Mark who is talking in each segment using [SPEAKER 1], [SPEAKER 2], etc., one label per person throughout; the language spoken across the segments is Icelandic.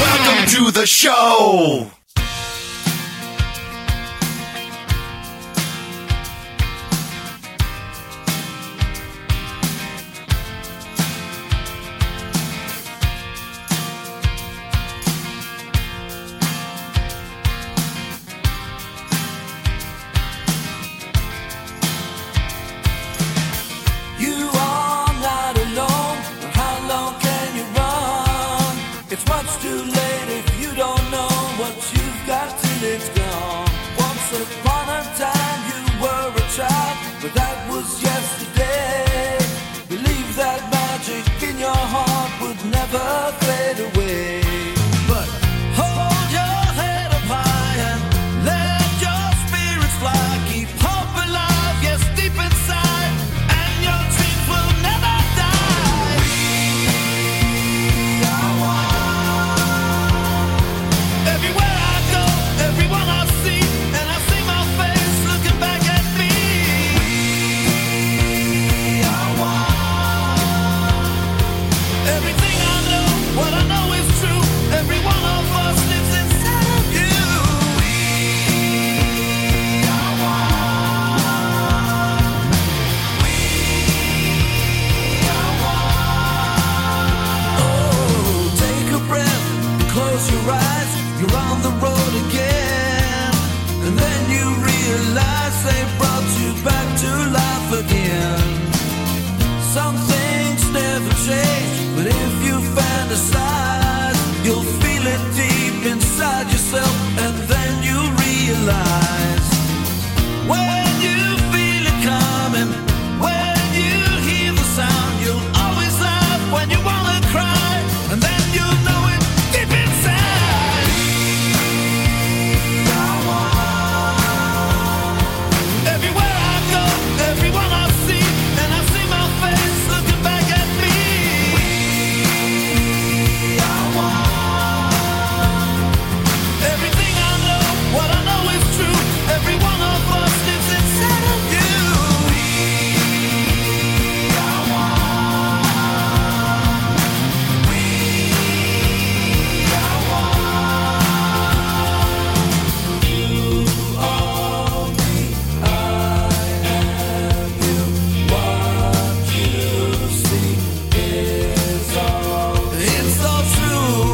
[SPEAKER 1] Welcome to the show.
[SPEAKER 2] You are not alone. How long can you run? It's much too late if you don't know what you've got till it's gone. Once upon a time you were a child, but that was yesterday. Believe that magic in your heart would never fade away. But hold your head up high and let your spirits fly. Keep hope alive, yes, deep inside, and your dreams will never die. We are one. Everywhere I go, everyone I see, and I see my face looking back at me. We are one. Everything I know, what I know is true. Every one of us lives inside you. We are one. We are one. Oh, take a breath, close your eyes. You're on the road again, and then you realize they brought you back to life again. Some things never change, but if you fantasize, you'll feel it deep inside yourself, and then you realize. When you feel it coming, when you hear the sound, you'll always laugh when you wanna cry, and then you know it deep inside. Now Everywhere I go, everyone I see, and I see my face looking back at me. We are one. Everything I know, what I know is true. Every one of us lives inside of you. We are one. We are one. You are me. I am you. What you see is all. It's all true.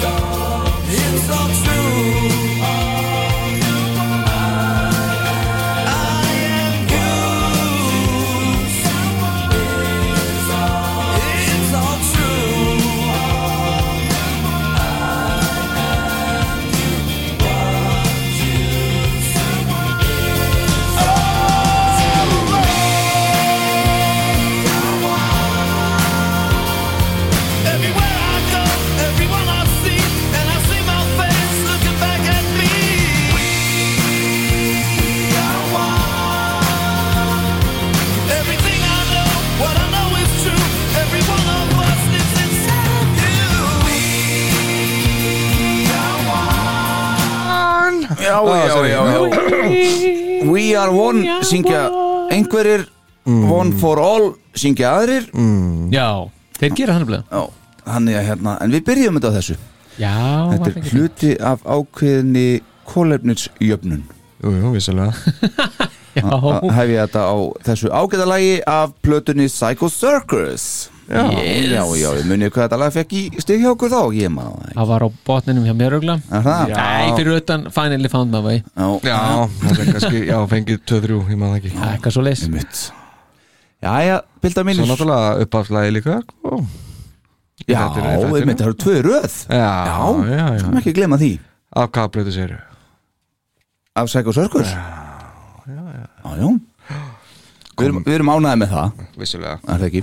[SPEAKER 2] It's all true. I am you. It's all true. Everywhere I go, everyone I see, and I see my face looking back at me. We are one. Everything I know, what I know is true. Every one of us lives inside of you. We are one.
[SPEAKER 3] Já, já, já, já We are one syngja einhverjir One for all syngja aðrir
[SPEAKER 4] Já, þeir gera þannig bleið
[SPEAKER 3] Já, hann er hérna En við byrjum þetta á þessu
[SPEAKER 4] Já,
[SPEAKER 3] Þetta er hluti af ákveðinni kólefnisjöfnun
[SPEAKER 5] Jú, jú, vissilega
[SPEAKER 4] Já,
[SPEAKER 3] Að Hef ég þetta á þessu ágæta lagi af plötunni Psycho Circus já, já, já, ég munið hvað þetta lag fekk í stig hjá okkur þá, ég maður það ekki.
[SPEAKER 4] Það var á botninum hjá mér ögla
[SPEAKER 3] Er það?
[SPEAKER 4] Nei, fyrir utan Finally Found My Way
[SPEAKER 3] Já,
[SPEAKER 5] Já, það er kannski, já, fengið 2-3, ég maður það ekki
[SPEAKER 4] Það er eitthvað svo leys
[SPEAKER 3] mitt Já, já, bilda
[SPEAKER 5] Svo
[SPEAKER 3] mínir
[SPEAKER 5] náttúrulega uppafslæði líka ó.
[SPEAKER 3] Já,
[SPEAKER 5] Þetta er- þetta er-
[SPEAKER 3] einmitt, það eru tvö í röð
[SPEAKER 5] Já,
[SPEAKER 3] Já,
[SPEAKER 5] já, já
[SPEAKER 3] Skulum ekki glemma því
[SPEAKER 5] Af hvað blötu sér
[SPEAKER 3] Af Sæk og Sörkur Já, já, já Við erum, við erum ánæði með það,
[SPEAKER 5] Vissulega
[SPEAKER 3] er það ekki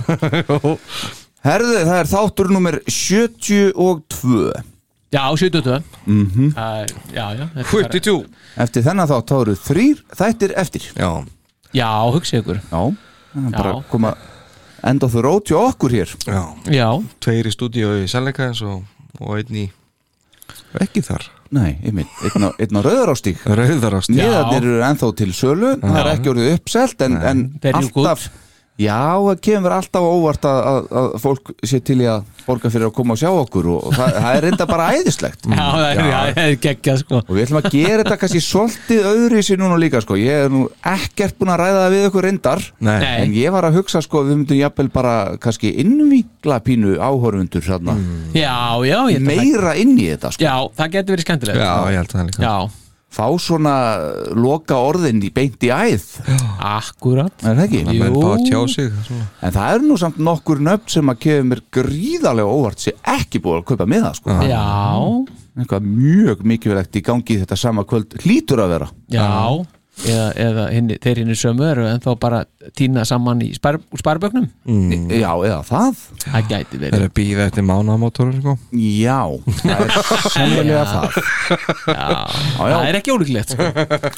[SPEAKER 3] Herðu, það er þáttur nummer 72
[SPEAKER 4] Já, 72 mm -hmm. Já, já þetta er bara-
[SPEAKER 5] 52
[SPEAKER 3] Eftir þennan þátt, þá eru þrýr þættir eftir
[SPEAKER 5] Já,
[SPEAKER 4] Já, hugsa ykkur
[SPEAKER 3] Já, það er bara
[SPEAKER 4] Já.
[SPEAKER 3] koma end of the road hjá okkur hér
[SPEAKER 5] já
[SPEAKER 4] Já,
[SPEAKER 5] Tveir í stúdíu í sannleika eins og, og einn í Ekki þar
[SPEAKER 3] Nei, einmitt, einn á, einn á rauðarástík
[SPEAKER 5] Rauðarast
[SPEAKER 3] Miðarnir eru ennþá til sölu Það er ekki orðið uppselt en, en
[SPEAKER 4] Þeir eru
[SPEAKER 3] alltaf Já, það kemur alltaf á óvart að, að, að fólk sé til í að borga fyrir að koma og sjá okkur og, og það, það er reynda bara æðislegt
[SPEAKER 4] já, það er- já, það er geggjað sko
[SPEAKER 3] og við ætlum að gera þetta kannski svolítið öðru í sér núna líka sko. ég er nú ekkert búin að ræða það við okkur reyndar
[SPEAKER 5] Nei,
[SPEAKER 4] Nei.
[SPEAKER 3] en ég var að hugsa sko að við myndum jafnvel bara kannski innvíkla pínu áhorfundur þarna,
[SPEAKER 4] Já, já, ég held að það-
[SPEAKER 3] meira inn í þetta sko.
[SPEAKER 4] Já, það getur verið skemmtilegt
[SPEAKER 5] Já, ég held það líka
[SPEAKER 4] já
[SPEAKER 3] fá svona loka orðin í beint í æð
[SPEAKER 4] akkurat
[SPEAKER 3] er það ekki?
[SPEAKER 5] Það menn
[SPEAKER 4] Jú.
[SPEAKER 5] bara tjá sig svona.
[SPEAKER 3] En það eru nú samt nokkur nöfn sem að kefur mér gríðarlega óvart sem ekki búið að kaupa með það sko.
[SPEAKER 4] Já,
[SPEAKER 3] Eitthvað mjög mikilvægt í gangi þetta sama kvöld hlýtur að vera.
[SPEAKER 4] já Eða, eða hinni, þeir hinn sömu eru en þá bara týna saman í spar, úr sparbögnum
[SPEAKER 3] Mm. Já, eða það?
[SPEAKER 4] Það gæti
[SPEAKER 5] Það
[SPEAKER 4] verið
[SPEAKER 5] er að býða eftir mánamótorun sko.
[SPEAKER 3] Já, það er sennilega það. Já, já.
[SPEAKER 4] Það er ekki ólíklegt sko.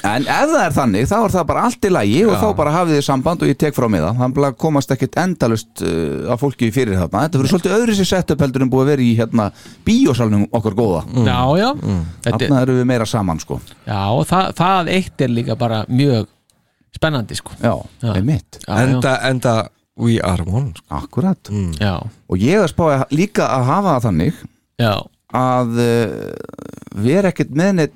[SPEAKER 3] En ef það er þannig, þá er það bara allt í lagi og þá bara hafið þið samband og ég tek frá mig það. Þannig að komast ekkit endalust uh, að fólki fyrir þarna. Þetta fyrir svolítið öðru sér setup heldur en búið að vera í hérna bíósalnum okkar góða.
[SPEAKER 4] Já, já Mm. Þetta,
[SPEAKER 3] Mm. Þarna eru við meira saman sko.
[SPEAKER 4] Já, og það, það eitt er líka bara mjög spennandi sko
[SPEAKER 3] Já,
[SPEAKER 4] Já.
[SPEAKER 3] einmitt.
[SPEAKER 4] Já,
[SPEAKER 5] Enda, enda We are one sko.
[SPEAKER 3] Akkurat.
[SPEAKER 4] já, já,
[SPEAKER 3] Og ég er spáði líka að hafa það þannig
[SPEAKER 4] já,
[SPEAKER 3] að uh, vera ekkert með neitt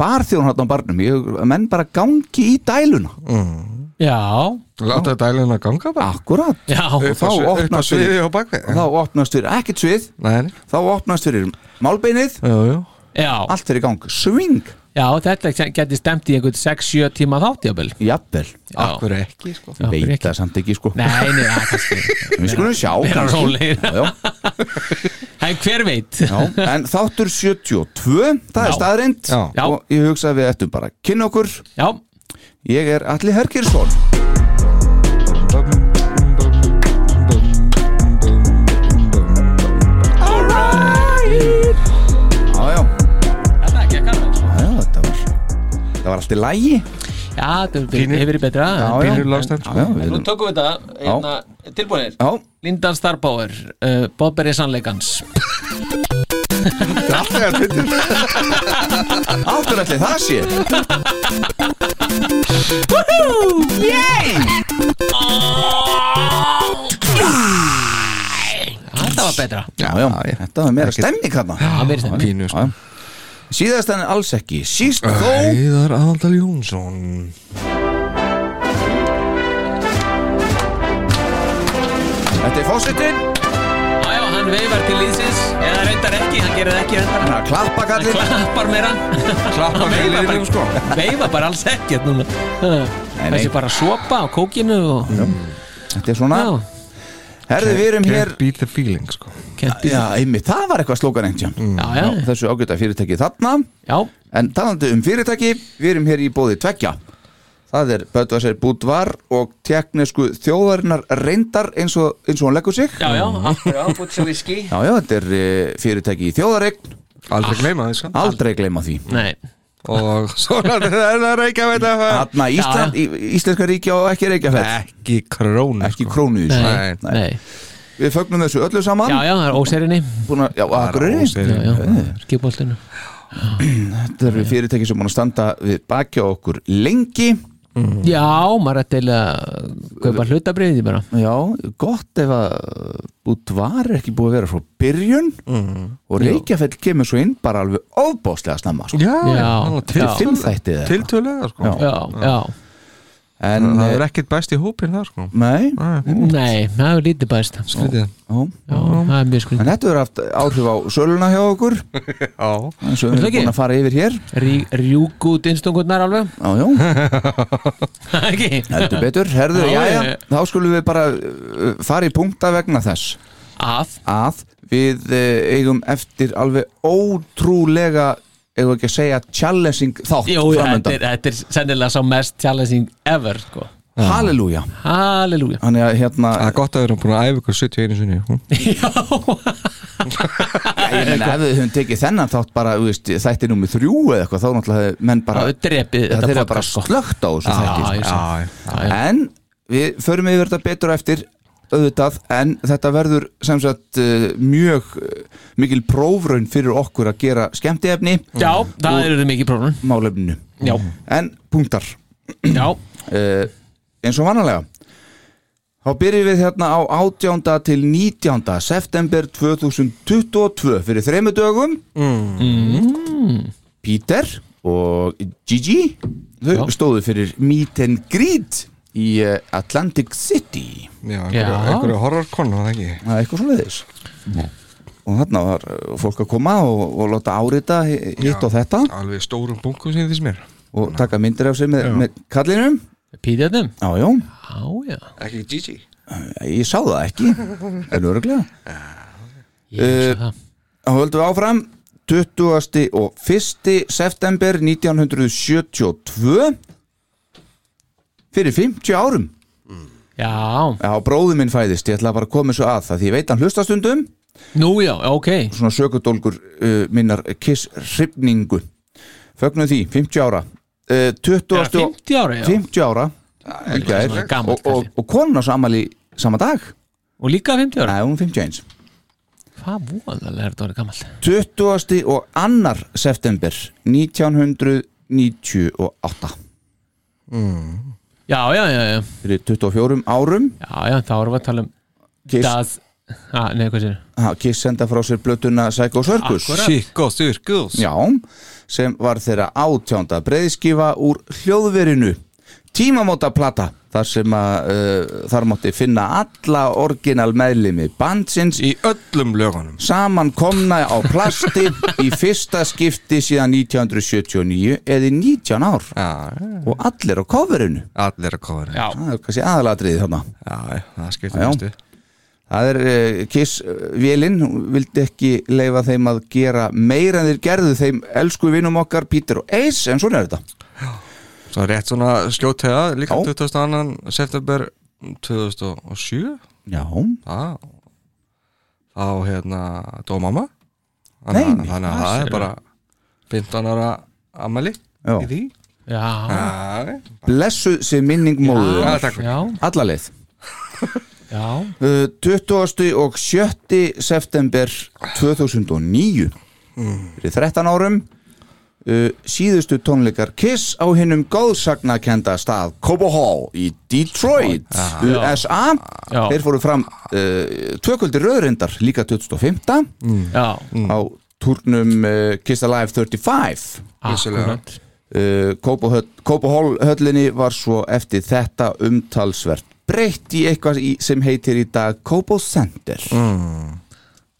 [SPEAKER 3] barþjón hann á barnum, ég, að menn bara gangi í dæluna.
[SPEAKER 5] Mm.
[SPEAKER 4] já,
[SPEAKER 5] Láta dæluna ganga bara
[SPEAKER 3] Akkurat.
[SPEAKER 4] já.
[SPEAKER 3] Og
[SPEAKER 5] Upp á
[SPEAKER 3] þá
[SPEAKER 5] svi- upp á
[SPEAKER 3] opnast
[SPEAKER 5] sviði
[SPEAKER 3] fyrir,
[SPEAKER 5] og bakvið
[SPEAKER 3] þá opnast fyrir ekkert svið,
[SPEAKER 5] Nei, nei.
[SPEAKER 3] þá opnast fyrir málbeinið,
[SPEAKER 5] jú, jú.
[SPEAKER 4] já.
[SPEAKER 3] allt fyrir gang. Swing,
[SPEAKER 4] já þetta geti stemt í einhvern 6-7 tíma þáttjabil
[SPEAKER 3] jafnvel.
[SPEAKER 4] Nei,
[SPEAKER 5] Akkur ekki sko.
[SPEAKER 4] Já,
[SPEAKER 3] Veit
[SPEAKER 4] fyrir ekki.
[SPEAKER 3] það samt ekki sko.
[SPEAKER 4] nei, það kannski
[SPEAKER 3] Við skulum sjá.
[SPEAKER 4] vera
[SPEAKER 3] kannski.
[SPEAKER 4] rólegir.
[SPEAKER 3] Já, já.
[SPEAKER 4] En hver veit
[SPEAKER 3] Já, en þáttur 72, það er
[SPEAKER 4] Já.
[SPEAKER 3] staðrind
[SPEAKER 5] Já.
[SPEAKER 4] Já.
[SPEAKER 3] og ég hugsa að við ættum bara að kynna okkur
[SPEAKER 4] Já,
[SPEAKER 3] Ég er Alli Herkirsson Já, já,
[SPEAKER 4] þetta er ekki að kalla sko.
[SPEAKER 3] já, þetta var Það var allt í lægi
[SPEAKER 4] Já, þetta
[SPEAKER 5] Pínu-
[SPEAKER 4] hefur verið betra en-
[SPEAKER 3] já.
[SPEAKER 5] Pínur lágstæmt
[SPEAKER 3] Já, já, við
[SPEAKER 4] Nú
[SPEAKER 3] erum
[SPEAKER 4] tökum við þetta einna, tilbúinir
[SPEAKER 3] Já,
[SPEAKER 4] Lindan Starbauer, uh, Bobberi Sannleikans
[SPEAKER 3] áttur allir það sé
[SPEAKER 4] Þetta var betra
[SPEAKER 3] Já, já, þetta var meira stemning hann
[SPEAKER 4] Það verið þetta
[SPEAKER 5] Pínu sko.
[SPEAKER 3] Síðast en alls ekki, síst þó
[SPEAKER 5] Heiðar Aðaldal Jónsson
[SPEAKER 3] Þetta er fósitinn,
[SPEAKER 4] Já, já, hann veifar til liðsins Eða reyndar ekki, hann gerir það ekki reyndar
[SPEAKER 3] hann er að klappa
[SPEAKER 4] Hann
[SPEAKER 3] kallinn
[SPEAKER 4] klappar meira
[SPEAKER 5] Klappa
[SPEAKER 4] Hann veifar
[SPEAKER 5] fyrir
[SPEAKER 4] bara-
[SPEAKER 5] sko.
[SPEAKER 4] Veifa bara alls ekkert núna
[SPEAKER 3] nei.
[SPEAKER 4] Þessi bara sopa á kókinu og
[SPEAKER 3] Þetta er svona,
[SPEAKER 4] Já,
[SPEAKER 3] herðu við erum hér
[SPEAKER 5] Can't beat the feeling sko.
[SPEAKER 4] kempi Já,
[SPEAKER 3] Já, einmitt, það var eitthvað slókan einhvern mm.
[SPEAKER 4] já,
[SPEAKER 3] Þessu ágæta fyrirtæki þarna
[SPEAKER 4] já
[SPEAKER 3] En talandi um fyrirtæki, við erum hér í bóði tveggja Það er Böðvarsir Búdvar og teknisku þjóðarinnar reyndar eins og, eins og hún leggur sig
[SPEAKER 4] Já, já, akkurát, búið sér viski
[SPEAKER 3] Já, já, þetta er e, fyrirtæki í þjóðareign
[SPEAKER 5] Aldrei gleyma því sko.
[SPEAKER 3] Aldrei gleyma því
[SPEAKER 4] Nei,
[SPEAKER 5] Og svona er það reykja veit að það
[SPEAKER 3] Þarna Ísland, í, Íslenska ríkja og ekki reykjafell
[SPEAKER 5] Ekki krónu
[SPEAKER 3] Ekki
[SPEAKER 5] sko.
[SPEAKER 3] krónu í þessu
[SPEAKER 5] Nei.
[SPEAKER 4] nei, nei.
[SPEAKER 3] Við fögnum þessu öllu saman
[SPEAKER 4] Já, já, það er óserinni
[SPEAKER 3] Búna, já, akkur er
[SPEAKER 5] Óseri.
[SPEAKER 4] Já, já, skipoltinu
[SPEAKER 3] Þetta eru fyrirtæki sem búin að standa við bakja okkur lengi
[SPEAKER 4] Já, maður er til að kaupa hlutabriði bara
[SPEAKER 3] Já, gott ef að Búdvar er ekki búið að vera frá byrjun og Reykjafell kemur svo inn bara alveg óbáslega snemma sko.
[SPEAKER 5] Já,
[SPEAKER 4] Já.
[SPEAKER 5] já,
[SPEAKER 3] Til fimm þættið eða
[SPEAKER 5] Tiltölega sko.
[SPEAKER 4] Já, já,
[SPEAKER 3] en,
[SPEAKER 5] það
[SPEAKER 3] eh,
[SPEAKER 5] er ekkert best í hópin þar sko
[SPEAKER 3] nei,
[SPEAKER 5] Nei,
[SPEAKER 4] Nei, það er lítið bæst Já,
[SPEAKER 5] skrítið
[SPEAKER 3] ó,
[SPEAKER 4] það er mjög
[SPEAKER 3] en
[SPEAKER 4] skrítið
[SPEAKER 3] þetta verður haft áhrif á söluna hjá okkur
[SPEAKER 5] Já,
[SPEAKER 3] eins og
[SPEAKER 4] Er það
[SPEAKER 3] við erum
[SPEAKER 4] ekki?
[SPEAKER 3] búin að fara yfir hér
[SPEAKER 4] Rí- Rjúk út innstungurnar alveg
[SPEAKER 3] á, já,
[SPEAKER 4] Ekki?
[SPEAKER 3] heldur betur, herðu,
[SPEAKER 4] Já,
[SPEAKER 3] já,
[SPEAKER 4] já.
[SPEAKER 3] þá skulum við bara uh, fara í punkta vegna þess
[SPEAKER 4] Að
[SPEAKER 3] að við eh, eigum eftir alveg ótrúlega eigum við ekki að segja challenging þátt
[SPEAKER 4] Jú, þetta er,
[SPEAKER 3] framöndan,
[SPEAKER 4] þetta er sennilega sá mest challenging ever sko.
[SPEAKER 3] halleluja
[SPEAKER 4] Halleluja
[SPEAKER 3] þannig að hérna
[SPEAKER 5] það er gott að við erum búin að æfa ykkur 71 sinni sko.
[SPEAKER 4] Já,
[SPEAKER 3] ég meina ef við höfum tekið þennan þátt bara þú veist, þætti nummið þrjú eða eitthvað þá náttúrulega hefði menn bara
[SPEAKER 4] það er drepið
[SPEAKER 3] það
[SPEAKER 4] þetta
[SPEAKER 3] þeirra bara
[SPEAKER 4] podcast sko.
[SPEAKER 3] slögt á þessu þætti sko.
[SPEAKER 4] ég sé.
[SPEAKER 5] Já, já.
[SPEAKER 4] Já, já.
[SPEAKER 3] en við förum yfir þetta betur á eftir auðvitað en þetta verður sem sagt eh, mjög eh, mikil prófraun fyrir okkur að gera skemmtiefni
[SPEAKER 4] Já, það eru mikið prófum
[SPEAKER 3] málefninu
[SPEAKER 4] Já,
[SPEAKER 3] en punktar
[SPEAKER 4] já,
[SPEAKER 3] uh, eins og vanalega þá byrjum við hérna á 18. til 19. september 2022 fyrir þremu dögum mm. Peter og Gigi
[SPEAKER 4] Já.
[SPEAKER 3] þau stóðu fyrir Meet and Greet í eh, Atlantic City
[SPEAKER 5] Já,
[SPEAKER 4] Já.
[SPEAKER 5] einhverju- einhverju horrorkonu, það ekki
[SPEAKER 3] það er eitthvað svoleiðis og þarna var eh, fólk að koma og, og láta árita hi- hitt og þetta
[SPEAKER 5] Alveg stórum bunkum sem þess mér
[SPEAKER 3] og taka myndir af sig með, með kallinum
[SPEAKER 4] pítjarnum
[SPEAKER 3] já, já,
[SPEAKER 4] Já, já,
[SPEAKER 5] Ekki Gigi
[SPEAKER 3] ég sá það ekki en öruglega
[SPEAKER 4] ég sé það
[SPEAKER 3] Þá höldum við áfram 20. og 1. september 1972 fyrir 50 árum
[SPEAKER 4] Já,
[SPEAKER 3] Já, bróði minn fæðist, ég ætla bara að koma þessu að það því ég veit hann hlusta stundum
[SPEAKER 4] nú já, ok
[SPEAKER 3] svona sökudólgur uh, minnar kiss hrifningu Fögnum því, 50 ára uh, 20.
[SPEAKER 4] Er það 50 ára, já
[SPEAKER 3] 50 ára í gær
[SPEAKER 4] svona gamalt,
[SPEAKER 3] og, og,
[SPEAKER 4] kannski.
[SPEAKER 3] og konuna samali sama dag
[SPEAKER 4] Og líka 50 ára
[SPEAKER 3] Nei, hún er 51
[SPEAKER 4] Hvað voðalega er þetta orðið gammalt
[SPEAKER 3] 20. og 2. september 1998
[SPEAKER 4] Já, já, já, já,
[SPEAKER 3] fyrir 24 árum
[SPEAKER 4] já, já þá erum við að tala um
[SPEAKER 3] Kiss,
[SPEAKER 4] Það, ah, nei, hvað sér
[SPEAKER 3] ha, Kiss senda frá sér blötuna Psycho Circus
[SPEAKER 4] Akkúrat.
[SPEAKER 5] Sikko, styrkus
[SPEAKER 3] Já, sem var þeirra átjánda breiðskifa úr hljóðverinu Tímamóta plata þar sem að uh, þar mátti finna alla orginal meðlimi bandsins
[SPEAKER 5] Í öllum lögunum
[SPEAKER 3] saman komna á plasti í fyrsta skipti síðan 1979 eða í 19 ár
[SPEAKER 5] Já, já.
[SPEAKER 3] og allir á coverinu
[SPEAKER 5] allir að kofra
[SPEAKER 4] Já,
[SPEAKER 3] það er kannski aðalatriði þarna
[SPEAKER 5] Já, já, það
[SPEAKER 3] Já,
[SPEAKER 5] skiptir
[SPEAKER 3] já.
[SPEAKER 5] mestu
[SPEAKER 3] Það er uh, Kiss eh, Vélin, hún vildi ekki leifa þeim að gera meira en þeir gerðu þeim elsku vinum okkar Peter og Ace, en svona er þetta.
[SPEAKER 5] Svo rétt svona skjótega líka
[SPEAKER 3] Já.
[SPEAKER 5] 22. september 2007
[SPEAKER 3] Já,
[SPEAKER 5] Já Þá hérna dó mamma
[SPEAKER 3] Nei,
[SPEAKER 5] Þannig
[SPEAKER 3] nei,
[SPEAKER 5] að- þannig að það er bara 15 ára amali
[SPEAKER 3] Já.
[SPEAKER 5] í því
[SPEAKER 4] já,
[SPEAKER 5] Já,
[SPEAKER 3] blessu sér minning móðu
[SPEAKER 5] já, takk
[SPEAKER 4] já,
[SPEAKER 3] alla leið.
[SPEAKER 4] já
[SPEAKER 3] Uh, 20. og 7. september 2009
[SPEAKER 5] Mm.
[SPEAKER 3] fyrir 13 árum uh, síðustu tónleikar Kiss á hinnum góðsagnakenda stað Cobo Hall í Detroit Ah. USA
[SPEAKER 4] Já.
[SPEAKER 3] þeir fóru fram uh, tvökuldir röðrindar líka 2015
[SPEAKER 4] Já,
[SPEAKER 5] Mm.
[SPEAKER 3] á turnum uh, Kiss Alive 35
[SPEAKER 5] Vissulega.
[SPEAKER 4] akkurat
[SPEAKER 3] Uh, Kópahól höllinni var svo eftir þetta umtalsvert breytt í eitthvað í, sem heitir í dag Kópó Center
[SPEAKER 5] Mm.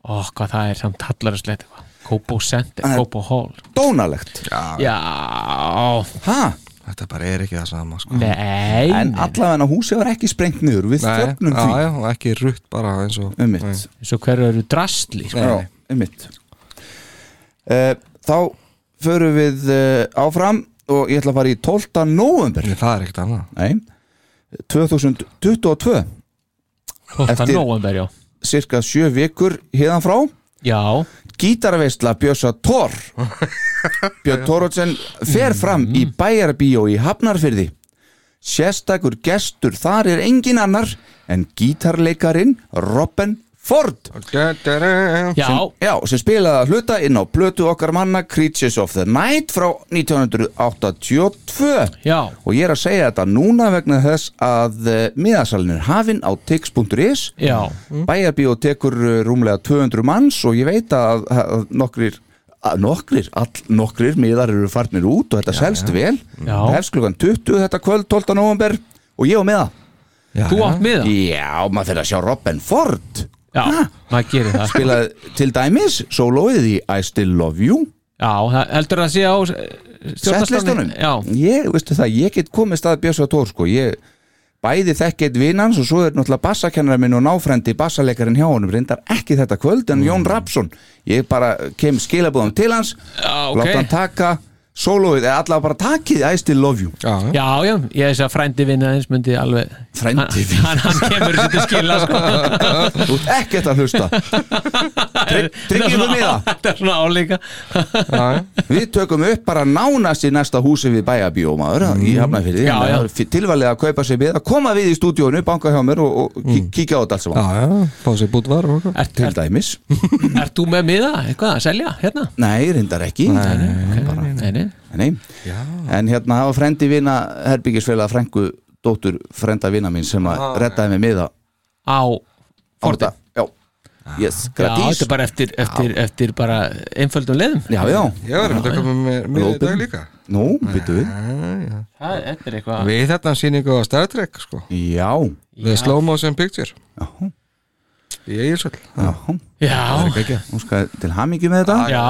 [SPEAKER 4] Ó, hvað það er samt hallarslegt eitthvað Kópó Center,
[SPEAKER 3] En-
[SPEAKER 4] Kópó Hall
[SPEAKER 3] dónalegt
[SPEAKER 4] Já,
[SPEAKER 3] ha?
[SPEAKER 5] Þetta bara er ekki það sama sko
[SPEAKER 4] nei
[SPEAKER 3] en allavega húsi var ekki sprengt niður við
[SPEAKER 5] Nei,
[SPEAKER 3] þögnum
[SPEAKER 5] já,
[SPEAKER 3] því
[SPEAKER 5] já, og ekki rutt bara eins og
[SPEAKER 3] um
[SPEAKER 5] Nei.
[SPEAKER 3] mitt,
[SPEAKER 4] Svo hverju eru drastli sko.
[SPEAKER 5] Nei, nei.
[SPEAKER 3] Já, um mitt. Uh, þá förum við uh, áfram og ég ætla að fara í 12. november
[SPEAKER 5] Nei, Það er ekkert annað
[SPEAKER 3] Nei, 2022
[SPEAKER 4] Þetta
[SPEAKER 3] Eftir-
[SPEAKER 4] nóvember, já
[SPEAKER 3] cirka sjö vikur hérðan frá
[SPEAKER 4] Já,
[SPEAKER 3] gítarveisla Björsa Thor Björn Thorodsen fer fram í bæjarbíó í Hafnarfyrði sérstakur gestur þar er engin annar en gítarleikarin Robin Ford
[SPEAKER 4] já,
[SPEAKER 3] já, sem spilaði að hluta inn á blötu okkar manna Creatures of the Night frá 1982
[SPEAKER 4] já
[SPEAKER 3] og ég er að segja þetta núna vegna þess að miðasalinn er hafinn á tix.is
[SPEAKER 4] Já,
[SPEAKER 3] Bæjarbíó tekur uh, rúmlega 200 manns og ég veit að, að nokkrir að nokkrir, all nokkrir miðar eru farnir út og þetta selst vel
[SPEAKER 4] Já.
[SPEAKER 3] hefst klukkan 20 þetta kvöld 12. november og ég á með það
[SPEAKER 4] Þú átt með það?
[SPEAKER 3] Já, maður fyrir að sjá Robin Ford
[SPEAKER 4] Já, maður gerir það sko.
[SPEAKER 3] spilaði til dæmis soloið í I Still Love You
[SPEAKER 4] Já, það- heldur það að sé á
[SPEAKER 3] setlistunum
[SPEAKER 4] stjórnastunum Já,
[SPEAKER 3] ég, veistu það, ég get komið stað Björs og Tór sko, ég bæði þekkið vinans og svo er náttúrulega bassakennara minn og náfrendi bassalekarinn hjá honum reyndar ekki þetta kvöld en
[SPEAKER 4] Mm.
[SPEAKER 3] Jón Rapsson ég bara kem skilabúðum til hans
[SPEAKER 4] Já, ok.
[SPEAKER 3] láta hann taka soloið, eða allavega bara takið I Still Love You
[SPEAKER 5] Já, já.
[SPEAKER 4] já, já, ég þess að frændi vinna eins myndi alveg
[SPEAKER 3] Frændi
[SPEAKER 4] Hann- Hann, hann kemur sér til skila sko
[SPEAKER 3] þú ert ekkert að hlusta tryggir við miða
[SPEAKER 4] Þetta er svona álíka
[SPEAKER 5] já.
[SPEAKER 3] Við tökum upp bara nánast í næsta húsi við bæjabíómaður í Hafnarfyrði
[SPEAKER 4] Mm. Já, já.
[SPEAKER 3] Tilvalið að kaupa sér við að koma við í stúdíónu, banka hjá mér og, og mm. kíkja á þetta allt sem
[SPEAKER 5] já, já, fá sér bútvar og eitthvað.
[SPEAKER 4] Ert
[SPEAKER 3] Til
[SPEAKER 4] er,
[SPEAKER 3] dæmis
[SPEAKER 4] er þú með miða, eitthvað að selja hérna?
[SPEAKER 3] Nei, reyndar ekki
[SPEAKER 4] Nei, nei, nei.
[SPEAKER 3] Nei. En hérna það var frendi vina herbyggisfélag frængu dóttur frenda vina mín sem að
[SPEAKER 4] Ah,
[SPEAKER 3] reddaði mig miða á
[SPEAKER 4] Á Fordi
[SPEAKER 3] þetta. Já, yes,
[SPEAKER 4] Ah. Já, þetta
[SPEAKER 3] gratís
[SPEAKER 4] er bara eftir, eftir, eftir bara einföldum leiðum
[SPEAKER 3] Já, já,
[SPEAKER 5] Ég var einmitt að koma með mér í
[SPEAKER 3] Lópin.
[SPEAKER 5] dag líka
[SPEAKER 3] nú, byttu við
[SPEAKER 4] Ah. Það þetta er eitthvað
[SPEAKER 5] Við þetta sýningu á Star Trek sko
[SPEAKER 3] Já,
[SPEAKER 5] The Slow Motion Picture
[SPEAKER 3] já,
[SPEAKER 5] Í Egilsvöld
[SPEAKER 3] já
[SPEAKER 4] Já,
[SPEAKER 3] Nú skal til hamingi með þetta
[SPEAKER 4] já,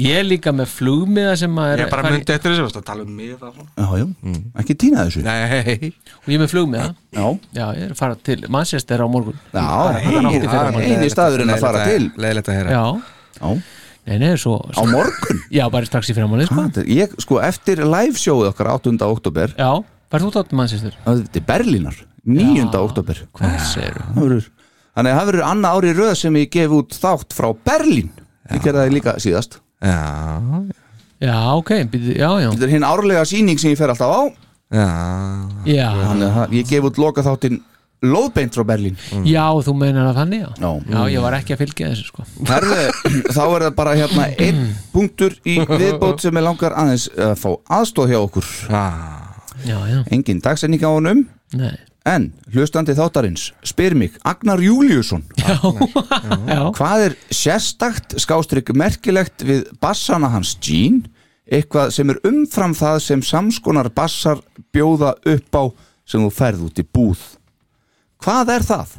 [SPEAKER 4] ég er líka með flugmiða sem að er
[SPEAKER 5] Ég bara
[SPEAKER 4] fara í-
[SPEAKER 5] myndi eftir þessu, varstu að tala um mig það
[SPEAKER 3] Já, já,
[SPEAKER 4] Mm.
[SPEAKER 3] ekki týna þessu
[SPEAKER 5] Nei,
[SPEAKER 4] Og ég er með flugmiða
[SPEAKER 3] Já,
[SPEAKER 4] Já, ég er að fara til Manchester á morgun
[SPEAKER 3] Já,
[SPEAKER 4] nótt í fyrramálið.
[SPEAKER 3] eini staðurinn að fara til
[SPEAKER 5] Leðilegt að heyra
[SPEAKER 4] Já,
[SPEAKER 3] Já,
[SPEAKER 4] nei, nei, svo,
[SPEAKER 3] á
[SPEAKER 4] svo
[SPEAKER 3] morgun
[SPEAKER 4] Já, bara strax í fyrramáli, sko
[SPEAKER 3] Hvað er- Ég, sko, eftir live sjóðu okkar 8. oktober
[SPEAKER 4] Já, var þú tótt Manchester?
[SPEAKER 3] Þetta er Berlínar, 9. oktober
[SPEAKER 4] Hvað segir þú?
[SPEAKER 3] Það verður- Þannig að það verður annað ári í röð sem ég gef út þátt frá Berlín Ég gerði það líka síðast
[SPEAKER 5] Já,
[SPEAKER 4] Já, ok, býtu, já, já
[SPEAKER 3] Þetta er hinn árlega sýning sem ég fer alltaf á
[SPEAKER 5] já
[SPEAKER 4] Já,
[SPEAKER 3] Þannig að það- ég gef út loka þáttinn Lóðbeint frá Berlín
[SPEAKER 4] já þú meinar að þannig, já
[SPEAKER 3] Já.
[SPEAKER 4] Já, ég var ekki að fylgja þessu, sko
[SPEAKER 3] Herðu, Þá er það bara hérna einn punktur í viðbót sem ég langar aðeins að fá aðstóð hjá okkur
[SPEAKER 4] Já, já,
[SPEAKER 3] Engin dagsetning á honum
[SPEAKER 4] nei
[SPEAKER 3] En hlustandi þáttarins spyr mig Agnar Júliusson
[SPEAKER 4] Já,
[SPEAKER 3] Hvað er sérstakt skástrygg merkilegt við bassana hans Jean eitthvað sem er umfram það sem samskonar bassar bjóða upp á sem þú ferð út í búð Hvað er það?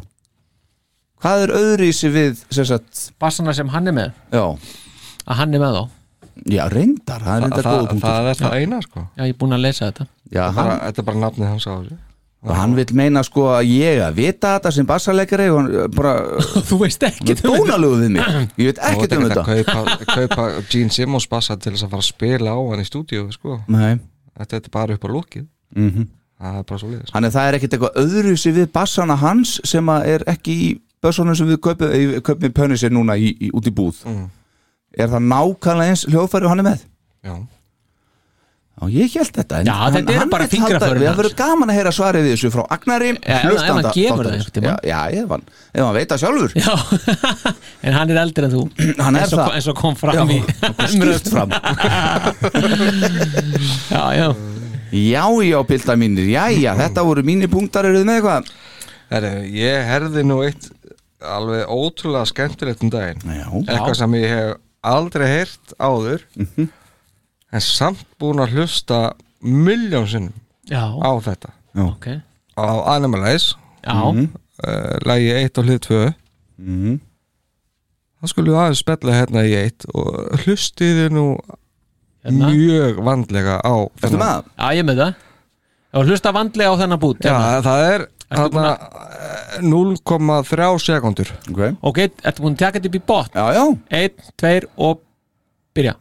[SPEAKER 3] Hvað er öðrisi við sem sagt,
[SPEAKER 4] bassana sem hann er með
[SPEAKER 3] já,
[SPEAKER 4] Að hann er með þá
[SPEAKER 3] já, reyndar það er
[SPEAKER 5] Þa,
[SPEAKER 3] reyndar
[SPEAKER 5] það,
[SPEAKER 3] góða punktur
[SPEAKER 5] það er það eina sko
[SPEAKER 4] Já, ég er búin að lesa þetta
[SPEAKER 3] Já,
[SPEAKER 5] bara,
[SPEAKER 3] hann,
[SPEAKER 5] Þetta er bara nafnið hans á þessu
[SPEAKER 3] og hann vil meina sko að ég að vita þetta sem bassarleikari og hann eh, bara
[SPEAKER 4] Þú veist ekki
[SPEAKER 3] dónalögu við mig ég veit ekkert um þetta
[SPEAKER 5] að kaupa, kaupa Gene Simmons bassa til þess að fara að spila á hann í stúdíu sko.
[SPEAKER 3] Nei
[SPEAKER 5] Þetta þetta er bara upp á lókið
[SPEAKER 4] Mhm.
[SPEAKER 5] Það er bara svo liðis
[SPEAKER 3] Þannig að það er ekkert eitthvað öðruvísi við bassana hans sem að er ekki í bössunum sem við kaupum, eh, kaupum pönisir núna í, í, út í búð
[SPEAKER 4] Mhm.
[SPEAKER 3] Er það nákvæmlega eins hljóðfæri og hann er með?
[SPEAKER 5] Já,
[SPEAKER 3] Já, ég held þetta en
[SPEAKER 4] Já,
[SPEAKER 3] hann-
[SPEAKER 4] þetta eru
[SPEAKER 3] hann
[SPEAKER 4] bara
[SPEAKER 3] vill
[SPEAKER 4] fingraförin
[SPEAKER 3] halda- Við
[SPEAKER 4] hans.
[SPEAKER 3] verðum gaman að heyra svarið við þessu frá Agnari
[SPEAKER 4] ef- ef hann gefur
[SPEAKER 3] hlustanda
[SPEAKER 4] það
[SPEAKER 3] þáttarins.
[SPEAKER 4] einhvern tímann.
[SPEAKER 3] Já, já, ef hann, ef hann veit það sjálfur
[SPEAKER 4] Já, en hann er eldri en þú
[SPEAKER 3] Hann er
[SPEAKER 4] eins og,
[SPEAKER 3] það.
[SPEAKER 4] eins og kom fram í
[SPEAKER 3] Skýrt fram
[SPEAKER 4] Já, já,
[SPEAKER 3] Já, já, pilda mínir, jæja, þetta voru mínir punktar eruð þið með eitthvað
[SPEAKER 5] Heru, Ég herði nú eitt alveg ótrúlega skemmtilegt um daginn
[SPEAKER 3] Já, Mhm.
[SPEAKER 5] Eitthvað sem ég hef aldrei heyrt áður En samt búin að hlusta miljón sinnum
[SPEAKER 4] já,
[SPEAKER 5] á þetta
[SPEAKER 4] ok Já,
[SPEAKER 5] Á Animalize, uh, lagi 1 og hlið 2
[SPEAKER 3] Mhm.
[SPEAKER 5] Það skulum við aðeins spella hérna í 1 og hlustiði nú
[SPEAKER 4] hérna
[SPEAKER 5] mjög vandlega á
[SPEAKER 3] ertu með það?
[SPEAKER 4] Já, ég er með það Og hlusta vandlega á þennan bút
[SPEAKER 5] Já,
[SPEAKER 4] hérna.
[SPEAKER 5] það er
[SPEAKER 4] búin
[SPEAKER 5] þarna, eh, 0,3 sekundur
[SPEAKER 3] Ok
[SPEAKER 4] Ok, ertu búin að taka þetta upp í bot
[SPEAKER 3] Já, já,
[SPEAKER 4] Einn, tveir og byrja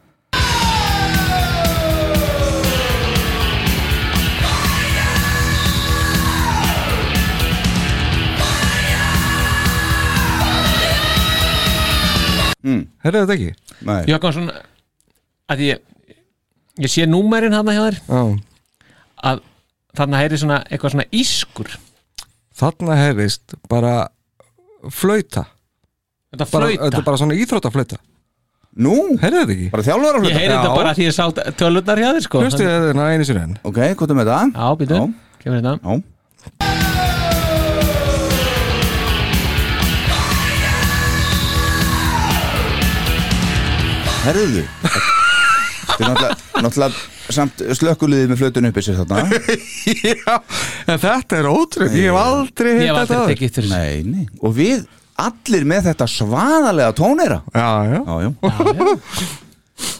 [SPEAKER 5] Herðu þetta ekki?
[SPEAKER 3] nei
[SPEAKER 4] Jökansson að ég, ég sé númerin hann hjá þér
[SPEAKER 5] Já.
[SPEAKER 4] að þarna heyri svona eitthvað svona ískur
[SPEAKER 5] Þarna heyrist bara flauta
[SPEAKER 4] þetta
[SPEAKER 5] bara,
[SPEAKER 4] flauta
[SPEAKER 5] Þetta er bara svona íþróttaflauta
[SPEAKER 3] Nú,
[SPEAKER 5] Herðu þetta ekki?
[SPEAKER 3] bara þjálfara
[SPEAKER 4] ég heyri þetta
[SPEAKER 5] Já.
[SPEAKER 4] bara því ég sá tölurnar hjá þér sko
[SPEAKER 5] Hlustiði þetta einu sinni enn
[SPEAKER 3] Ok, hvað er með það?
[SPEAKER 4] Já, býtu, kemur hérna. þetta
[SPEAKER 3] Já, Herðu Þetta er náttúrulega, náttúrulega samt slökkuliðið með flötun uppi sér þarna
[SPEAKER 5] Já, en þetta er ótrúð Ég hef aldrei
[SPEAKER 4] Ég hef
[SPEAKER 5] hitt þetta
[SPEAKER 4] aldrei
[SPEAKER 5] áður.
[SPEAKER 4] tekið eftir þessu
[SPEAKER 3] Nei, nei Og við allir með þetta svaðalega tónera
[SPEAKER 5] Já, já,
[SPEAKER 3] Já, já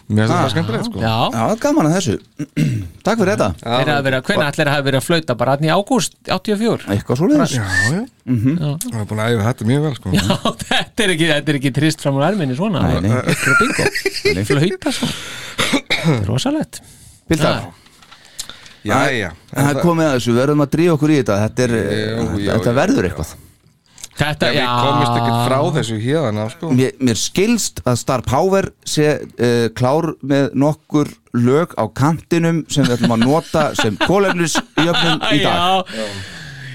[SPEAKER 5] mér finnst þetta skemmtilegt sko
[SPEAKER 4] Já,
[SPEAKER 3] Já, gaman að þessu Takk fyrir þetta
[SPEAKER 4] þeir hafa verið að hvernig allir hafa verið að flauta bara hann í ágúst 84
[SPEAKER 3] Eitthvað svo leiðis
[SPEAKER 5] Já, já, það er búin að æfa þetta mjög vel sko
[SPEAKER 4] Já, þetta er ekki, þetta er ekki trist fram úr erminni svona
[SPEAKER 3] Nei, nei.
[SPEAKER 4] Þetta er bingo Flauta svona Þetta er rosalegt
[SPEAKER 3] Pildar,
[SPEAKER 5] Já, já, en
[SPEAKER 3] það er komið að þessu, við verðum að drífa okkur í þetta Þetta, er,
[SPEAKER 5] Jú,
[SPEAKER 3] þetta,
[SPEAKER 5] já,
[SPEAKER 3] þetta
[SPEAKER 5] já,
[SPEAKER 3] verður eitthvað
[SPEAKER 4] Þetta,
[SPEAKER 5] Já, við komist ekkert frá þessu hérna sko
[SPEAKER 3] mér, mér skilst að Star Power sé uh, klár með nokkur lög á kantinum sem við ætlum að nota sem kólefnisjöfnum í dag
[SPEAKER 4] Já,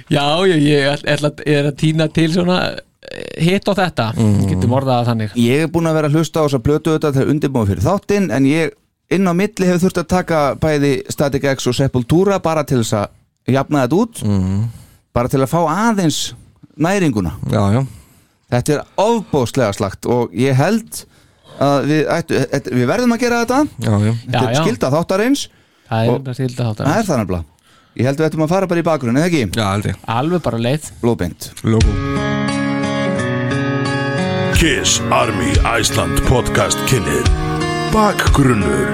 [SPEAKER 4] já, já ég, ætl- ætla, ég er að týna til svona eh, hitt og þetta, getum orðað það þannig
[SPEAKER 3] Ég er búin að vera að hlusta á þess að blötu þetta þegar undirbúin fyrir þáttinn en ég inn á milli hefur þurft að taka bæði Static X og Sepultura bara til þess að jafna þetta út
[SPEAKER 4] Mhm.
[SPEAKER 3] bara til að fá aðeins næringuna
[SPEAKER 5] Já, já,
[SPEAKER 3] Þetta er ofbóðslega slagt og ég held að við, ættu, þetta- við verðum að gera þetta
[SPEAKER 5] já, já
[SPEAKER 4] Já,
[SPEAKER 3] þetta er
[SPEAKER 4] já,
[SPEAKER 3] skilda þáttarins
[SPEAKER 4] það er
[SPEAKER 3] og-
[SPEAKER 4] bara skilda þáttar
[SPEAKER 3] Það er það nefnilega Ég held við ættum að fara bara í bakgrunni, eða ekki?
[SPEAKER 5] Já, aldrei
[SPEAKER 4] Alveg bara leið
[SPEAKER 3] Blóðbeint
[SPEAKER 5] Logo
[SPEAKER 1] Kiss Army Iceland podcast kynnið Bakgrunnur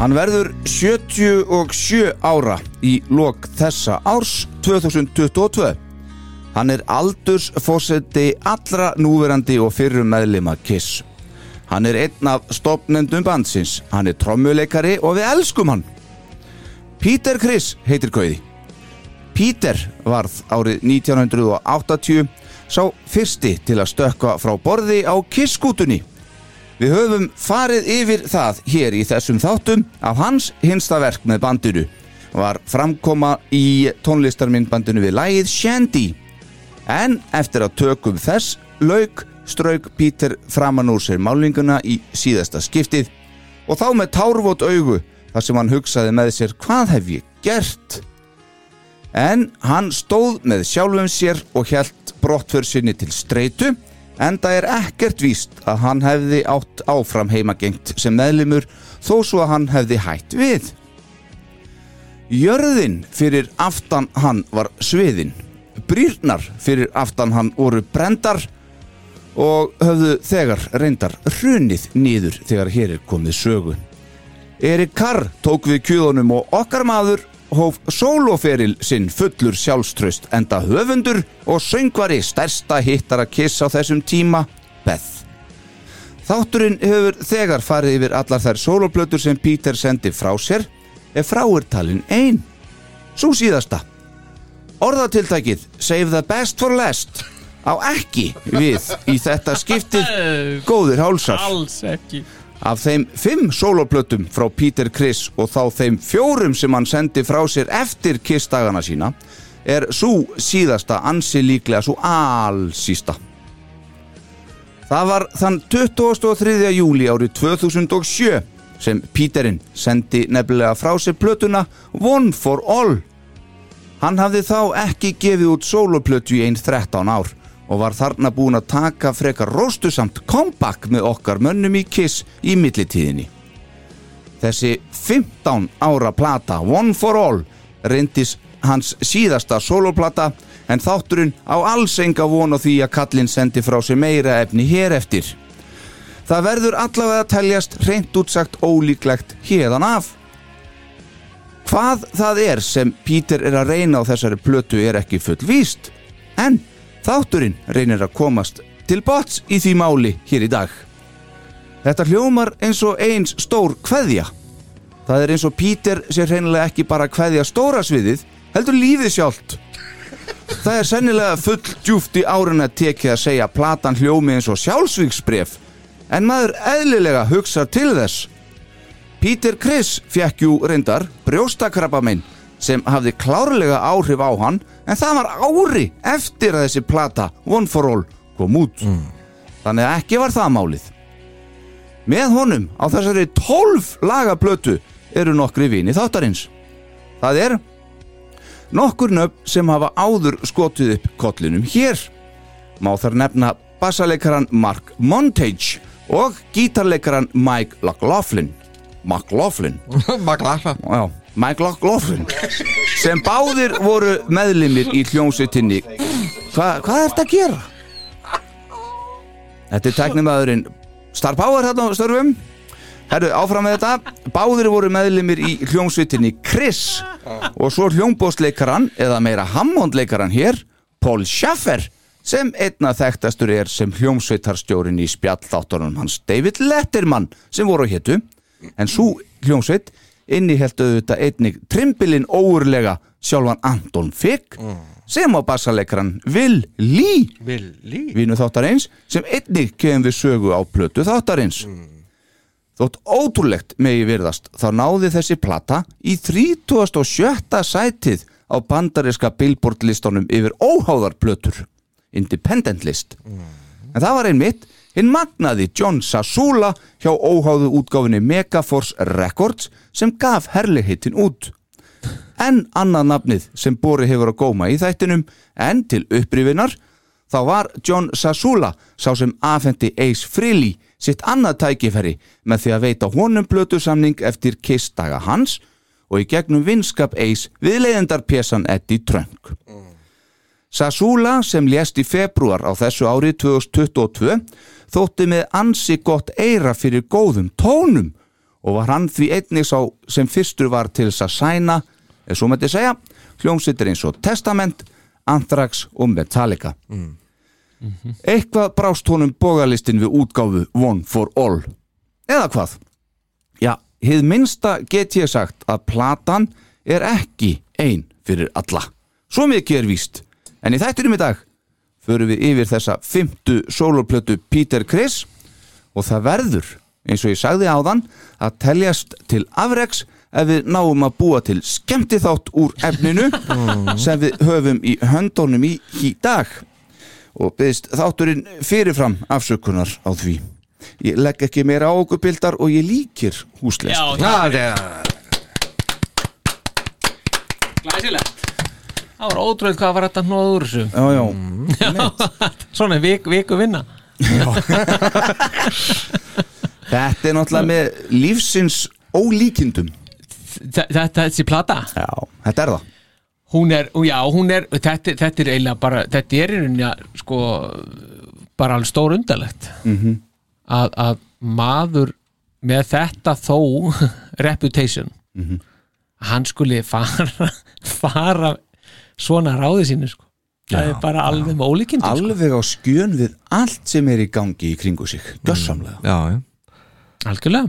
[SPEAKER 3] Hann verður 77 ára í lok þessa árs 2022 Hann er aldursfósetti allra núverandi og fyrrum meðlima Kiss Hann er einn af stopnendum bandsins Hann er trommuleikari og við elskum hann Peter Chris heitir Kauði Peter varð árið 1980 sá fyrsti til að stökka frá borði á kisskútunni. Við höfum farið yfir það hér í þessum þáttum af hans hinsta verk með bandinu. Var framkoma í tónlistarmyndbandinu við lægið Shandy. En eftir að tökum þess lauk strauk Peter framan úr sér málinguna í síðasta skiptið og þá með tárvot augu þar sem hann hugsaði með sér hvað hef ég gert? En hann stóð með sjálfum sér og hjælt brottför sinni til streitu en það er ekkert víst að hann hefði átt áfram heimagengt sem meðlimur þó svo að hann hefði hætt við. Jörðin fyrir aftan hann var sviðin, brýrnar fyrir aftan hann voru brendar og höfðu þegar reyndar hrunið nýður þegar hér er komið sögu. Erik Carr tók við kjöðunum og okkar maður hóf sóloferil sinn fullur sjálfströst enda höfundur og söngvari stærsta hittara kiss á þessum tíma, Beth. Þátturinn hefur þegar farið yfir allar þær sóloplötur sem Peter sendi frá sér ef frá er talin ein. Sú síðasta. Orðatiltækið Save the best for last á ekki við í þetta skiptið góðir hálsar.
[SPEAKER 4] Alls ekki
[SPEAKER 3] Af þeim fimm sóloplötum frá Peter Criss og þá þeim fjórum sem hann sendi frá sér eftir kistagana sína er svo síðasta ansi líklega svo allsísta. Það var þann 23. júli árið 2007 sem Peterinn sendi nefnilega frá sér plötuna One for All. Hann hafði þá ekki gefið út sóloplötu í einn 13 ár og var þarna búin að taka frekar róstusamt comeback með okkar mönnum í Kiss í millitíðinni. Þessi 15 ára plata One for All reyndis hans síðasta soloplata en þátturinn á alls enga von á því að kallinn sendi frá sér meira efni hér eftir. Það verður allavega að teljast reynt útsagt ólíklegt hérðan af Hvað það er sem Pítur er að reyna á þessari plötu er ekki fullvíst en þátturinn reynir að komast til bots í því máli hér í dag. Þetta hljómar eins og eins stór kveðja. Það er eins og Pítur sé reynilega ekki bara að kveðja stóra sviðið, heldur lífið sjálft. Það er sennilega full djúft í áruna tekið að segja að platan hljómi eins og sjálfsvíksbref en maður eðlilega hugsar til þess. Peter Criss fekk jú reyndar brjóstakrabba minn sem hafði klárlega áhrif á hann en það var ári eftir að þessi plata One for All kom út þannig að ekki var það málið með honum á þessari 12 lagaplötu eru nokkri vini þáttarins það er nokkur nöfn sem hafa áður skotið upp kollinum hér má þar nefna bassaleikaran Mark Montage og gítarleikaran Mike McLaughlin McLaughlin
[SPEAKER 5] Maglafa
[SPEAKER 3] já, Mike McLaughlin sem báðir voru meðlimir í hljómsveitinni Hva, hvað er þetta að gera? Þetta er teknimaðurinn Star Power hérna á störfum Herru, áfram með þetta Báðir voru meðlimir í hljómsveitinni Chris og svo hljómbóðsleikaran eða meira hammondleikaran hér Paul Schaffer sem einna þekktastur er sem hljómsveitarstjórin í spjallþáttunum hans David Letterman sem voru hétu en svo hljómsveit inniheldu auðvitað einnig trimbilinn óurlega sjálfan Anton Fick sem á bassaleikaran Will Lee
[SPEAKER 5] Villi
[SPEAKER 3] vinnu þáttarins sem einnig kemur við sögu á plötu þáttarins Þótt ótrúlegt megi virðast þá náði þessi plata í 37. sætið á bandariska Billboard listunum yfir óháðar plötur Independent list en það var einmitt hinn magnaði John Sasula hjá óháðu útgáfinni Megaforce Records sem gaf herligheitin út en annað nafnið sem Bóri hefur að góma í þættinum en til upprifinar þá var John Sasula sá sem afhendi Ace Frehley sitt annað tækifæri með því að veita honum plötusamning eftir kistaga hans og í gegnum vinskap Ace við leiðendarpjesan Eddie Trunk. Sasula sem lést í februar á þessu ári 2022 þótti með ansi gott eira fyrir góðum tónum og var hann því einnig sá sem fyrstur var til þess að sæna, eða svo mætti segja, hljómsveitir eins og Testament, Anthrax og Metallica. Eitthvað brást honum bógalistin við útgáfu One for All. Eða hvað? Já, hið minnsta get ég sagt að platan er ekki ein fyrir alla. Svo mikið er víst. En í þættinum í dag förum við yfir þessa fymtu sóloplötu Peter Criss og það verður, eins og ég sagði áðan, að teljast til afreks ef við náum að búa til skemmtiþátt úr efninu sem við höfum í höndunum í, í dag og byggðist þátturinn fyrirfram afsökunar á því. Ég legg ekki meira á okkur bildar og ég líkir húslest.
[SPEAKER 4] Já,
[SPEAKER 5] Það er
[SPEAKER 4] glæsilegt Það var ótrúið hvað var þetta hnóð úr þessu
[SPEAKER 3] Já, já,
[SPEAKER 4] Svona er vik, viku vinna
[SPEAKER 3] þetta er náttúrulega með lífsins ólíkindum.
[SPEAKER 4] Þe- þe- Þessi plata
[SPEAKER 3] Já. Þetta er það.
[SPEAKER 4] hún er, og já, hún er þetta, þetta er eiginlega bara, þetta er eiginlega sko, bara alveg stór undarlegt
[SPEAKER 3] Mhm,
[SPEAKER 4] -hmm. að, að maður með þetta þó reputation -hmm.
[SPEAKER 3] mhm.
[SPEAKER 4] hann skuli fara fara svona ráði sínu sko. það er bara alveg með ólíkindi sko.
[SPEAKER 3] Alveg á skjön við allt sem er í gangi í kringu sig. Gjössamlega.
[SPEAKER 5] Já, já
[SPEAKER 4] algjörlega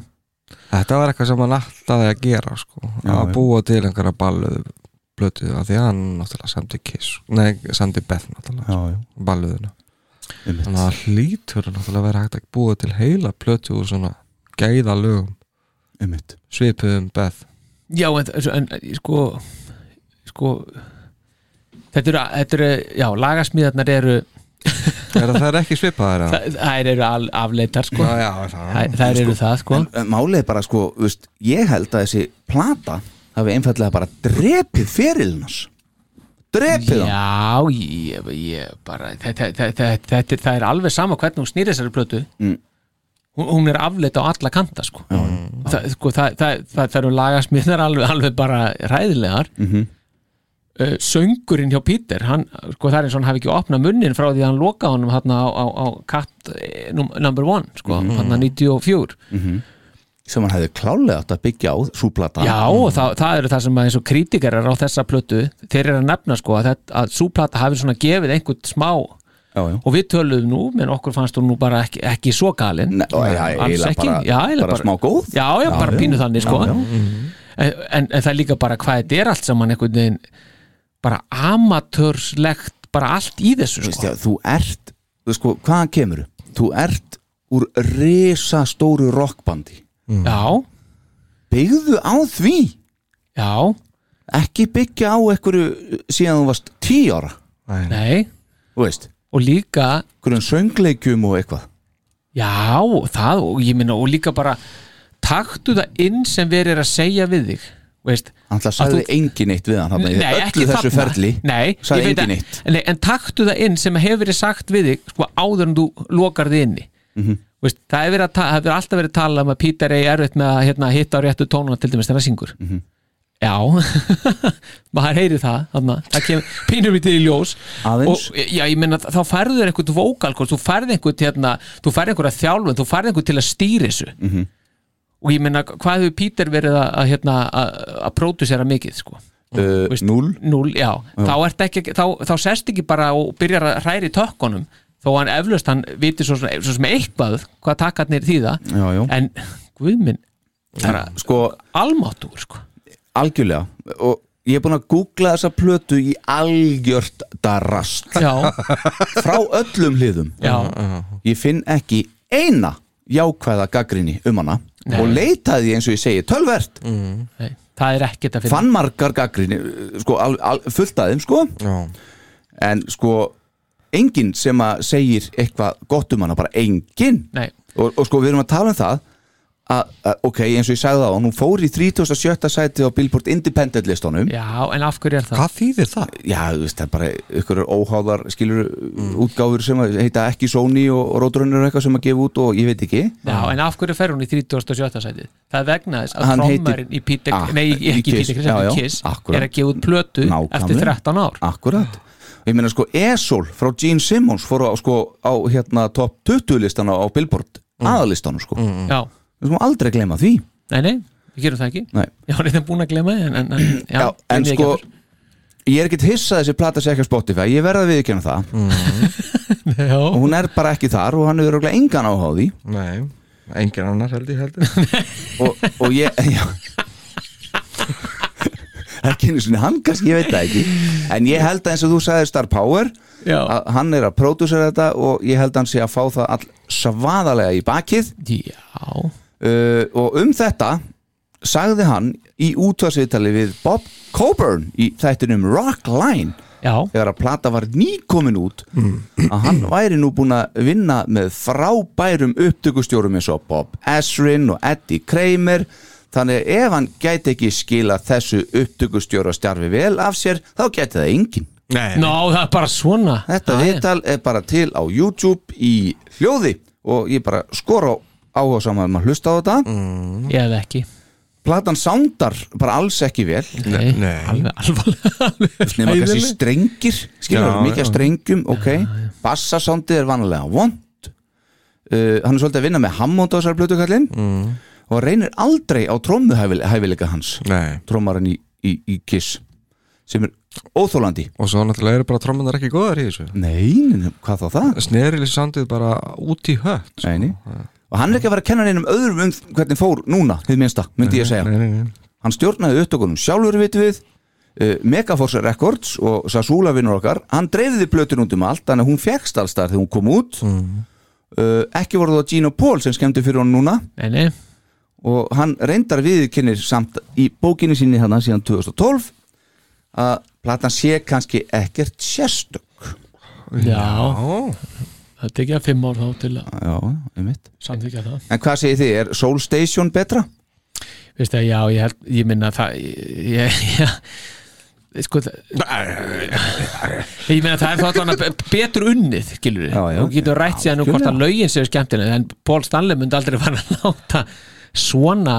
[SPEAKER 5] Þetta var eitthvað sem hann alltaði að gera sko, að
[SPEAKER 3] já.
[SPEAKER 5] búa til einhverja balluðu blötu að því að hann náttúrulega samdi Kiss, nei, samdi Beth náttúrulega,
[SPEAKER 3] Já, já.
[SPEAKER 5] sko, balluðuna
[SPEAKER 3] Einmitt.
[SPEAKER 5] þannig að hlýtur náttúrulega að vera hægt að búa til heila blötu úr svona gæða lögum,
[SPEAKER 3] Einmitt.
[SPEAKER 5] svipuðum Beth
[SPEAKER 4] já, en, en sko sko þetta eru, þetta eru já, lagasmíðarnar eru
[SPEAKER 5] er það, það er ekki svipaðar eða?
[SPEAKER 4] það, það eru al- afleitar sko
[SPEAKER 5] Já, já, það
[SPEAKER 4] Þær, þær eru það sko
[SPEAKER 3] En, en málið er bara sko, þú veist, ég held að þessi plata hafi einfallega bara drepið fyrirlinnars. Drepið hann.
[SPEAKER 4] Já, ég, ég bara þetta, þetta, þetta, þetta, það er alveg sama hvernig hún snýr þessari plötu
[SPEAKER 3] Mm.
[SPEAKER 4] hún, hún er afleita á alla kanta sko, Þa, sko það, það, það, það eru lagasmiðnar alveg, alveg bara ræðilegar mm -hmm. söngurinn hjá Pítur hann, sko það er eins og hann hafi ekki opnað munnin frá því að hann lokaði honum hann á, á, á katt eh, num- number one sko, mm -hmm. hann 94
[SPEAKER 3] Sem hann hefði klálega átt að byggja á svo plata.
[SPEAKER 4] Já, og það, það eru það sem að eins og kritikarar á þessa plötu, þeir eru að nefna sko að, þetta- að súplata hafi svona gefið einhvern smá og
[SPEAKER 3] já, já.
[SPEAKER 4] við töluðum nú, menn okkur fannst hún nú bara ekki, ekki svo galin
[SPEAKER 3] Nei, og já, eiginlega bara-
[SPEAKER 4] eiginlega
[SPEAKER 3] bara smá góð.
[SPEAKER 4] Já, já, bara
[SPEAKER 3] já.
[SPEAKER 4] pínu þannig sko
[SPEAKER 3] Já, já.
[SPEAKER 4] En, en, en það er líka bara hvað þetta er allt saman einhvern veginn bara amatörslegt bara allt í þessu
[SPEAKER 3] Þú veist,
[SPEAKER 4] sko
[SPEAKER 3] já, þú ert, þú veist sko, hvaðan kemur þú ert úr risastóru rockbandi
[SPEAKER 4] Já,
[SPEAKER 3] byggðu á því
[SPEAKER 4] já,
[SPEAKER 3] ekki byggja á einhverju síðan þú varst tí ára
[SPEAKER 4] nei
[SPEAKER 3] þú veist,
[SPEAKER 4] og líka
[SPEAKER 3] einhverjum söngleikjum og eitthvað
[SPEAKER 4] Já, það og ég minna og líka bara taktu það inn sem verið er að segja við þig veist,
[SPEAKER 3] hann ætla að sagði
[SPEAKER 4] þú-
[SPEAKER 3] engin eitt við hann þarna í
[SPEAKER 4] Nei, ekki
[SPEAKER 3] öllu þessu
[SPEAKER 4] þarna.
[SPEAKER 3] ferli
[SPEAKER 4] Nei, ég
[SPEAKER 3] sagði
[SPEAKER 4] veit
[SPEAKER 3] engin
[SPEAKER 4] að-
[SPEAKER 3] eitt Mhm.
[SPEAKER 4] Nei, en taktu það inn sem hefur verið sagt við þig sko áður en þú lokar þið inni Veist, það hefur hef alltaf verið að tala um að Peter eigi erfitt með að hérna, hitta á réttu tónuna til dæmis þegar það syngur
[SPEAKER 3] Mhm.
[SPEAKER 4] já, maður heyri það þarna, það kemur pínum í til í ljós
[SPEAKER 3] Aðeins.
[SPEAKER 4] og já, ég meina þá færðu þér einhvern vókal, sko. þú færðu einhvern hérna, þú færðu einhverja þjálfun, þú færðu einhvern til að stýri þessu
[SPEAKER 3] Mhm.
[SPEAKER 4] -hmm. og ég meina hvað hefur Peter verið að, að, hérna, að, að pródusera mikið sko
[SPEAKER 3] uh,
[SPEAKER 4] Veist-
[SPEAKER 3] Núl
[SPEAKER 4] Núll, já, Þá, ert ekki, þá, þá sest ekki bara og byrjar að hræri tökkunum þó hann eflaust, hann viti svo, sem- svo sem eitthvað hvað takarnir þýða
[SPEAKER 3] Já, já.
[SPEAKER 4] en guðminn bara
[SPEAKER 3] Sko,
[SPEAKER 4] almáttur sko.
[SPEAKER 3] algjörlega og ég er búin að googla þessa plötu í algjört darast
[SPEAKER 4] já,
[SPEAKER 3] frá öllum hliðum
[SPEAKER 4] já,
[SPEAKER 3] ég finn ekki eina jákvæða gaggrinni um hana
[SPEAKER 4] Nei.
[SPEAKER 3] og leitaði eins og ég segi tölvert
[SPEAKER 5] Mm.
[SPEAKER 4] nei, það er ekkert að finna
[SPEAKER 3] fann margar gaggrinni sko, al, al, fullt aðeim sko
[SPEAKER 5] Já.
[SPEAKER 3] en sko enginn sem að segir eitthvað gott um hana bara enginn
[SPEAKER 4] Nei.
[SPEAKER 3] og, og sko við erum að tala um það að, að ok, eins og ég sagði það hún fór í 37. sæti á Billboard Independent listunum
[SPEAKER 4] já, en af hverju er það?
[SPEAKER 5] Hvað þýðir það?
[SPEAKER 3] já, þú veist, það er bara ykkur óháðar skilur
[SPEAKER 5] Mm.
[SPEAKER 3] útgáfur sem að heita ekki Sony og, og Rótrunur og eitthvað sem að gefa út og ég veit ekki
[SPEAKER 4] Já, en af hverju fer hún í 37. sætið? Það er vegna þess að
[SPEAKER 3] Hann heitir-
[SPEAKER 4] trommarinn í Peter,
[SPEAKER 3] Ah,
[SPEAKER 4] nei,
[SPEAKER 3] í
[SPEAKER 4] ekki í
[SPEAKER 3] Kiss.
[SPEAKER 4] Peter Chris,
[SPEAKER 3] Já, já,
[SPEAKER 4] heldur Kiss
[SPEAKER 3] akkurat.
[SPEAKER 4] er að gefa út plötu
[SPEAKER 3] Nákvæmlega. Ah.
[SPEAKER 4] eftir 13 ár
[SPEAKER 3] akkurat og ég meina sko Esol frá Gene Simmons fór á, sko, á hérna top 20 listana á Billboard mm. aðalistanum sko mm.
[SPEAKER 4] Já,
[SPEAKER 3] við skulum aldrei gleyma því
[SPEAKER 4] nei, nei, við gerum það ekki
[SPEAKER 3] Nei.
[SPEAKER 4] Já, hann er búin að glema þið en, en, en, já,
[SPEAKER 3] Já,
[SPEAKER 4] gerði ég
[SPEAKER 3] en
[SPEAKER 4] ekki
[SPEAKER 3] sko
[SPEAKER 4] aftur.
[SPEAKER 3] Ég er ekkert hissað þessi plata sé ekki á Spotify Ég verða að viðkjöna það
[SPEAKER 4] Mm. Já,
[SPEAKER 3] Og hún er bara ekki þar og hann er örgulega engan áhuga á því
[SPEAKER 5] Nei, engin annar held ég heldur
[SPEAKER 3] Og, og ég já. Ekki einu sinni hann kannski, ég veit það ekki En ég held að eins og þú sagði Star Power
[SPEAKER 4] Já.
[SPEAKER 3] að hann er að pródúsera þetta og ég held að hann sé að fá það all svaðalega í bakið
[SPEAKER 4] já,
[SPEAKER 3] uh, og um þetta sagði hann í útvarsviðtali við Bob Coburn í þættinum Rockline
[SPEAKER 4] já,
[SPEAKER 3] þegar að plata var nýkomin út að hann væri nú búin að vinna með frábærum upptökustjórum eins og Bob Esrin og Eddie Kramer þannig ef hann gæti ekki skila þessu upptökustjóra starfi vel af sér þá gæti það enginn
[SPEAKER 5] Nei,
[SPEAKER 4] ná, það er bara svona
[SPEAKER 3] þetta
[SPEAKER 4] Já,
[SPEAKER 3] viðtal er bara til á YouTube í hljóði og ég bara skora á áhuga saman um að hlusta á þetta
[SPEAKER 5] Mm.
[SPEAKER 4] já, Ég hef ekki
[SPEAKER 3] platan soundar bara alls ekki vel
[SPEAKER 4] Nei,
[SPEAKER 5] nei.
[SPEAKER 4] alveg, alveg, alveg
[SPEAKER 3] nema kannski
[SPEAKER 4] hræðileg.
[SPEAKER 3] strengir skilur
[SPEAKER 5] Já,
[SPEAKER 3] það, mikið af
[SPEAKER 5] já.
[SPEAKER 3] strengum, ok bassasándið er vanalega vond uh, hann er svolítið að vinna með Hammond á þessari blötu kallinn
[SPEAKER 5] Mm.
[SPEAKER 3] og reynir aldrei á trómmuhæfileika hans
[SPEAKER 5] Nei.
[SPEAKER 3] trómarinn í, í, í Kiss sem er óþólandi
[SPEAKER 5] Og svo náttúrulega eru bara trómmunar ekki góðar í þessu
[SPEAKER 3] nei, nei, hvað þá það?
[SPEAKER 5] Snerilið sandið bara út í hött sko.
[SPEAKER 3] Nei, nei. og hann er ekki að vera að kenna neinum öðrum um hvernig fór núna, hið minnsta, myndi ég að segja
[SPEAKER 5] Nei, nei, nei.
[SPEAKER 3] hann stjórnaði upptökunum sjálfur vitum við uh, Megaforce Records og Sasula vinnur okkar hann dreifði plötun út um allt þannig að hún fegst alls þar þegar hún kom út
[SPEAKER 5] Mm.
[SPEAKER 3] uh, ekki voru það Gino Paul sem skemmti fyrir hann núna
[SPEAKER 4] Nei, nei,
[SPEAKER 3] og hann reyndar viðkynir samt í bókinni sinni hann síðan 2012 að platan sé kannski ekkert sérstök
[SPEAKER 4] já,
[SPEAKER 5] Ó,
[SPEAKER 4] það tekja fimm ár þá til að
[SPEAKER 3] já, um mitt
[SPEAKER 4] samþykja það
[SPEAKER 3] en hvað segir þið, er Soul Station betra?
[SPEAKER 4] Veist það, já, ég, held, ég minna það ég, ég, ég sko það ég meina það er þá allan að betur unnið skilur við,
[SPEAKER 3] Já, já.
[SPEAKER 4] og getur rætt síðan um hvort að lögin séu skemmtileg en Paul Stanley myndi aldrei fara að láta svona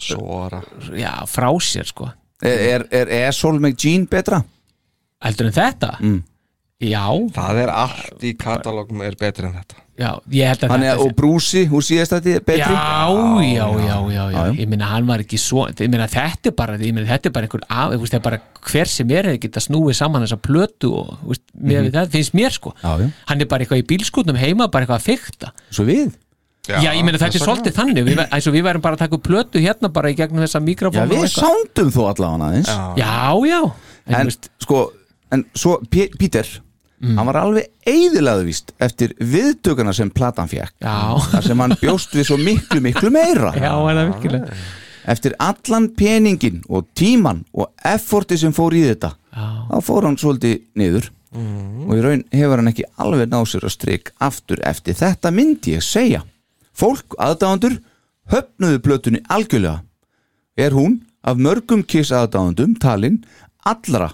[SPEAKER 5] svara
[SPEAKER 4] já, frá sér sko
[SPEAKER 3] Er, er, er, er Soul McGean betra?
[SPEAKER 4] heldur en þetta mm. já,
[SPEAKER 5] Það er allt í katalógum er betri en þetta
[SPEAKER 4] já, ég held að
[SPEAKER 3] Hann er,
[SPEAKER 4] þetta
[SPEAKER 3] og Brucey úr síðastætti er
[SPEAKER 4] já,
[SPEAKER 3] betri?
[SPEAKER 4] já, já, já, já,
[SPEAKER 3] já.
[SPEAKER 4] ég meina hann var ekki svo ég meina þetta er bara, ég meina þetta er bara einhver af, ég veist, það er bara hver sem er hefði geta snúið saman þessa plötu og þú veist, mm -hmm. það finnst mér sko
[SPEAKER 3] Mhm. Já, já.
[SPEAKER 4] hann er bara eitthvað í bílskutnum heima bara eitthvað að fykta
[SPEAKER 3] Svo við?
[SPEAKER 4] já, ég meina þetta er
[SPEAKER 5] þess
[SPEAKER 4] svolítið þannig við, eins og við værum bara að taka upp plötu hérna bara í gegnum þessa
[SPEAKER 3] Já,
[SPEAKER 4] mikrofónu
[SPEAKER 3] við sándum þó allavega aðeins
[SPEAKER 4] já, já, en,
[SPEAKER 3] En
[SPEAKER 4] en veist,
[SPEAKER 3] sko, en svo P Peter, hann var alveg eiðilega víst eftir viðtökuna sem platan fekk
[SPEAKER 4] Já.
[SPEAKER 3] Þar sem hann bjóst við svo miklu, miklu meira
[SPEAKER 4] já, er það virkilega
[SPEAKER 3] Eftir allan peningin og tíman og efforti sem fór í þetta
[SPEAKER 4] Já. Mhm.
[SPEAKER 3] Þá fór hann svolítið niður Og í raun hefur hann ekki alveg náð sér að strik aftur eftir þetta myndi ég segja Fólk, aðdáðandur, höfnuðu plötunni algjörlega er hún af mörgum kiss aðdáðundum talin allra,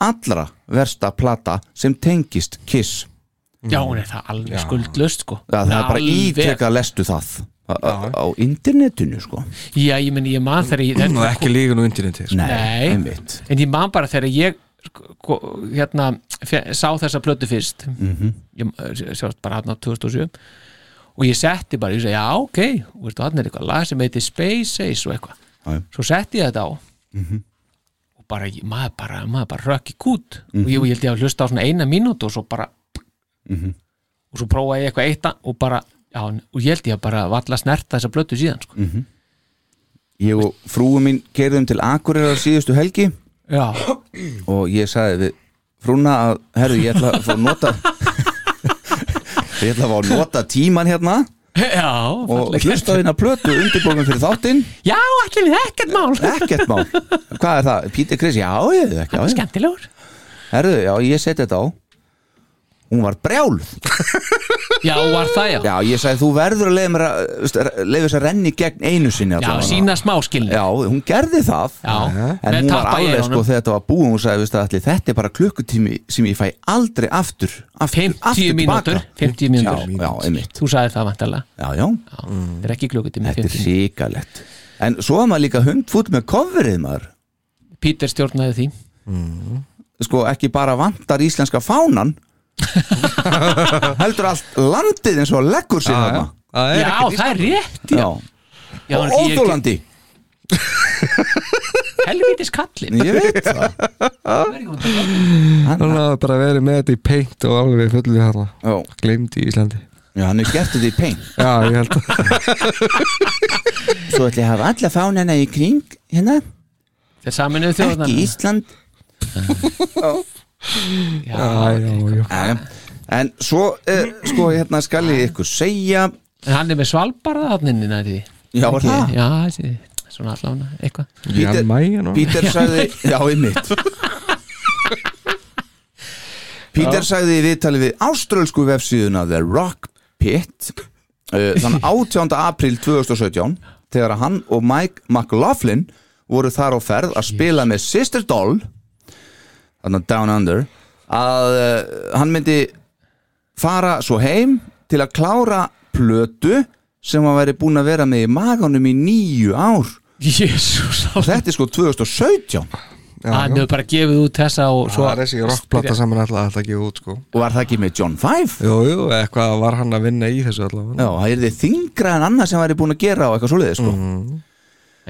[SPEAKER 3] allra versta plata sem tengist kiss
[SPEAKER 4] Já, hún er það alveg skuldlust sko
[SPEAKER 3] Já, það er bara
[SPEAKER 4] Alveg-
[SPEAKER 3] ítrekka lestu það á, á- á internetinu sko
[SPEAKER 4] Já, ég meni, ég man þegar ég
[SPEAKER 5] og ekki líka nú interneti sko.
[SPEAKER 4] Nei.
[SPEAKER 3] einmitt
[SPEAKER 4] En ég man bara þegar ég sko, hérna, fe- sá þessa plötu fyrst mm
[SPEAKER 3] Mhm.
[SPEAKER 4] -hmm. ég sjást bara hann á 2007 og ég setti bara, ég segi, já, ok og veistu, hann er eitthvað lag sem heiti Space Ace og eitthvað,
[SPEAKER 3] Já, Mhm. já.
[SPEAKER 4] svo setti ég þetta á og bara, ég- maður bara maður bara rökk í kút og ég,
[SPEAKER 3] Mhm.
[SPEAKER 4] og ég held ég að hlusta á svona eina mínútu og svo bara og svo prófaði ég eitthvað eitt a- og bara, já, og ég held ég að bara valla snerta þessa plötu síðan,
[SPEAKER 3] Mm.
[SPEAKER 4] sko
[SPEAKER 3] Ég og frúum mín gerðum til Akureyrar síðustu helgi
[SPEAKER 4] já,
[SPEAKER 3] og ég sagði við frúna að, herðu, ég ætla að fá að nota ég ætla að fá að nota tíman hérna
[SPEAKER 4] já,
[SPEAKER 3] og
[SPEAKER 4] fallega.
[SPEAKER 3] hlusta á hérna plötu undirbókum fyrir þáttinn
[SPEAKER 4] já, allir við ekkert mál
[SPEAKER 3] ekkert mál, hvað er það, Pítur Kris já, ég veit ekki,
[SPEAKER 4] Hann er
[SPEAKER 3] já,
[SPEAKER 4] skemmtilegur
[SPEAKER 3] já, herðu, já, ég seti þetta á hún var brjáluð
[SPEAKER 4] Já, var það já Já,
[SPEAKER 3] já, ég sagði, þú verður að leiða mér að leiða þess að renni gegn einu sinni allavega.
[SPEAKER 4] sína smáskilni
[SPEAKER 3] já, hún gerði það
[SPEAKER 4] Já.
[SPEAKER 3] en
[SPEAKER 4] Með
[SPEAKER 3] hún var
[SPEAKER 4] tappa í
[SPEAKER 3] alveg
[SPEAKER 4] eyrunum.
[SPEAKER 3] sko þegar þetta var búið hún sagði, veist það, allir, þetta er bara klukkutími sem ég fæ aldrei aftur, aftur,
[SPEAKER 4] 50 mínútur 50 mínútur
[SPEAKER 3] já, já, einmitt
[SPEAKER 4] Þú sagði það vantarlega
[SPEAKER 3] já, já,
[SPEAKER 4] Já, Það er ekki klukkutími
[SPEAKER 3] Mm. þetta er
[SPEAKER 4] 50
[SPEAKER 3] ríkalett en svo var maður líka hundfútt með coverið maður
[SPEAKER 4] Pítur stjórnaði því
[SPEAKER 3] sko ekki bara vantar íslenska fánan heldur allt landið eins og leggur sér þarna
[SPEAKER 5] það er
[SPEAKER 4] Já,
[SPEAKER 5] ekki
[SPEAKER 4] það er rétt
[SPEAKER 3] já,
[SPEAKER 4] Já,
[SPEAKER 3] og
[SPEAKER 4] en ég er ekki-
[SPEAKER 3] óþólandi
[SPEAKER 4] Helvítis kallin
[SPEAKER 3] ég veit það
[SPEAKER 5] hann
[SPEAKER 3] hann,
[SPEAKER 5] hafði bara verið með þetta í paint og alveg fullið hérna
[SPEAKER 3] já,
[SPEAKER 5] gleymdi í Íslandi
[SPEAKER 3] já, hann er gert þetta í pein
[SPEAKER 5] já, ég held að
[SPEAKER 3] svo ætla ég að hafa alla fánana í kring hérna,
[SPEAKER 4] Það er saminuð þjóðan
[SPEAKER 3] ekki Ísland
[SPEAKER 5] já, já, já.
[SPEAKER 3] já, já. en svo er, sko hérna skal ég ykkur segja
[SPEAKER 4] Hann er með svalbarða þannig næri því
[SPEAKER 3] já,
[SPEAKER 4] Ekki-
[SPEAKER 3] það
[SPEAKER 4] Já, þessi Svona allavega eitthvað
[SPEAKER 5] Já, Maja, nú.
[SPEAKER 3] Pítur sagði Já, einmitt Pítur sagði í viðtali við áströlsku vefsíðuna The Rock Pit uh, þann 18. april 2017 þegar að hann og Mike McLaughlin voru þar á ferð að spila með Sister Doll þannig Down Under að uh, hann myndi fara svo heim til að klára plötu sem hann væri búin að vera með í maganum í nýju ár
[SPEAKER 4] Jésús
[SPEAKER 3] og þetta er sko 2017
[SPEAKER 4] Hann hefur bara gefið út þessa og svo
[SPEAKER 5] það er þessi rockplata sem hann ætlaði alltaf að gefa út sko
[SPEAKER 3] og var það ekki með John Five
[SPEAKER 5] jú, jú, eitthvað var hann að vinna í þessu allavega
[SPEAKER 3] Já, það er þið þingra en annað sem væri búin að gera og eitthvað svoleiði sko.
[SPEAKER 4] Mhm.
[SPEAKER 3] mm.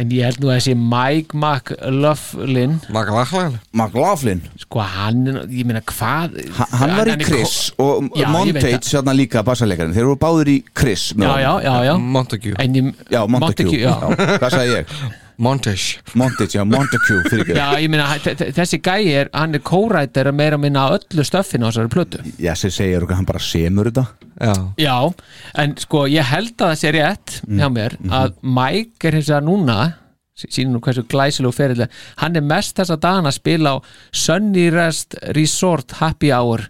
[SPEAKER 4] En ég held nú að þessi Mike McLaughlin
[SPEAKER 5] Maka Vaklan
[SPEAKER 3] McLaughlin,
[SPEAKER 4] Sko hann, er nú- ég meina hvað
[SPEAKER 3] ha, hann var í
[SPEAKER 4] er
[SPEAKER 3] Chris
[SPEAKER 4] ko-
[SPEAKER 3] og
[SPEAKER 4] Já, ég veit
[SPEAKER 3] Montage hérna líka bassarleikarinn, þeir voru báður í Chris með
[SPEAKER 4] Já,
[SPEAKER 3] honum.
[SPEAKER 4] já, já, já
[SPEAKER 5] Montague
[SPEAKER 4] En ég,
[SPEAKER 3] Mm. já, Montague,
[SPEAKER 4] já.
[SPEAKER 3] Já, hvað sagði ég?
[SPEAKER 5] Montage
[SPEAKER 3] Montage, já, Montague fyrir ekki
[SPEAKER 4] já, ég meina, þe- þe- þessi gæi er, hann er kórættir að meira minna á öllu stöffinu á þessari plötu
[SPEAKER 3] Já, sem segir okkur, hann bara semur þetta
[SPEAKER 5] já,
[SPEAKER 4] Já, en sko, ég held að það sé rétt hjá
[SPEAKER 3] Mm.
[SPEAKER 4] mér
[SPEAKER 3] Mhm.
[SPEAKER 4] að Mike er hins vegar núna sí- sýnir nú hversu glæsilegu ferilega hann er mest þess að dagana að spila á Sunny Rest Resort Happy Hour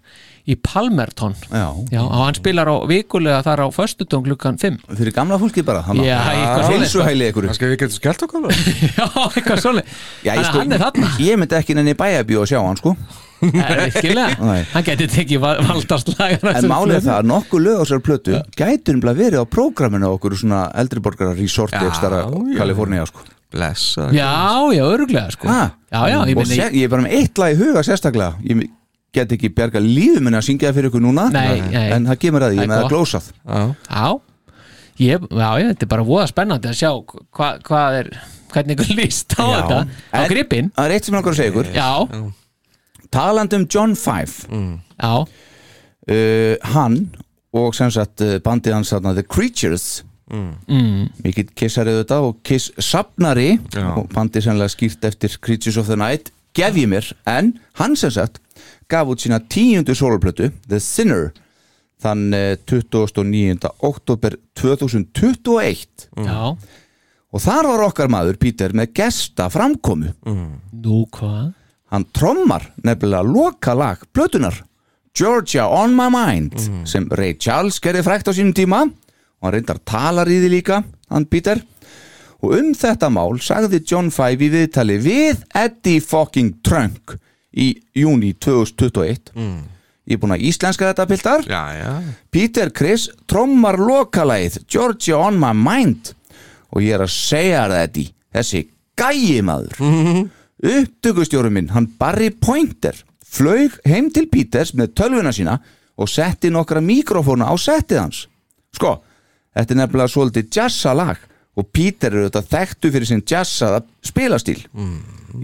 [SPEAKER 4] í Palmerton
[SPEAKER 3] Já,
[SPEAKER 4] Já, og hann spilar á vikulega þar á föstudum klukkan 5
[SPEAKER 3] fyrir gamla fólki bara hann
[SPEAKER 4] Já, eitthvað svoleiðis.
[SPEAKER 3] Hilsuhæli ykkur
[SPEAKER 5] kannski við getum skellt okkur það?
[SPEAKER 4] Já, eitthvað svolítið
[SPEAKER 3] Já, ég,
[SPEAKER 4] Þannig að
[SPEAKER 3] sko,
[SPEAKER 4] hann er þarna
[SPEAKER 3] ég myndi ekki nenni í bæjabíu að sjá hann sko
[SPEAKER 4] Það er virkilega
[SPEAKER 3] Nei.
[SPEAKER 4] Hann geti tekið val- valdast lagar
[SPEAKER 3] En málið er það að nokkuð lög á sér plötu gætur um verið á prógraminu á okkur svona eldri borgarar resorti ekki stara
[SPEAKER 5] já.
[SPEAKER 3] Kalifornía sko
[SPEAKER 5] blessa
[SPEAKER 4] Já, já, örglega sko
[SPEAKER 3] Ha?
[SPEAKER 4] Já, já, ég
[SPEAKER 3] Ah. Og
[SPEAKER 4] minni
[SPEAKER 3] sé- ég er bara með eitt lag í huga sérstaklega ég get ekki berga lífið minna að syngja það fyrir ykkur núna
[SPEAKER 4] Nei, nei.
[SPEAKER 3] en það kemur að því, ég
[SPEAKER 4] Það er
[SPEAKER 3] er með að
[SPEAKER 4] gott.
[SPEAKER 3] glósað
[SPEAKER 4] Já, ég, já, já, þetta er bara voða spennandi að sjá hva, hvað er hvernig ykkur líst á
[SPEAKER 3] Já.
[SPEAKER 4] þetta á
[SPEAKER 3] En-
[SPEAKER 4] gripin
[SPEAKER 3] það er eitt sem ég langar að segja ykkur
[SPEAKER 4] Já,
[SPEAKER 3] taland um John Five
[SPEAKER 4] já,
[SPEAKER 3] uh, hann og sem sagt uh, bandið hans þarna The Creatures mikið kissarið þetta og kiss sapnari og bandið sennilega skýrt eftir Creatures of the Night gef ég mér, en hann sem sagt gaf út sína tíundu soloplötu The Sinner þann uh, 29. oktober 2021
[SPEAKER 4] já
[SPEAKER 3] og þar var okkar maður Peter með gesta framkomu
[SPEAKER 4] Nú hvað?
[SPEAKER 3] hann trommar nefnilega lokalag plötunar Georgia on my mind sem Ray Charles gerði frækt á sínum tíma og hann reyndar talar í því líka hann Peter og um þetta mál sagði John Five í viðtali við Eddie fucking Trunk í júni 2021 Ég er búin að íslenska þetta piltar
[SPEAKER 6] Já, já
[SPEAKER 3] Peter Chris trommar lokalægið Georgia on my mind og ég er að segja þér það Eddi þessi gæi maður upptökustjórum minn, hann Barry Pointer flög heim til Peters með tölvuna sína og setti nokkra mikrofóna á settið hans sko, þetta er nefnilega svolítið jazza lag og Peter er auðvitað þekktu fyrir sinn jazzaða spilastíl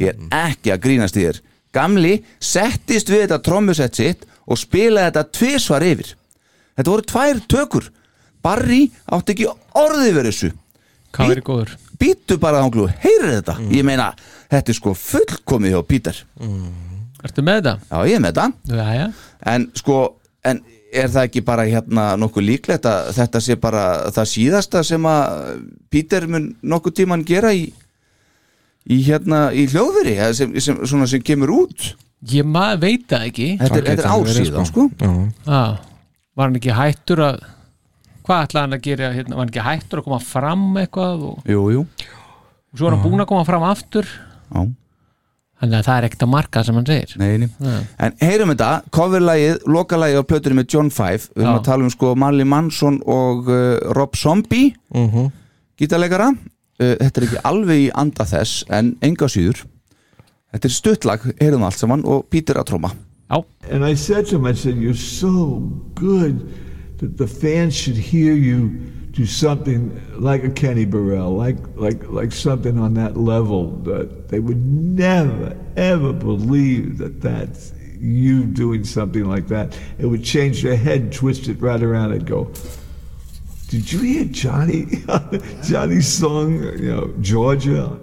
[SPEAKER 3] ég er ekki að grínast í þér gamli settist við þetta trommusett sitt og spilaði þetta tvisvar yfir Þetta voru tvær tökur Barry átti ekki orðið verið þessu
[SPEAKER 4] Hvað verið góður?
[SPEAKER 3] Býtu bara þanglu, heyrið þetta Ég meina, þetta er sko fullkomið hjá Peter
[SPEAKER 4] Ertu með þetta?
[SPEAKER 3] Já, ég er með þetta
[SPEAKER 4] Jæja
[SPEAKER 3] En sko, en er það ekki bara hérna nokkuð líklegt að þetta sé bara það síðasta sem að Peter mun nokkuð tíman gera í í hérna, í hljóðveri eða sem, sem, svona sem kemur út
[SPEAKER 4] Ég maður veit það ekki
[SPEAKER 3] Þetta er, þetta er ár síðan, sko
[SPEAKER 4] ah, Var hann ekki hættur að Hvað ætlaði hann að gera hérna? Var hann ekki hættur að koma fram eitthvað og
[SPEAKER 3] Jú, jú,
[SPEAKER 4] svo var hann búin að koma fram aftur
[SPEAKER 3] já
[SPEAKER 4] Þannig að það er ekkert að marka sem hann segir
[SPEAKER 3] Nei, nei. En heyrum þetta, coverlægið, lokalagið á plötunni með John Five Við erum
[SPEAKER 4] Já.
[SPEAKER 3] að tala um sko Marley Manson og uh, Rob Zombie uh Gítarleikara uh, Þetta er ekki alveg í anda þess en enga síður Þetta er stuttlag, heyrum það allt saman og Peter að tróma
[SPEAKER 4] Já,
[SPEAKER 7] And I said to him, I said, You're so good that the fans should hear you do something like a Kenny Burrell, like, like, like something on that level that they would never, ever believe that that's you doing something like that. It would change their head, twist it right around, and go, Did you hear Johnny, Johnny's song, you know, Georgia?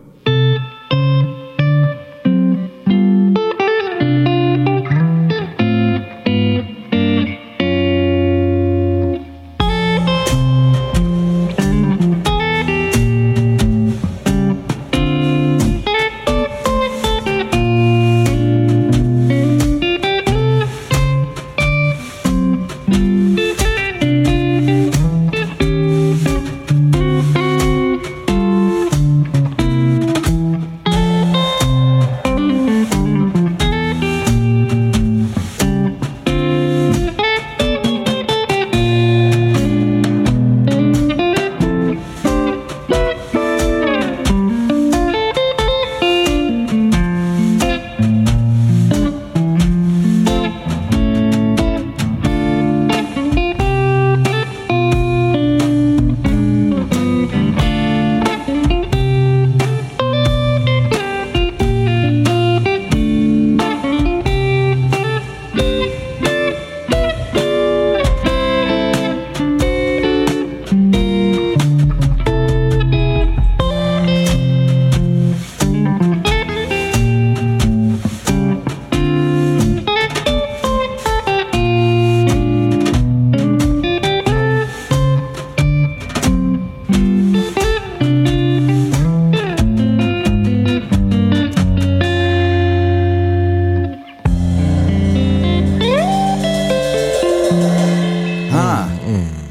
[SPEAKER 3] ha,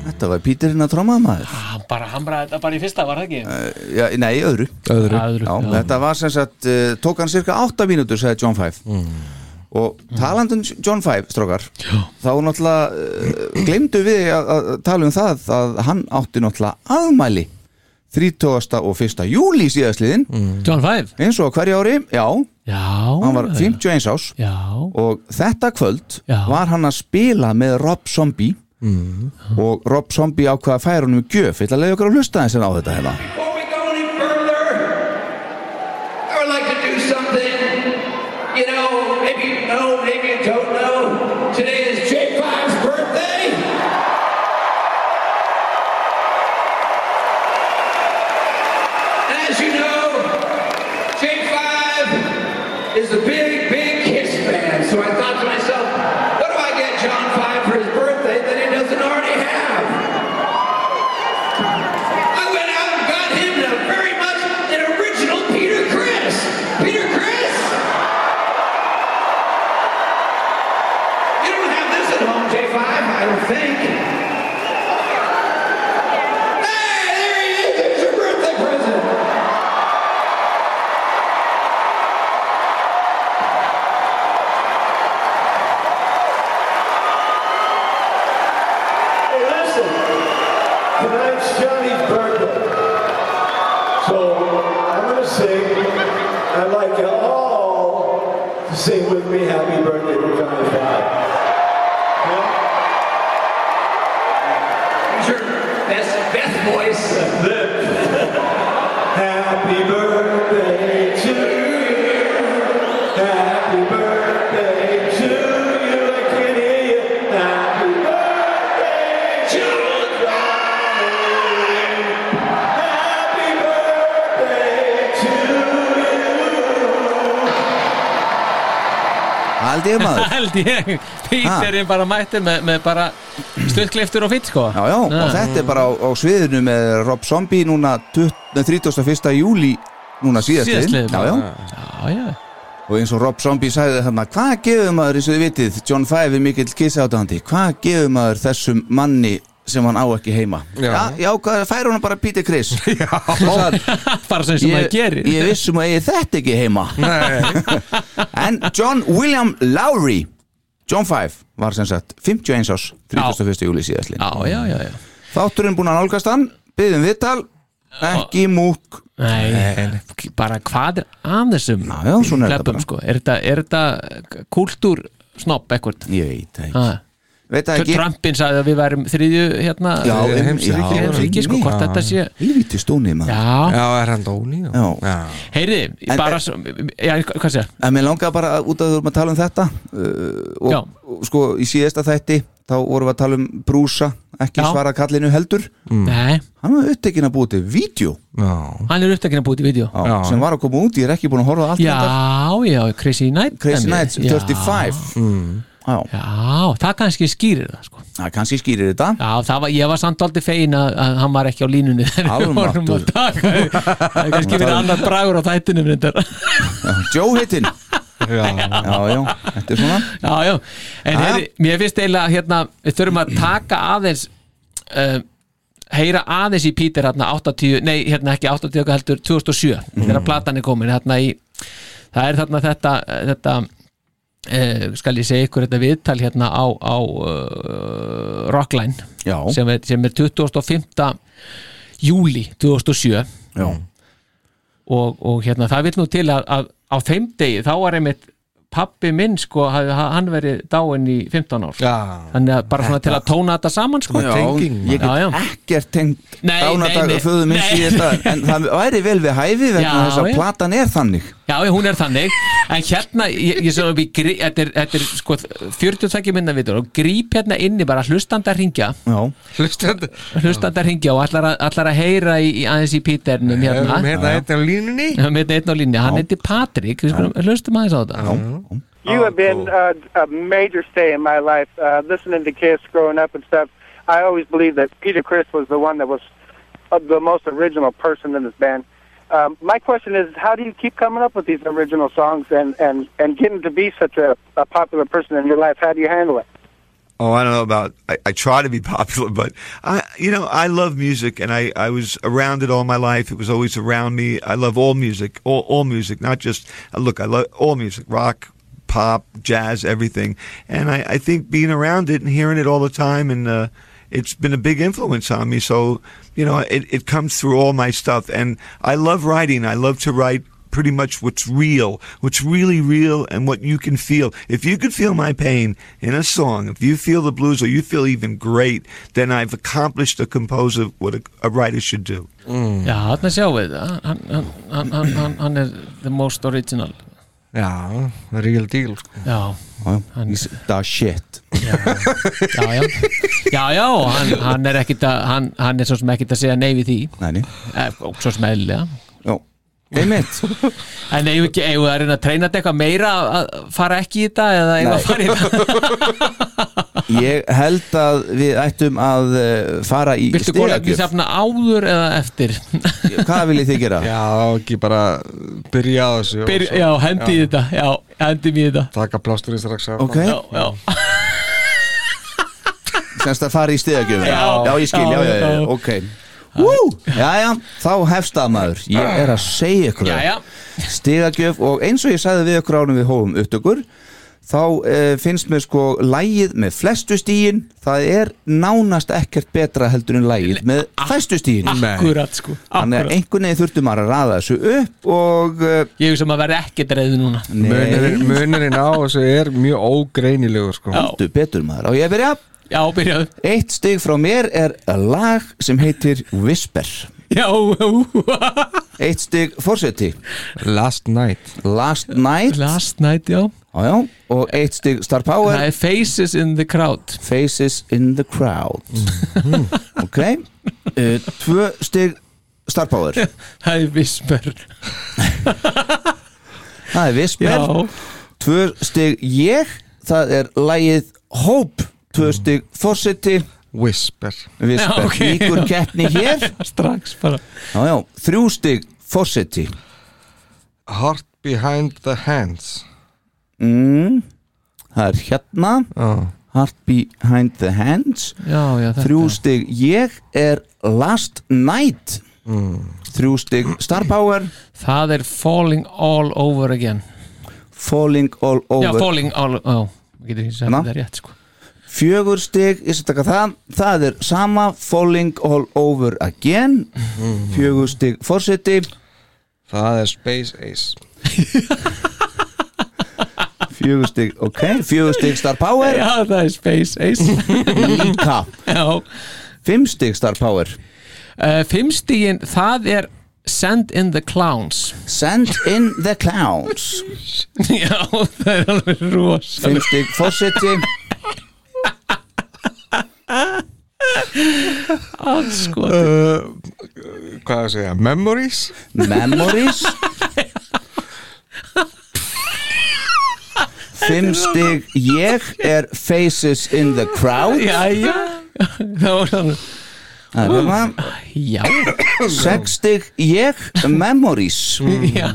[SPEAKER 3] Þetta var Peterinn að tróma maður
[SPEAKER 4] hann bara hamraði þetta bara í fyrsta, var það ekki?
[SPEAKER 3] ja, Nei, öðru,
[SPEAKER 6] Öðru
[SPEAKER 4] Aðru,
[SPEAKER 3] Eh, Já, Þetta var sem sagt, uh, tók hann cirka 8 mínútur sagði John Five
[SPEAKER 4] Mm.
[SPEAKER 3] og talandum John Five, strókar þá náttúrulega uh, glemdu við að, að tala um það að hann átti náttúrulega aðmæli 30. og 1. júli síðastliðin
[SPEAKER 4] John Five
[SPEAKER 3] eins og á hverju ári, já,
[SPEAKER 4] Já
[SPEAKER 3] hann var 51 ás
[SPEAKER 4] Já,
[SPEAKER 3] og þetta kvöld
[SPEAKER 4] Já. Mm.
[SPEAKER 3] var hann að spila með Rob Zombie og Rob Zombie ákvaða að færa honum í gjöf, ég ætla að leiða okkur að hlusta þess en á þetta hérna
[SPEAKER 5] Before we go any further, I would like to do something, you know, maybe you know, maybe you don't know. Today is J5's birthday. And as you know, J5 is a big, big Kiss fan. So I thought to myself, what do I get John 5 for his birthday that he doesn't already have? I went out and got him a very much an original Peter Chris. Peter Chris? You don't have this at home, J5, I don't think. Hey, there he is. There's your birthday present.
[SPEAKER 7] I'd like you all to sing with me Happy Birthday to Johnny Five.
[SPEAKER 8] Use your best, best voice.
[SPEAKER 7] Happy birthday to you. Happy birthday to you. I can hear you. Happy birthday to Johnny. Happy birthday to you.
[SPEAKER 3] Hald ég maður
[SPEAKER 4] held ég Peter er bara mættur með, með bara stuttkliftur og fýtt sko
[SPEAKER 3] Já, já, og þetta er bara á, á sviðinu með Rob Zombie núna 20, 31. júli núna síðastliðin
[SPEAKER 4] Síðastliðin,
[SPEAKER 3] já, já.
[SPEAKER 4] já, já.
[SPEAKER 3] og eins og Rob Zombie sagði þarna hvað gefur maður eins og þið vitið John Five er mikill kissáttandi hvað gefur maður þessum manni sem hann á ekki heima já, já, hvað, fær hún bara Peter Chris já,
[SPEAKER 4] bara sem sem maður gerir
[SPEAKER 3] ég vissum að ég þetta ekki heima en John William Lowry John Five var sem sagt 51 ás 31. júli síðastlinn
[SPEAKER 4] já, já, já, já.
[SPEAKER 3] þátturinn búin að nálgast hann byggðum viðtal, ekki múk
[SPEAKER 4] Nei, bara hvað er að þessum
[SPEAKER 3] já, já, svona er þetta
[SPEAKER 4] plebbum,
[SPEAKER 3] bara.
[SPEAKER 4] sko? er þetta, er þetta kultúr snopp ekkert
[SPEAKER 3] sko. ég veit það ekki,
[SPEAKER 4] ah.
[SPEAKER 3] veit það ekki.
[SPEAKER 4] Trumpin sagði að við værum þriðju hérna,
[SPEAKER 3] Já,
[SPEAKER 4] eh,
[SPEAKER 3] em-
[SPEAKER 4] heimsríki,
[SPEAKER 3] já,
[SPEAKER 4] heimsríki sko,
[SPEAKER 3] já.
[SPEAKER 4] hvort þetta sé
[SPEAKER 3] Helvíti stónið maður
[SPEAKER 4] Já,
[SPEAKER 5] Já, er hann dóni?
[SPEAKER 3] Já.
[SPEAKER 4] heyriði,
[SPEAKER 3] En-
[SPEAKER 4] bara svo, já, hvað sé
[SPEAKER 3] En mér langaði bara að- út að þú erum að tala um þetta uh, og,
[SPEAKER 4] Já.
[SPEAKER 3] og sko í síðasta þætti þá vorum við að tala um brúsa ekki
[SPEAKER 4] Já.
[SPEAKER 3] svara kallinu heldur
[SPEAKER 4] Nei,
[SPEAKER 3] hann var upptekinn að búið til vídeo
[SPEAKER 5] Já,
[SPEAKER 4] hann er upptækina búið í vídeo
[SPEAKER 3] á, sem var að koma út, ég er ekki búin að horfa á allt
[SPEAKER 4] Já,
[SPEAKER 3] þetta.
[SPEAKER 4] já, Crazy Night
[SPEAKER 3] Crazy
[SPEAKER 4] dæmi.
[SPEAKER 3] Nights
[SPEAKER 4] Já.
[SPEAKER 3] 35 Já,
[SPEAKER 4] Já, það kannski skýrir það sko.
[SPEAKER 3] það kannski skýrir þetta
[SPEAKER 4] Já, það var, ég var samt aldrei fegin að, að hann var ekki á línunni þegar við vorum að
[SPEAKER 3] Almáttugur.
[SPEAKER 4] taka því. Það er kannski verið annar bragur á þættinum reyndar.
[SPEAKER 3] Joe hittin
[SPEAKER 5] já,
[SPEAKER 3] Já, já, þetta er svona
[SPEAKER 4] Já, já, en
[SPEAKER 3] Já.
[SPEAKER 4] heyri, mér finnst eiginlega að, hérna, við þurfum að taka aðeins uh, heyra aðeins í Peter hérna 80, nei, hérna ekki 80 okkar heldur 2007, þegar platan er komin hérna í, það er þarna þetta þetta Uh, skal ég segja ykkur þetta viðtal hérna á, á uh, Rockline
[SPEAKER 3] Já,
[SPEAKER 4] sem er, sem er 25. júli 2007
[SPEAKER 3] já,
[SPEAKER 4] og, og hérna það vil nú til að, að á þeim degi þá var einmitt pappi minn sko, hafði- hann verið dáinn í 15 ár
[SPEAKER 5] Já.
[SPEAKER 4] þannig að bara svona til að tóna þetta saman sko
[SPEAKER 3] já
[SPEAKER 5] tenging, maður.
[SPEAKER 3] Ég get
[SPEAKER 4] Já, já.
[SPEAKER 3] ekkert tengt
[SPEAKER 4] Nei, nei,
[SPEAKER 3] dánadag
[SPEAKER 4] nei.
[SPEAKER 3] föðu minns í
[SPEAKER 4] Nei.
[SPEAKER 3] þetta en það væri vel við hæfi vegna
[SPEAKER 4] Já,
[SPEAKER 3] þess að
[SPEAKER 4] já.
[SPEAKER 3] platan er þannig
[SPEAKER 4] Já, já, hún er þannig En hérna, ég, ég sem að við grí- þetta er, þetta er sko 42 minna vitur og gríp hérna inni bara hlustandi að ringja
[SPEAKER 3] Já,
[SPEAKER 5] hlustandi
[SPEAKER 4] hlustandi að ringja og allar að, allar að heyra í, í aðeins í Píternum
[SPEAKER 5] Hérna,
[SPEAKER 4] hérna
[SPEAKER 5] hérna hérna á línunni
[SPEAKER 4] Hann heitir einn á línni, hann heitir Patrik Við skulum hlustum aðeins á þetta
[SPEAKER 9] You have been uh, a major stay in my life. Uh, listening to Kiss growing up and stuff, I always believed that Peter Chris was the one that was uh, the most original person in this band. Um, my question is, how do you keep coming up with these original songs and and and getting to be such a, a popular person in your life? How do you handle it?
[SPEAKER 10] Oh, I don't know about. I, I try to be popular, but I, you know, I love music, and I, I was around it all my life. It was always around me. I love all music, all, all music, not just uh, look. I love all music, rock, pop, jazz, everything. And I, I think being around it and hearing it all the time, and uh, it's been a big influence on me. So you know, it, it comes through all my stuff, and I love writing. I love to write pretty much what's real, what's really real, and what you can feel. If you could feel my pain in a song, if you feel the blues, or you feel even great, then I've accomplished a composer what a, a writer should do.
[SPEAKER 4] Já, þarna sjáum við það. hann, hann, hann, hann, hann, hann er the most original
[SPEAKER 5] Já, real deal sko.
[SPEAKER 4] Já,
[SPEAKER 3] já,
[SPEAKER 4] Hann-
[SPEAKER 3] He's the shit
[SPEAKER 4] já, já Já, já, og hann, hann er ekkit að hann, hann er svo sem ekkit að segja nei við því
[SPEAKER 3] Nei, nei,
[SPEAKER 4] Eh, og svo sem eðlilega
[SPEAKER 3] já Einmitt,
[SPEAKER 4] En eigum við ekki- eigum við að reyna að treyna þetta eitthvað meira að fara ekki í þetta eða eigum við að
[SPEAKER 3] Nei.
[SPEAKER 4] fara í þetta
[SPEAKER 3] ég held að við ættum að eh, fara í
[SPEAKER 4] Viltu góðlega
[SPEAKER 3] stigagjöf
[SPEAKER 4] safna áður eða eftir
[SPEAKER 3] Hvað viljið þið gera?
[SPEAKER 5] Já, ekki bara byrja á þessu og
[SPEAKER 4] Byr,
[SPEAKER 5] svo
[SPEAKER 4] Já, hendi í þetta Já, hendi í þetta
[SPEAKER 5] Taka plásturinn strax af
[SPEAKER 3] Ok,
[SPEAKER 4] Já, já,
[SPEAKER 3] semst að fara í stigagjöf já, ég skil, já, já, já,
[SPEAKER 4] já.
[SPEAKER 3] ok Woo! Já, já, þá hefst það maður Ég er að segja ykkur
[SPEAKER 4] já,
[SPEAKER 3] það.
[SPEAKER 4] já.
[SPEAKER 3] stigagjöf og eins og ég sagði við ykkur ánum við hófum upptökur þá uh, finnst mér sko lægið með flestu stíin það er nánast ekkert betra heldur en lægið með flestu stíin
[SPEAKER 4] Akkurat sko
[SPEAKER 3] þannig að einhvern veginn þurftum maður að raða þessu upp og uh,
[SPEAKER 4] ég hugsa maður verði ekkert reyði núna
[SPEAKER 5] eh, Munurinn munurinn á þessu er mjög ógreinilegur sko.
[SPEAKER 3] Heldur betur maður á ég að byrja
[SPEAKER 4] Já, byrjaðu
[SPEAKER 3] Eitt stig frá mér er lag sem heitir Whisper
[SPEAKER 4] Já
[SPEAKER 3] Eitt stig fórseti
[SPEAKER 5] Last Night
[SPEAKER 3] Last Night
[SPEAKER 4] Last Night, já
[SPEAKER 3] Já, já, og eitt stig Star Power
[SPEAKER 4] Það er Faces in the Crowd
[SPEAKER 3] Faces in the Crowd
[SPEAKER 4] Mhm.
[SPEAKER 3] Ok uh, Tvö stig Star Power
[SPEAKER 4] Það er Whisper
[SPEAKER 3] Það er Whisper
[SPEAKER 4] Já.
[SPEAKER 3] Tvö stig ég Það er lagið Hope Tvö stig Forseti
[SPEAKER 5] Whisper
[SPEAKER 3] Whisper
[SPEAKER 4] Mhm. Já, ok.
[SPEAKER 3] Líkur keppni hér
[SPEAKER 4] Strax bara
[SPEAKER 3] Já, já, þrjú stig Forseti
[SPEAKER 5] Heart Behind the Hands
[SPEAKER 3] mm, Það er hérna
[SPEAKER 5] oh.
[SPEAKER 3] Heart Behind the Hands
[SPEAKER 4] Já, já, þetta
[SPEAKER 3] Þrjú stig ég er Last Night
[SPEAKER 4] Mm.
[SPEAKER 3] Þrjú stig Star Power
[SPEAKER 4] Það er Falling All Over Again
[SPEAKER 3] Falling All
[SPEAKER 4] Já,
[SPEAKER 3] Over
[SPEAKER 4] Falling All Over Getur ekki sagt
[SPEAKER 3] Ná?
[SPEAKER 4] það rétt sko
[SPEAKER 3] Fjögur stig, ég skal taka það Það er sama Falling All Over Again Fjögur stig Forseti
[SPEAKER 5] Það er Space Ace
[SPEAKER 3] Fjögur stig, ok Fjögur stig Star Power
[SPEAKER 4] Já, það er Space Ace
[SPEAKER 3] Líka
[SPEAKER 4] Já
[SPEAKER 3] Fimm stig Star Power
[SPEAKER 4] uh, Fimmstígin, það er Send in the Clowns
[SPEAKER 3] Send in the Clowns
[SPEAKER 4] Já, það er alveg rosa
[SPEAKER 3] Fimm stig Forseti
[SPEAKER 4] Allskot
[SPEAKER 5] uh, Hvað að segja? Memories
[SPEAKER 3] Memories Fimm stig Ég er Faces in the Crowd
[SPEAKER 4] Jæja Það var hann
[SPEAKER 3] Það er hérna.
[SPEAKER 4] Já,
[SPEAKER 3] Sex stig Ég Memories
[SPEAKER 4] já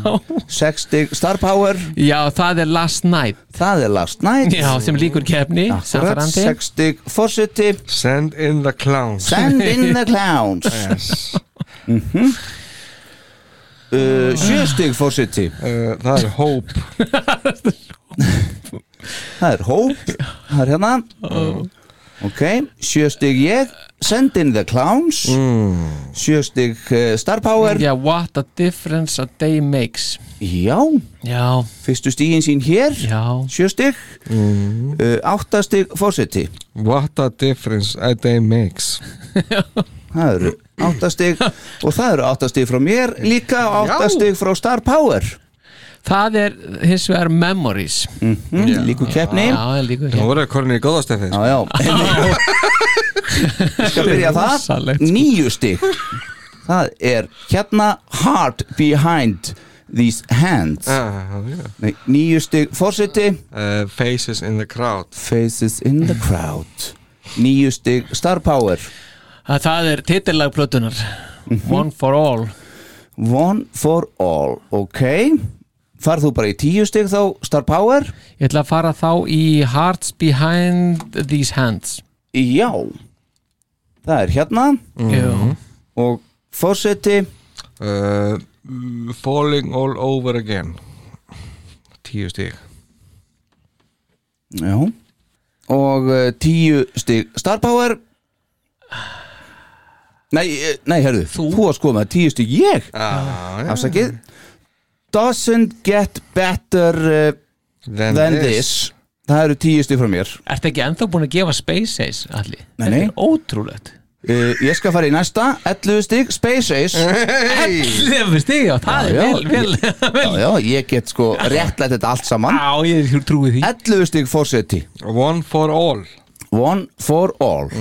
[SPEAKER 3] Sex stig Star Power
[SPEAKER 4] Já, það er Last Night
[SPEAKER 3] Það er Last Night
[SPEAKER 4] Já, sem líkur kefni
[SPEAKER 3] Akkurat, sex stig Forseti
[SPEAKER 5] Send in the Clowns
[SPEAKER 3] Send in the Clowns
[SPEAKER 5] yes.
[SPEAKER 3] uh, Sjö stig Forseti
[SPEAKER 5] uh, Það er Hope
[SPEAKER 3] Það er hóp Það er hérna Ok, sjö stig ég Send in the Clowns Sjö stig uh, Star Power
[SPEAKER 4] Mm. Já, what a difference a day makes
[SPEAKER 3] Já,
[SPEAKER 4] Já,
[SPEAKER 3] fyrstu stigin sín hér
[SPEAKER 4] já Mm.
[SPEAKER 3] Sjö stig uh, Átta stig Forseti
[SPEAKER 5] What a difference a day makes
[SPEAKER 3] Það eru átta stig Og það eru átta stig frá mér Líka og átta
[SPEAKER 5] Já.
[SPEAKER 3] stig frá Star Power
[SPEAKER 4] Það er hins vegar Memories
[SPEAKER 3] mm, Líku keppni
[SPEAKER 4] Já, það er líkur
[SPEAKER 5] Nú
[SPEAKER 4] kefni
[SPEAKER 5] voru að kornir í góðastefið
[SPEAKER 3] Já, já Ég skal byrja það
[SPEAKER 4] Rosalegt, sko.
[SPEAKER 3] Níu stig Það er hérna Heart behind these hands
[SPEAKER 5] Ah, yeah.
[SPEAKER 3] Nei, Níu stig Forseti
[SPEAKER 5] uh, Faces in the crowd
[SPEAKER 3] Faces in the crowd Níu stig Star Power
[SPEAKER 4] Það er titillag plötunar One for all
[SPEAKER 3] One for all Ok Farð þú bara í tíu stig þá Star Power
[SPEAKER 4] Ég ætla að fara þá í Hearts Behind These Hands
[SPEAKER 3] Já Það er hérna
[SPEAKER 4] Já
[SPEAKER 3] Og Forseti
[SPEAKER 5] uh, Falling all over again Tíu stík
[SPEAKER 3] Já Og uh, tíu stig Star Power Nei, eh, nei, herðu Þú, þú að sko með tíu stig ég
[SPEAKER 5] ah,
[SPEAKER 3] Afsakið Doesn't get better uh,
[SPEAKER 5] Then,
[SPEAKER 3] than this Það eru tíu stig frá mér
[SPEAKER 4] Ertu ekki ennþá búin að gefa Space Ace allir?
[SPEAKER 3] Nei, nei.
[SPEAKER 4] Þetta er ótrúlegt
[SPEAKER 3] uh, Ég skal fara í næsta 11 stig Space Ace
[SPEAKER 4] Lefur stig, já, það er
[SPEAKER 3] Já, já.
[SPEAKER 4] vel, vel
[SPEAKER 3] Já, já, ég get sko réttlætt þetta allt saman
[SPEAKER 4] Já, ég trúi því
[SPEAKER 3] 11 stig fórseti
[SPEAKER 5] One for all
[SPEAKER 3] One for all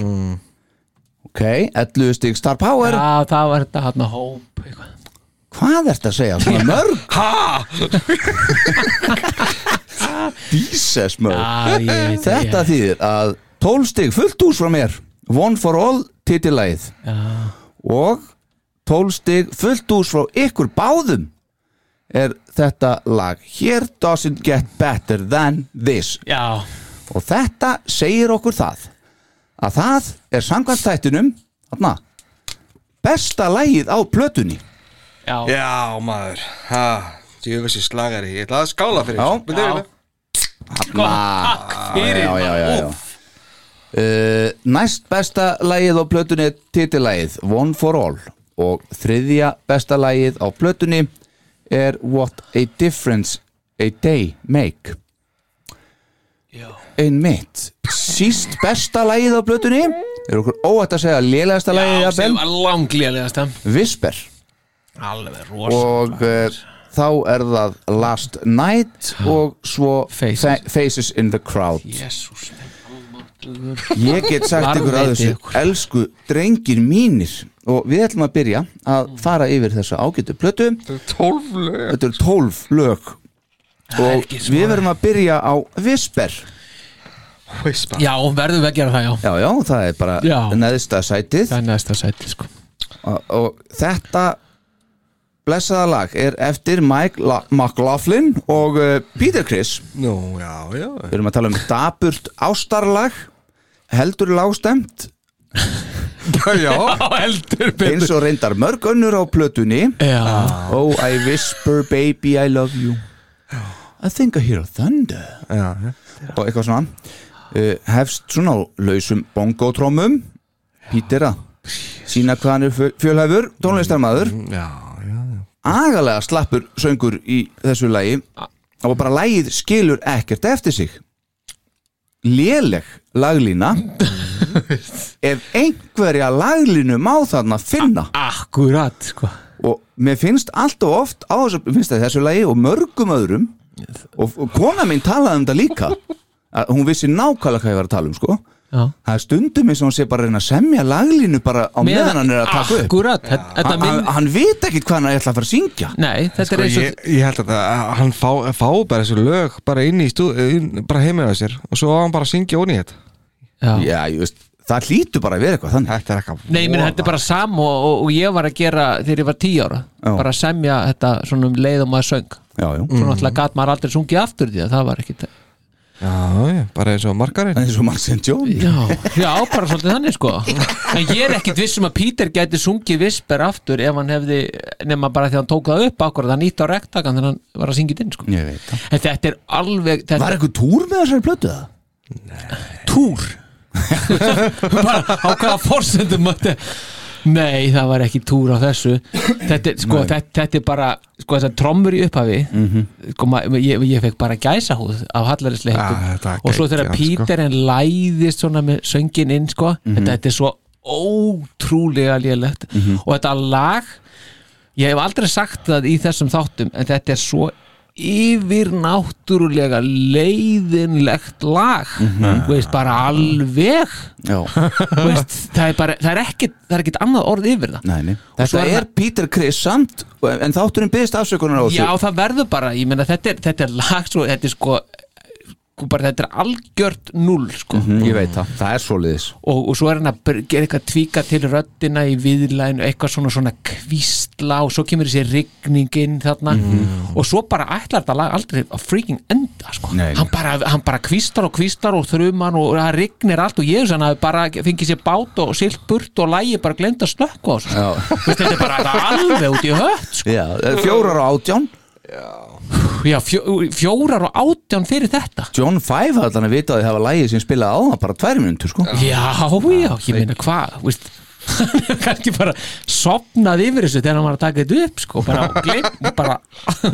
[SPEAKER 3] Ok, 11 stig Star Power
[SPEAKER 4] Já, það var þetta hann að hóp eitthvað.
[SPEAKER 3] Hvað ertu að segja? Svona mörg Jesus mörg
[SPEAKER 4] Já, ég veit
[SPEAKER 3] Þetta
[SPEAKER 4] ég-
[SPEAKER 3] þýðir að 12 stig fullt úr frá mér One for all titilæð og 12 stig fullt úr frá ykkur báðum er þetta lag Here doesn't get better than this
[SPEAKER 4] Já,
[SPEAKER 3] og þetta segir okkur það að það er samkvæmt þættinum þarna, besta lagið á plötunni
[SPEAKER 4] já,
[SPEAKER 5] Já maður ha, Djöfessi slagari Ég ætla að skála fyrir
[SPEAKER 3] Já.
[SPEAKER 5] þessu. Byrju,
[SPEAKER 4] Já.
[SPEAKER 5] byrju.
[SPEAKER 4] Sko, takk fyrir
[SPEAKER 3] já, já, já, já. Uh, Næst besta lagið á plötunni er titillægið One for All og þriðja besta lagið á plötunni er What a Difference a Day Make Einmitt Síst besta lagið á plötunni er okkur óætt að segja lélegasta lagið
[SPEAKER 4] Já,
[SPEAKER 3] jafnvel.
[SPEAKER 4] sem var langlélegast
[SPEAKER 3] Visper
[SPEAKER 4] Alveg rosa
[SPEAKER 3] og uh, þá er það Last Night og svo Faces, faces in the Crowd
[SPEAKER 4] Jésús
[SPEAKER 3] Ég get sagt ykkur að þessu Elsku drengir mínir Og við ætlum að byrja að fara yfir þessa ágætu plötu
[SPEAKER 5] Tólf lög
[SPEAKER 3] Þetta eru tólf lög Og við verðum að byrja á Visper
[SPEAKER 5] Visper
[SPEAKER 4] Já, verðum við að gera það, já
[SPEAKER 3] Já, já, það er bara
[SPEAKER 4] Já.
[SPEAKER 3] neðsta sætið
[SPEAKER 4] Það er neðsta sætið, sko
[SPEAKER 3] Og, og þetta blessaða lag er eftir Mike La McLaughlin og uh, Peter Criss
[SPEAKER 5] Nú, já, já
[SPEAKER 3] Við erum að tala um daburt ástarlag Heldur lágstemt
[SPEAKER 5] Já,
[SPEAKER 4] heldur
[SPEAKER 3] eins og reyndar mörg önnur á plötunni
[SPEAKER 4] Eh. Já.
[SPEAKER 3] Oh I whisper baby I love you I think I hear thunder
[SPEAKER 5] Já, já.
[SPEAKER 3] og eitthvað svona uh, hefst svona á lausum bongotrómum Pítera sína hvað hann er fjö- fjölhæfur tónlistarmaður
[SPEAKER 5] Já, já, já
[SPEAKER 3] agalega slappur söngur í þessu lagi og bara lagið skilur ekkert eftir sig léleg laglína ef einhverja laglínu má þarna finna
[SPEAKER 4] akkurat sko
[SPEAKER 3] og mér finnst alltaf oft á þessu, mér finnst það í þessu lagi og mörgum öðrum og, og kona mín talaði um þetta líka að hún vissi nákvæmlega hvað ég var að tala um sko
[SPEAKER 4] Já.
[SPEAKER 3] það er stundum eins og hún sé bara að reyna að semja laglínu bara á meðan, hann er að taka upp
[SPEAKER 4] Akkurat, þetta- þetta
[SPEAKER 3] hann,
[SPEAKER 4] minn
[SPEAKER 3] hann, hann veit ekkit hvað hann ætla að fara að syngja
[SPEAKER 4] Nei, þetta
[SPEAKER 5] Sko,
[SPEAKER 4] er eins og
[SPEAKER 5] ég, ég held að það, hann fá, fá bara þessu lög bara inn í stúð, inn, bara heimir á sér og svo á hann bara að syngja ón í þetta
[SPEAKER 4] Já,
[SPEAKER 3] já ég veist, það hlýtur bara að vera eitthvað þannig
[SPEAKER 5] Þetta er eitthvað
[SPEAKER 4] Nei, minn, þetta er bara sam og, og, og ég var að gera þegar ég var tíu ára
[SPEAKER 3] Já. Mm.
[SPEAKER 4] bara að semja þetta svona um leið og maður söng
[SPEAKER 3] já, já.
[SPEAKER 4] svo náttúrulega gat maður aldrei sungið aftur því að það var ekkit
[SPEAKER 5] Já, já, bara eins og margarinn
[SPEAKER 3] eins og Marcin John
[SPEAKER 4] Já, já, bara svolítið þannig sko En ég er ekkit viss um að Peter gæti sungið Visper aftur ef hann hefði nema bara því að hann tók það upp akkurat hann nýtt á rektakan þannig að hann var að syngja þetta inn sko.
[SPEAKER 3] ég veit það
[SPEAKER 4] En þetta er alveg þetta
[SPEAKER 3] var eitthvað túr með þessari plötu það?
[SPEAKER 4] túr bara á hvaða forsendum þetta nei það var ekki túr á þessu þetta, er- sko, þetta, þetta er bara sko þessar trommur í upphafi
[SPEAKER 5] Mhm.
[SPEAKER 4] sko, ma- ég, ég fekk bara gæsa húð af hallarisleikum
[SPEAKER 5] Ah, þetta
[SPEAKER 4] og svo þegar
[SPEAKER 5] geggjað, sko. Mhm.
[SPEAKER 4] Peter en læðist svona með söngin inn sko þetta, þetta er svo ótrúlega lélegt
[SPEAKER 5] Mhm.
[SPEAKER 4] og þetta lag ég hef aldrei sagt það í þessum þáttum en þetta er svo yfirnáttúrulega leiðinlegt lag
[SPEAKER 5] Mhm.
[SPEAKER 4] þú veist bara alveg
[SPEAKER 3] já,
[SPEAKER 4] Þú veist, það er bara, það er ekkit það er ekkit annað orð yfir það
[SPEAKER 3] næni
[SPEAKER 4] Og svo
[SPEAKER 3] þetta
[SPEAKER 4] er
[SPEAKER 3] er Peter Criss samt en þátturinn byggðist afsökunar á þessu
[SPEAKER 4] Já, það verður bara, ég meina þetta er, þetta er lag svo, þetta er sko sko bara þetta er algjört null sko.
[SPEAKER 3] Mhm, ég veit það, það er svoleiðis
[SPEAKER 4] og, og svo er hann að br- gera eitthvað tvíka til röddina í viðlæðinu, eitthvað svona svona kvísla og svo kemur þessi rigningin þarna og svo bara ætlar þetta lag aldrei að freaking enda sko.
[SPEAKER 3] Mhm. Nei, nei.
[SPEAKER 4] hann, bara, hann bara kvíslar og kvíslar og þruman og það rignir allt og ég hann hafi bara fengið sér bát og silt burt og lægi bara glemt að slökku á þessu, sko.
[SPEAKER 3] Já.
[SPEAKER 4] Þú veist, þetta er bara þetta er alveg út í hött sko.
[SPEAKER 3] Já, fjórar og átján
[SPEAKER 4] Já, fjó, fjórar og átján fyrir þetta
[SPEAKER 3] John Five hafði hann að vita að þið hafa lægið sem spilaði á það bara tvær minútur sko
[SPEAKER 4] Já, já, ég meina hvað veist, hann er kannski bara sopnað yfir þessu þegar hann var að taka þetta upp sko, bara, og gleym, bara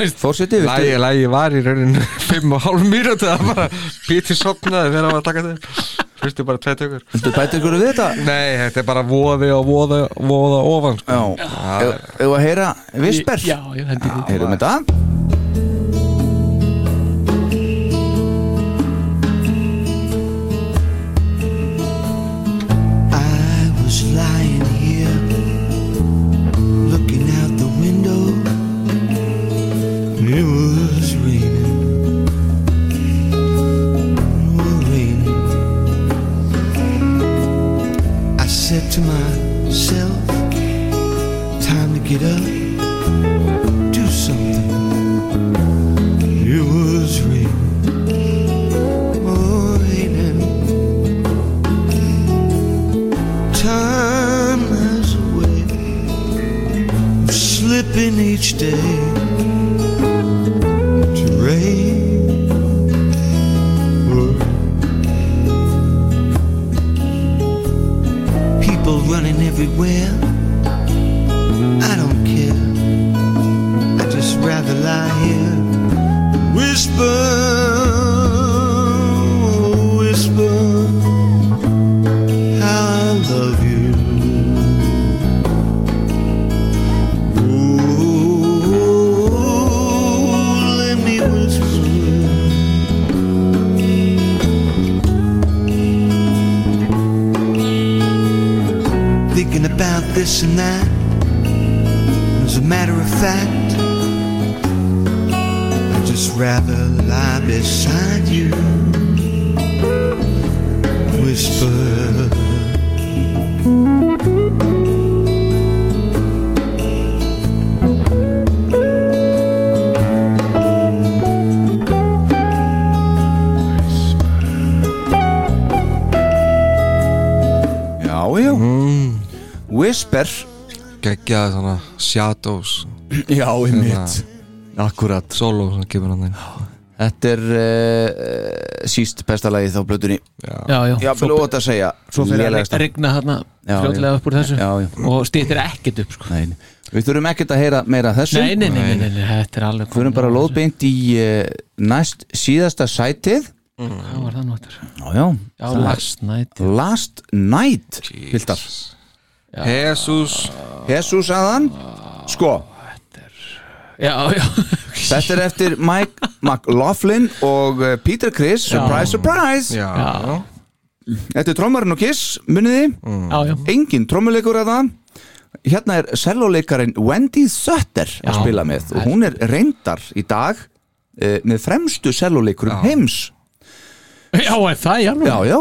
[SPEAKER 4] veist,
[SPEAKER 3] Fórseti,
[SPEAKER 5] Lægi,
[SPEAKER 3] viltu,
[SPEAKER 5] lægi var í rauninu 5,5 mínúti það bara pítið sopnaði þegar hann var að taka þetta Fyrstu bara tveit tökur
[SPEAKER 3] viltu bæta ykkur við þetta?
[SPEAKER 5] Nei, þetta er bara voði og voða, voða ofan sko.
[SPEAKER 3] Já, hefur að heyra Visper?
[SPEAKER 4] Já, já, hendur við
[SPEAKER 3] Heyrum þetta?
[SPEAKER 2] I was lying here looking out the window. It was raining. It was raining. I said to myself, time to get up, do something. It was raining. Oh, raining. time has a way of slipping each day to rain.
[SPEAKER 11] Thinking about this and that. As a matter of fact, I'd just rather lie beside you. Whisper.
[SPEAKER 3] Já, já Whisper
[SPEAKER 5] Gekkjað svona Shadows Hérna,
[SPEAKER 3] Já, einmitt. Akkurat
[SPEAKER 5] Solo sem kemur hann inn
[SPEAKER 3] Þetta er uh, síst besta lagið á blötunni
[SPEAKER 4] Já, já.
[SPEAKER 3] Já,
[SPEAKER 4] Svo-
[SPEAKER 3] blóð að segja
[SPEAKER 4] Svo fyrir að
[SPEAKER 3] Lélegasta.
[SPEAKER 4] rigna- rigna þarna
[SPEAKER 3] Já,
[SPEAKER 4] fljótlega
[SPEAKER 3] já.
[SPEAKER 4] upp úr þessu
[SPEAKER 3] Já, já.
[SPEAKER 4] og stýttir ekkert upp sko.
[SPEAKER 3] Nei, Við þurfum ekkert að heyra meira af þessu
[SPEAKER 4] nei, nei, nei, nei, nei, þetta er alveg
[SPEAKER 3] Við erum bara lóðbeint í uh, næst síðasta sætið
[SPEAKER 4] Hvað var það náttur?
[SPEAKER 3] Já, já,
[SPEAKER 4] Já,
[SPEAKER 3] Það er-
[SPEAKER 4] Last Night.
[SPEAKER 3] Last Night, Hildar
[SPEAKER 5] Jesus
[SPEAKER 3] Jesus aðan Sko
[SPEAKER 4] Já, já
[SPEAKER 3] Þetta er eftir Mike McLaughlin og eh, Peter Criss Surprise, surprise
[SPEAKER 5] Já. Já.
[SPEAKER 3] Þetta er trommarinn og Kiss, munið þið
[SPEAKER 4] mm.
[SPEAKER 3] Engin trommuleikur að það Hérna er selloleikarinn Wendy Sutter að
[SPEAKER 4] Já.
[SPEAKER 3] spila með og hún er reyndar í dag uh, með fremstu selloleikurum heims
[SPEAKER 4] Já, er það, já
[SPEAKER 3] Já, já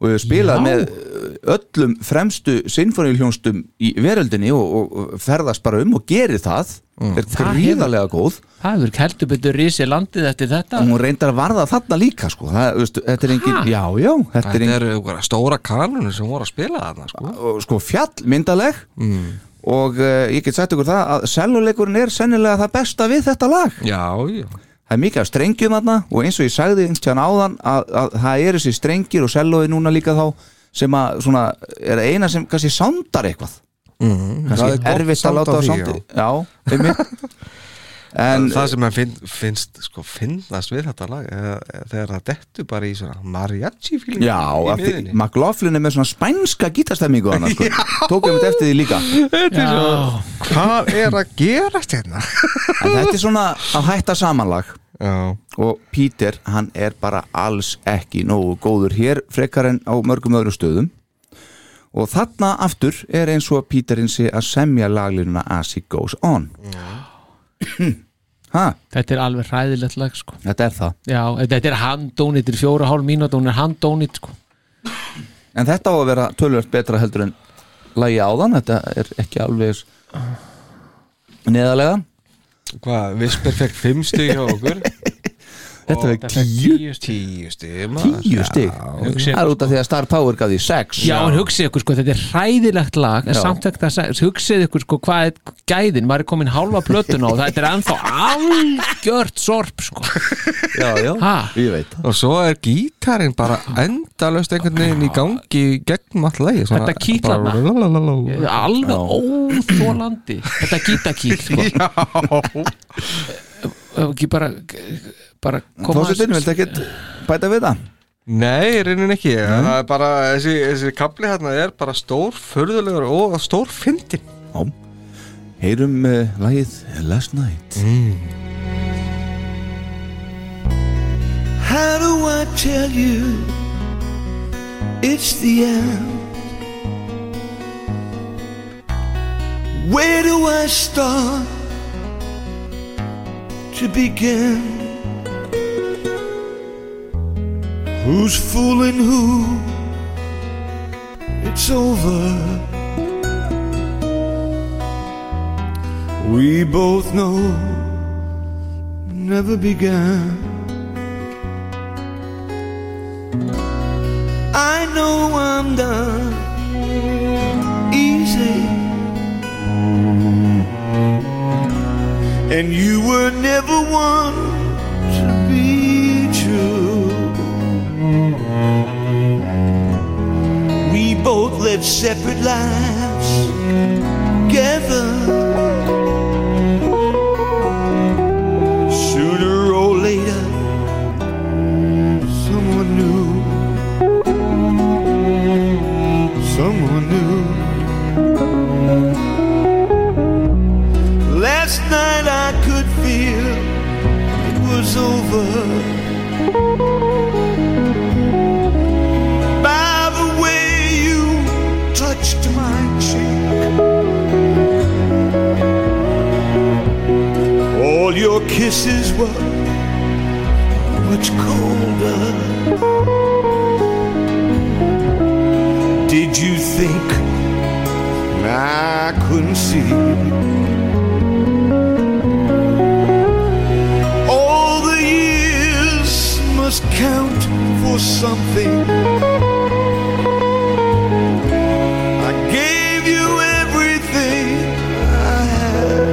[SPEAKER 3] og hefur spilað með eh, öllum fremstu sinfoníuljónstum í veröldinni og, og ferðast bara um og gerir það er
[SPEAKER 4] Mm. Það
[SPEAKER 3] gríðarlega góð
[SPEAKER 4] Það hefur heldur betur risið landið eftir þetta
[SPEAKER 3] og hún reyndar að varða þarna líka sko. það, veistu, þetta er engin,
[SPEAKER 4] Ha?
[SPEAKER 3] já, já þetta er
[SPEAKER 5] Þetta
[SPEAKER 3] engin,
[SPEAKER 5] eru einhverja stóra kanunir sem voru að spila þarna sko.
[SPEAKER 3] og sko fjallmyndaleg og uh, ég get sagt ykkur það að seljuleikurinn er sennilega það besta við þetta lag
[SPEAKER 5] Já, já
[SPEAKER 3] það er mikið af strengjum þarna og eins og ég sagði einstján áðan að, að það er þessi strengir og seljói núna líka þá sem að svona er eina sem kannski sándar eitthvað
[SPEAKER 5] mm,
[SPEAKER 3] kannski erfitt að láta á sándi já, einmitt en
[SPEAKER 5] það sem mann finn, finnst sko, finnast við þetta lag eða, eða þegar það dettu bara í svona mariachi feeling
[SPEAKER 3] já,
[SPEAKER 5] í
[SPEAKER 3] af því
[SPEAKER 5] miðinni
[SPEAKER 3] McLaughlin er með svona spænska gítastemmingu hann sko.
[SPEAKER 5] Já.
[SPEAKER 3] tók ég mitt eftir því líka
[SPEAKER 5] Þetta er svo, hvað er að gerast hérna?
[SPEAKER 3] en þetta er svona að hætta samanlag
[SPEAKER 5] já.
[SPEAKER 3] og Peter hann er bara alls ekki nógu góður hér frekar en á mörgum öðru stöðum og þarna aftur er eins og að Peterinn sé að semja laglínuna as he goes on ha,
[SPEAKER 4] Þetta er alveg hræðilegt lag sko.
[SPEAKER 3] þetta er það
[SPEAKER 4] Já, þetta er handónit, þetta er fjóra hálf mínúti hún er handónit sko.
[SPEAKER 3] en þetta á að vera tölvöld betra heldur en lagi áðan, þetta er ekki alveg eins neðalega
[SPEAKER 5] Hvað, Visper fekk 5 stig hjá okkur
[SPEAKER 3] Þetta
[SPEAKER 5] Og
[SPEAKER 3] fekk 10.
[SPEAKER 5] stig. 10 stig maður.
[SPEAKER 3] 10 stig,
[SPEAKER 5] Já.
[SPEAKER 3] það er út af því að Star Power gaf því 6
[SPEAKER 4] Já, en hugsið ykkur sko, þetta er hræðilegt lag en
[SPEAKER 3] Já.
[SPEAKER 4] samt ekki að segja, hugsið ykkur sko hvað er gæðin, maður er komin hálfa plötun og þetta er ennþá algjört sorp sko
[SPEAKER 3] já, já,
[SPEAKER 4] ha,
[SPEAKER 3] ég veit
[SPEAKER 5] Og svo er gítarinn bara endalaust einhvern veginn í gangi gegnum all lagi
[SPEAKER 4] Þetta kitlar maður.
[SPEAKER 5] maður
[SPEAKER 4] alveg óþólandi þetta gítakýr sko
[SPEAKER 5] Já
[SPEAKER 4] Ef ekki bara, bara koma
[SPEAKER 3] Fósitin, viltu ekkert bæta við það?
[SPEAKER 5] Nei, reynin ekki Það er bara, þessi, þessi kapli hérna er bara stór förðulegur og stór fyndin
[SPEAKER 3] Já, heyrum uh, lagið Last Night mm.
[SPEAKER 11] How do I tell you it's the end? Where do I start to begin? Who's fooling who? It's over. We both know never began. I know I'm done easy. And you were never one to be true. We both live separate lives together. Sooner or later, someone new. someone new. Last night I could feel it was By the way you touched my cheek, all your kisses were much colder. Did you think I couldn't see? All the years must count for something. I gave you everything I had.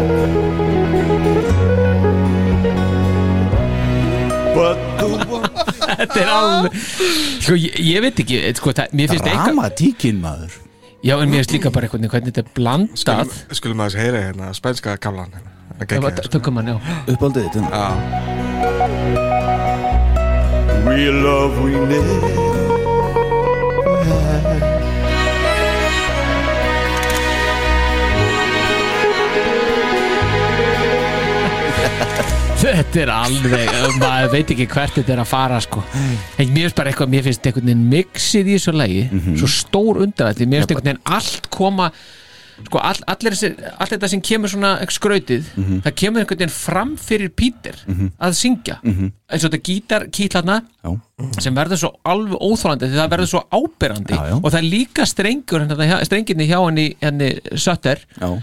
[SPEAKER 11] But the one
[SPEAKER 4] Þetta er alveg Sko, ég, ég veit ekki, eh, sko, það, mér finnst eitthvað
[SPEAKER 3] Dramatíkin, maður
[SPEAKER 4] Já, en mér finnst líka bara eitthvað hvernig þetta er blandað
[SPEAKER 5] Skulum- Skulum aðeins heyra hérna, spænska kaflan hérna. Það
[SPEAKER 4] Það
[SPEAKER 5] geggjað,
[SPEAKER 4] var- Tökum hann, já
[SPEAKER 3] Uppáldið þitt hérna.
[SPEAKER 5] Já
[SPEAKER 11] real love we never had.
[SPEAKER 4] Þetta er alveg, maður veit ekki hvert þetta er að fara sko En mér finnst bara eitthvað, mér finnst einhvern veginn mixið í þessu lagi
[SPEAKER 3] Mhm.
[SPEAKER 4] Svo stór undarvætti, mér finnst einhvern veginn allt koma Sko, all, allir þessi, allt þetta sem kemur svona skrautið
[SPEAKER 3] Mhm.
[SPEAKER 4] Það kemur einhvern veginn fram fyrir Pítur
[SPEAKER 3] Mhm.
[SPEAKER 4] að syngja
[SPEAKER 3] Mhm.
[SPEAKER 4] eins og þetta gítar kýtlarna sem verður svo alveg óþólandi því það verður svo áberandi já, já. og það er líka strengur hérna, hjá- strenginni hjá henni, henni Sötter
[SPEAKER 3] já.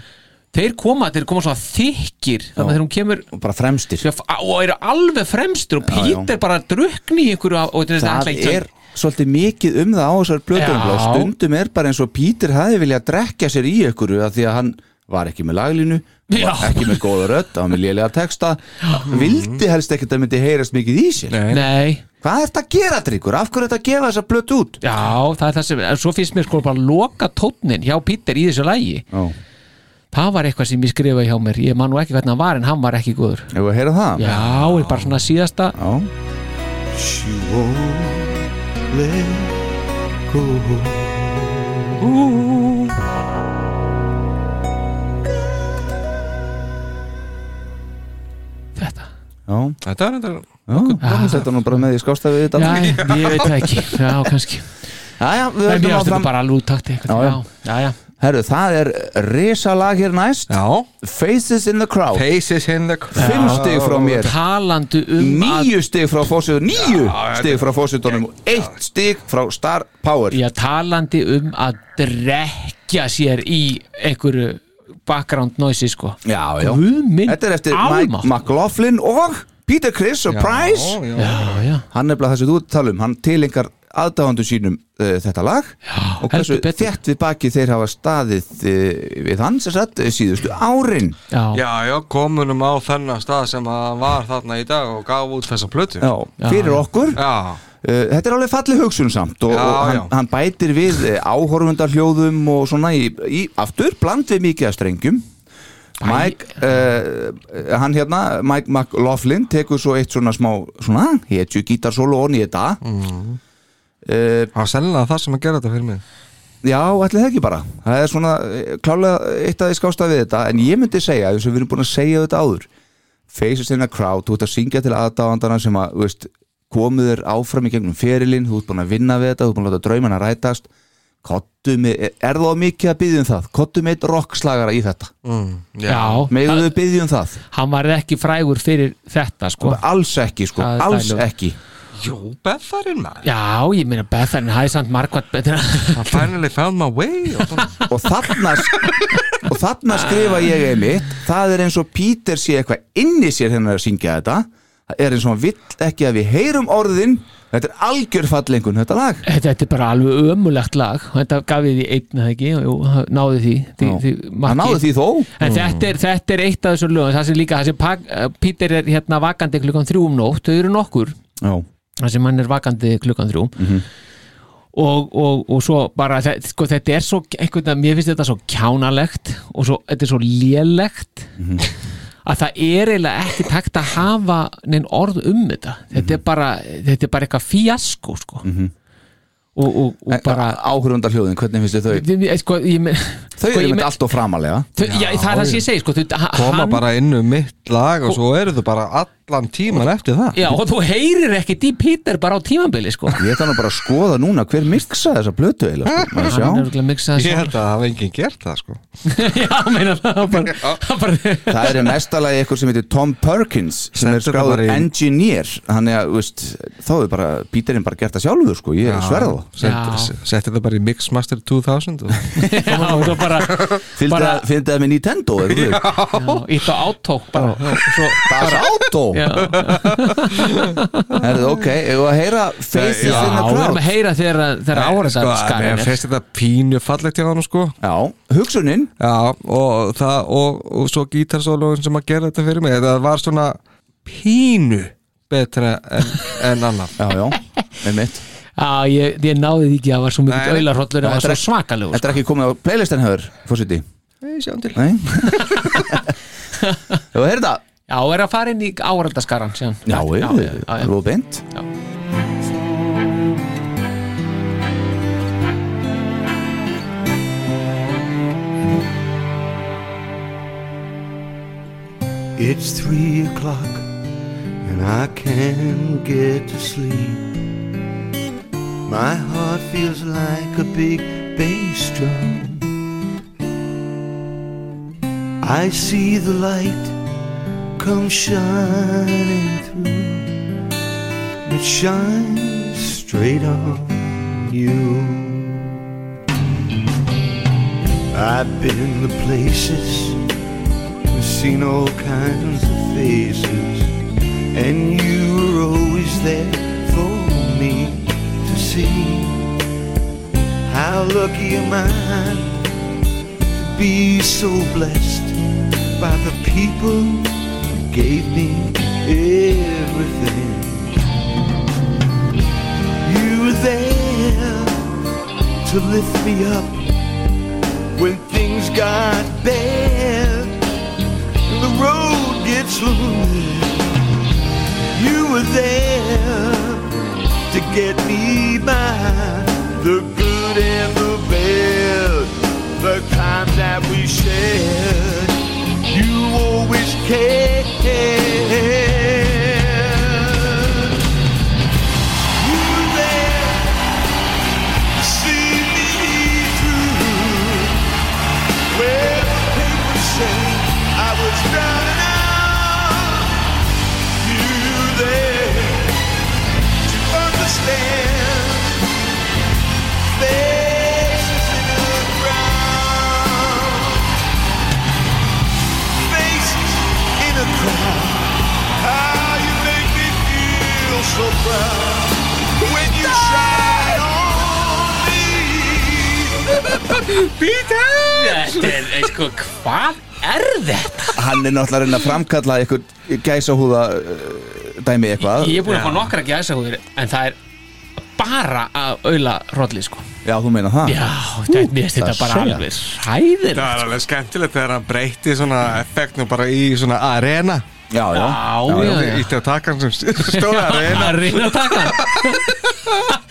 [SPEAKER 4] þeir koma, þeir koma svona þykir þannig að þegar hún kemur
[SPEAKER 3] og bara fremstir
[SPEAKER 4] og eru alveg fremstur og
[SPEAKER 3] Já, já.
[SPEAKER 4] Pítur bara drukni í einhverju af- og þetta
[SPEAKER 3] það
[SPEAKER 4] alltaf ekki-
[SPEAKER 3] er svolítið mikið um það á þessar blöðum
[SPEAKER 4] Já.
[SPEAKER 3] stundum er bara eins og Pítur hafi viljað drekja sér í ykkur að því að hann var ekki með laglínu
[SPEAKER 4] Já.
[SPEAKER 3] var ekki með góða rödd, hann með lélega texta vildi helst ekki að það myndi heyrast mikið í sér
[SPEAKER 4] Nei.
[SPEAKER 3] hvað er þetta að gera, Tryggur? af hverju er þetta að gefa þessa blöð út?
[SPEAKER 4] Já, það er það sem, en svo finnst mér sko bara loka tónnin hjá Pítur í þessu lægi
[SPEAKER 3] Já.
[SPEAKER 4] Það var eitthvað sem ég skrifaði hjá mér Ég man nú ekki hvernig hann var en hann var ekki góður
[SPEAKER 3] Ef við að heyra það?
[SPEAKER 4] Já, er bara svona síðasta
[SPEAKER 3] Já.
[SPEAKER 11] She won't let go.
[SPEAKER 3] Já.
[SPEAKER 5] Þetta er þetta
[SPEAKER 3] Já, þetta er nú bara með í skástafi við þetta
[SPEAKER 4] Já, ég veit það ekki, já, kannski
[SPEAKER 3] Já, já, við
[SPEAKER 4] Nei, mér
[SPEAKER 3] höldum
[SPEAKER 4] finnst
[SPEAKER 3] áfram.
[SPEAKER 4] þetta bara alveg úttakti
[SPEAKER 3] Já, já.
[SPEAKER 4] já, já.
[SPEAKER 3] Herru, það er risalag hér næst
[SPEAKER 5] Já.
[SPEAKER 3] Faces in the crowd
[SPEAKER 5] Faces in the crowd
[SPEAKER 3] Fimm stig frá mér
[SPEAKER 4] Talandi um
[SPEAKER 3] Níu stig frá fósitunum Níu stig frá fósitunum Eitt stig frá Star Power
[SPEAKER 4] Já, talandi um að drekja sér í einhverju background noise sko.
[SPEAKER 3] Já, já
[SPEAKER 4] Guð minn
[SPEAKER 3] Þetta er eftir
[SPEAKER 4] alma.
[SPEAKER 3] Mike McLaughlin og Peter Criss Surprise
[SPEAKER 4] já, já. já.
[SPEAKER 3] Hann er bara það sem þú ert að tala um Hann tilengar aðdáðandu sínum uh, þetta lag já, og hversu þétt við baki þeir hafa staðið uh, við hans satt, síðustu árin
[SPEAKER 5] Já, já, komunum á þennan stað sem að var þarna í dag og gaf út þessa plötu
[SPEAKER 3] Já, fyrir okkur
[SPEAKER 5] Já.
[SPEAKER 3] Uh, Þetta er alveg falli hugsun samt og,
[SPEAKER 5] Já,
[SPEAKER 3] og hann,
[SPEAKER 5] já.
[SPEAKER 3] hann bætir við áhorfundar hljóðum og svona í, í aftur, bland við mikið að strengjum Mike uh, hann hérna, Mike McLaughlin tekur svo eitt svona smá svona, hétju gítarsólu onni í þetta
[SPEAKER 5] Mhm.
[SPEAKER 3] Það
[SPEAKER 5] var sennilega það sem að gera þetta fyrir mig
[SPEAKER 3] Já, ætli það ekki bara Það er svona eh, klálega eitt af því skásta við þetta En ég myndi segja, þess að við erum búin að segja þetta áður Faces in a crowd, þú ert að syngja til aðdáandana sem að, þú veist komu þér áfram í gegnum ferilinn þú ert búin að vinna við þetta, þú ert búin að láta draumana rætast Kottu með, er- er það of mikið að biðja um það? Kottu með eitt rockslagara í þetta
[SPEAKER 5] mm,
[SPEAKER 4] Já.
[SPEAKER 3] Megum við biðja um það?
[SPEAKER 4] Hann var ekki frægur fyrir þetta sko.
[SPEAKER 3] Alls ekki sko,
[SPEAKER 4] Það er
[SPEAKER 3] alls
[SPEAKER 4] dælu.
[SPEAKER 3] ekki
[SPEAKER 5] Jú, Beffarinn maður
[SPEAKER 4] Já, ég meina Bethan hæði samt margvært betra
[SPEAKER 5] I finally found my way og svona.
[SPEAKER 3] og þarna og þarna skrifa ég einmitt það er eins og Pítur sé eitthvað inn í sér hennar að syngja þetta það er eins og hann vill ekki að við heyrum orðin þetta er algjör fallengun þetta lag
[SPEAKER 4] Þetta, þetta er bara alveg ömulegt lag og þetta gaf ég því einn eða ekki Jú, það náði því, því, því
[SPEAKER 3] hann náði því þó
[SPEAKER 4] En þetta, er, þetta er eitt af þessum lögum það sem líka, það sem Pak- eh, Peter er hérna vakandi klukkan þrjú um nótt, þau eru nokkur
[SPEAKER 3] Já.
[SPEAKER 4] það sem hann er vakandi klukkan þrjú
[SPEAKER 5] Mhm.
[SPEAKER 4] og, og, og svo bara þe- sko, þetta er svo, einhvern veginn, mér finnst þetta svo kjánalegt og svo, þetta er svo lélegt
[SPEAKER 5] Mhm.
[SPEAKER 4] að það er eiginlega ekki takt að hafa neinn orð um þetta þetta,
[SPEAKER 5] Mhm.
[SPEAKER 4] er bara, þetta er bara eitthvað fíasko sko. og, og, og bara
[SPEAKER 3] áhörundar hljóðin, hvernig finnst þið þau?
[SPEAKER 4] Ég- sko, ég men,
[SPEAKER 3] þau
[SPEAKER 4] sko,
[SPEAKER 3] eru
[SPEAKER 4] ég
[SPEAKER 3] mynd
[SPEAKER 4] men-
[SPEAKER 3] allt og framalega
[SPEAKER 4] Þau- já, það er það sem ég segi sko, þau-
[SPEAKER 5] Koma
[SPEAKER 4] hann-
[SPEAKER 5] bara inn um mitt lag og svo eru þau bara allan tíman eftir það
[SPEAKER 4] Já, og þú heyrir ekki Deep Peter bara á tímabili sko.
[SPEAKER 3] Ég ætla nú bara að skoða núna hver miksa þessa plötu eiginlega sko.
[SPEAKER 4] Hann
[SPEAKER 3] Maður sjá.
[SPEAKER 4] er örugglega að mixa það
[SPEAKER 5] Ég
[SPEAKER 4] sjálfur.
[SPEAKER 5] held að það hafa enginn gert það sko
[SPEAKER 4] Já, meina það var bara, það bara
[SPEAKER 3] Það er í næsta lagi eitthvað sem heitir Tom Perkins sem
[SPEAKER 5] Stendur
[SPEAKER 3] er
[SPEAKER 5] það
[SPEAKER 3] skráður
[SPEAKER 5] bara í-
[SPEAKER 3] engineer Þannig að, þú veist, þá er bara Píterinn bara gert það sjálfur, sko, ég sverða
[SPEAKER 5] Sett-
[SPEAKER 3] það
[SPEAKER 5] se- Setti það bara í Mixmaster 2000 og...
[SPEAKER 4] Já, það var bara bara-
[SPEAKER 3] Fyndi það með Nintendo, er þú veist
[SPEAKER 4] Ítt á átó bara Svo
[SPEAKER 3] Það er átó
[SPEAKER 4] Já.
[SPEAKER 3] Herðu, ok, ég var að heyra Faces
[SPEAKER 4] Já,
[SPEAKER 3] in the
[SPEAKER 4] við erum
[SPEAKER 3] Crowd
[SPEAKER 4] að heyra þegar þegar
[SPEAKER 5] sko,
[SPEAKER 4] áhverðar
[SPEAKER 5] mér
[SPEAKER 4] skarinn er
[SPEAKER 5] finnst þetta pínu fallegt hjá hann sko
[SPEAKER 3] Já, hugsunin
[SPEAKER 5] Já, og, það, og, og svo gítarsólóin sem að gera þetta fyrir mig það var svona pínu betra en, en annar
[SPEAKER 3] Já, já, með mitt
[SPEAKER 4] Já, ég, ég náði því ekki að það var svo
[SPEAKER 5] Nei,
[SPEAKER 4] mikið
[SPEAKER 5] nei.
[SPEAKER 4] aularhrollur það var svo svakalegur sko.
[SPEAKER 3] Þetta er ekki komið á playlistin höfur, fórsiti
[SPEAKER 5] Nei, sjáum til
[SPEAKER 3] Nei Þú heyrði það?
[SPEAKER 4] Já, er að fara inn í áhverðarskaran síðan
[SPEAKER 3] Já, já,
[SPEAKER 4] já, já, já.
[SPEAKER 3] já Róðbind
[SPEAKER 11] It's three o'clock and I can't get to sleep. My heart feels like a big bass drum. I see the light come shining through. It shines straight on you. I've been the places, seen all kinds of faces, and you were always there for me to see. How lucky am I to be so blessed by the people who gave me everything. You were there to lift me up when things got bad and the road gets lonely. You were there to get me by the good and the bad, the times that we shared. You always cared. You were there to see me through. Where the people say I was down out. You there to understand. Faces in the crowd. Faces in a crowd. How you make me feel so proud when you shine on me.
[SPEAKER 4] Þetta er, sko, hvað er þetta?
[SPEAKER 3] Hann er náttúrulega að reyna að framkalla eitthvað gæsahúða eh, dæmi eitthvað
[SPEAKER 4] Ég er búin að fá nokkra gæsahúðir en það er bara að aularhrolli sko
[SPEAKER 3] Já, þú meina það
[SPEAKER 4] Já, þetta er mér finnst þetta bara alveg hæðir
[SPEAKER 5] Það er alveg skemmtilegt þegar hann breyti svona effektnum bara í svona arena
[SPEAKER 3] Já, já
[SPEAKER 4] Já, já, já.
[SPEAKER 5] Ítti að taka hann sem stóra arena
[SPEAKER 4] Arena taka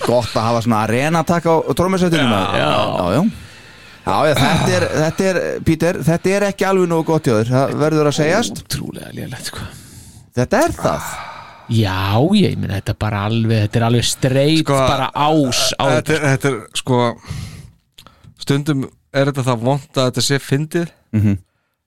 [SPEAKER 3] Gott að hafa svona arena-takk á trómmersveitinu Já, já, já Já, já, þetta er, þetta er, Pítur, þetta er ekki alveg nógu gott í öður, það verður að segjast
[SPEAKER 4] Trúlega lélegt sko
[SPEAKER 3] Þetta er það
[SPEAKER 4] Já, ég meina þetta er bara alveg Þetta er alveg streit
[SPEAKER 5] Sko,
[SPEAKER 4] bara ás á
[SPEAKER 5] þetta, er- þetta er sko Stundum er þetta það vond að þetta sé fyndið
[SPEAKER 3] Mhm.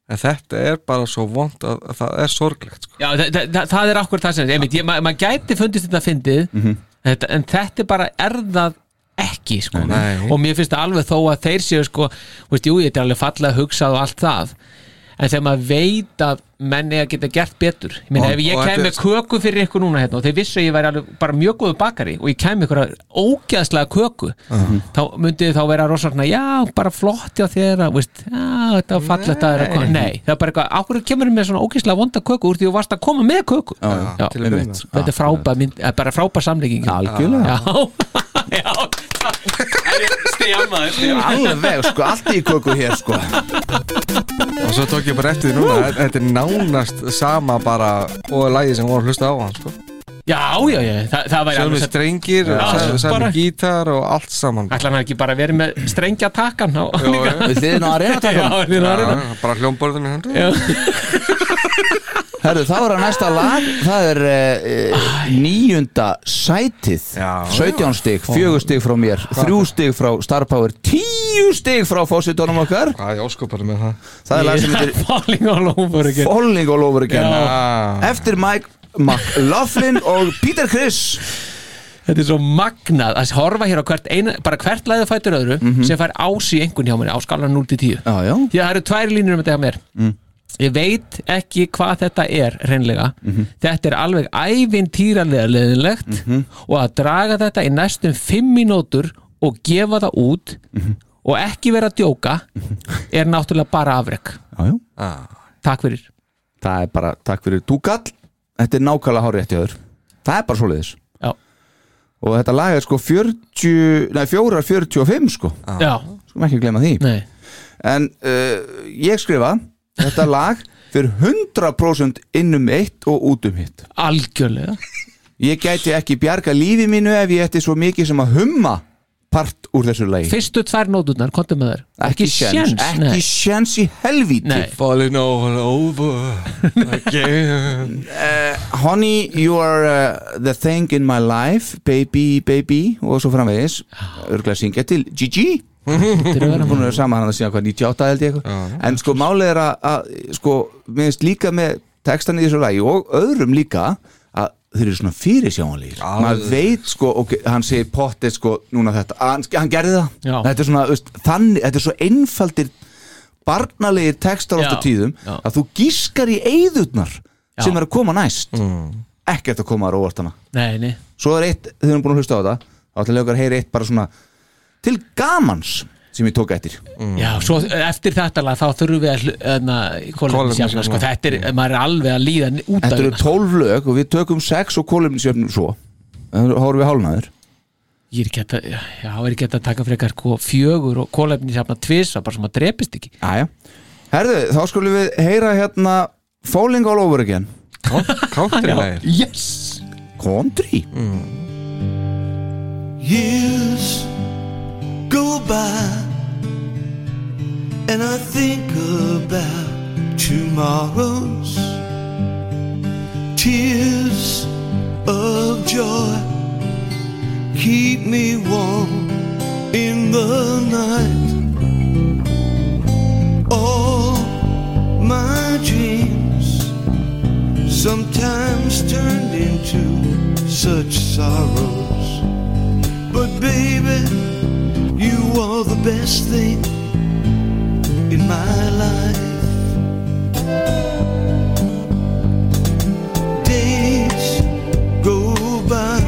[SPEAKER 5] En þetta er bara svo vond að, að það er sorglegt sko.
[SPEAKER 4] Já, það, það, það er akkur það sem einmitt, ég, ma maður gæti fundist þetta fyndið
[SPEAKER 5] Mhm.
[SPEAKER 4] þetta, en þetta er bara erðað ekki sko.
[SPEAKER 5] Nei.
[SPEAKER 4] og mér finnst það alveg þó að þeir séu sko, þú veist, jú, þetta er alveg falla hugsað og allt það en þegar maður veit að menn er að geta gert betur ég meina,
[SPEAKER 5] Og-
[SPEAKER 4] ef ég
[SPEAKER 5] og
[SPEAKER 4] kæmi
[SPEAKER 5] þetta
[SPEAKER 4] með
[SPEAKER 5] er-
[SPEAKER 4] köku fyrir ykkur núna hérna, og þeir vissu að ég væri alveg bara mjög góðu bakari og ég kæmi ykkur ógæðslega köku
[SPEAKER 5] Uh-huh.
[SPEAKER 4] þá myndið þá vera rosalega já, bara flott hjá þér að, veist, já, þetta var fallegt að þeirra koma nei, það er bara eitthvað, ákveður kemur með svona ógæslega vonda köku úr því þú varst að koma með köku já, já,
[SPEAKER 5] til að byrja með.
[SPEAKER 4] þetta er frábær mynd, eh, bara frábær samlíking
[SPEAKER 3] Algjörlega
[SPEAKER 4] já, já stjálmaður,
[SPEAKER 3] Alveg, sko, allt í köku hér, sko
[SPEAKER 5] Og svo tók ég bara eftir því núna Þetta er nánast sama bara Og lagið sem voru að hlusta á hann sko.
[SPEAKER 4] já, já, já, það, það væri
[SPEAKER 5] Sjöfum
[SPEAKER 4] alveg
[SPEAKER 5] við
[SPEAKER 4] satt
[SPEAKER 5] strengir
[SPEAKER 4] Já,
[SPEAKER 5] og
[SPEAKER 4] bara-
[SPEAKER 5] Sjöfum gítar og allt saman
[SPEAKER 4] ætla hann hafi ekki bara verið með strengja takan á,
[SPEAKER 5] Jó, jó.
[SPEAKER 3] Við þið ná arena-takkan
[SPEAKER 4] já, já, já,
[SPEAKER 5] Já, Bara hljómborðinu hendur
[SPEAKER 4] já.
[SPEAKER 3] Herru, þá er að næsta lag Það er uh, níunda sætið 17 stig, 4 stig frá mér 3 stig frá Star Power 10 stig frá fósitónum okkar
[SPEAKER 5] Hvað er óskoparið með það?
[SPEAKER 3] Það er lag sem heitir
[SPEAKER 4] Falling all over again
[SPEAKER 3] Falling all over again Ah.
[SPEAKER 4] Já.
[SPEAKER 3] Eftir Mike McLaughlin og Peter Criss
[SPEAKER 4] Þetta er svo magnað að horfa hér á hvert eina, bara hvert læðu fætur öðru
[SPEAKER 3] Mhm.
[SPEAKER 4] sem fær ás í einhvern hjá mér á skalan 0 til 10
[SPEAKER 3] já, já.
[SPEAKER 4] því að það eru tvær línur um þetta hjá mér
[SPEAKER 3] Mm.
[SPEAKER 4] ég veit ekki hvað þetta er reynlega,
[SPEAKER 3] Mhm.
[SPEAKER 4] þetta er alveg ævintýralega leðinlegt og að draga þetta í næstum 5 mínútur og gefa það út
[SPEAKER 3] Mhm.
[SPEAKER 4] og ekki vera að djóka er náttúrulega bara afrek
[SPEAKER 3] já, já.
[SPEAKER 4] Takk fyrir
[SPEAKER 3] Það er bara, takk fyrir túkall Þetta er nákvæmlega hár rétt í öður Það er bara svoleiðis
[SPEAKER 4] Já.
[SPEAKER 3] Og þetta lag er sko 40 Nei, 4.45 sko
[SPEAKER 4] Já.
[SPEAKER 3] Skum ekki glemma því
[SPEAKER 4] Ah. Nei.
[SPEAKER 3] En uh, ég skrifa Þetta lag fyrir 100% innum eitt og út um hitt
[SPEAKER 4] Algjörlega
[SPEAKER 3] Ég gæti ekki bjarga lífi mínu ef ég ætti svo mikið sem að humma part úr þessu lagi
[SPEAKER 4] fyrstu tvær nóturnar, komdu með þær
[SPEAKER 3] Ekki séns, ekki sjens í helvíti
[SPEAKER 4] Nei.
[SPEAKER 5] Falling all over again
[SPEAKER 3] uh, Honey, you are uh, the thing in my life Baby, baby Og svo framvegis Örglega syngja til Gigi
[SPEAKER 4] Mm.
[SPEAKER 3] Hún er saman hann að síðan hvað 98 held ég eitthvað En sko málið er að, að sko, minnst líka með textan í þessu lagi og öðrum líka að þeir eru svona fyrirsjáanlegir maður veit sko, ok, hann segir pottið sko, núna þetta, hann, hann gerði það
[SPEAKER 4] Já.
[SPEAKER 3] þetta er svona, veist, þannig, þetta er svo einfaldir barnalegir textar
[SPEAKER 4] Já.
[SPEAKER 3] ofta tíðum
[SPEAKER 4] Já.
[SPEAKER 3] að þú gískar í eyðurnar sem er að koma næst
[SPEAKER 4] Mm.
[SPEAKER 3] ekkert að koma að róvartana
[SPEAKER 4] Nei, nei
[SPEAKER 3] svo er eitt, þið erum búin að hlusta á þetta þá ætlaði okkar að heyra eitt bara svona til gamans sem ég tók eftir
[SPEAKER 4] Já, svo eftir þetta lag þá þurfum við að hlu- hérna, kolefnisjafna, sko, þetta er, maður er alveg að líða n- út af
[SPEAKER 3] Þetta eru
[SPEAKER 4] hérna.
[SPEAKER 3] tólf lög og við tökum sex og kólumsjöfnum svo Það eru- þá erum við hálnaður
[SPEAKER 4] Ég er ekki hægt að, já, er ekki hægt að taka frekar ko- fjögur og kolefnisjafna tvisa, bara sem að drepist ekki
[SPEAKER 3] Æja. Herðu, þá skulum við heyra hérna Falling All Over Again
[SPEAKER 5] Country
[SPEAKER 4] lagið. Yes
[SPEAKER 3] Country
[SPEAKER 11] Years go by, and I think about tomorrows. Tears of joy keep me warm in the night. All my dreams sometimes turned into such sorrows. But baby, you are the best thing in my life. Days go by,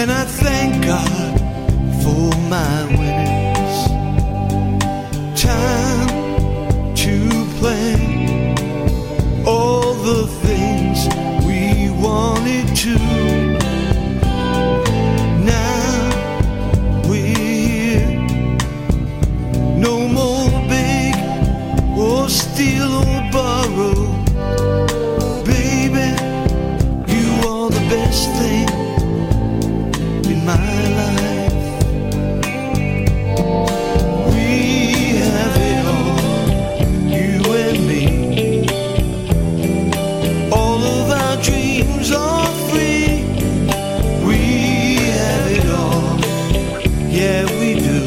[SPEAKER 11] and I thank God for my winnings. Time to plan all the things we wanted to. Now we're here. No more big or steal or borrow. Baby, you are the best thing in my life. We have it all, you and me. All of our dreams are free. We have it all, yeah we do.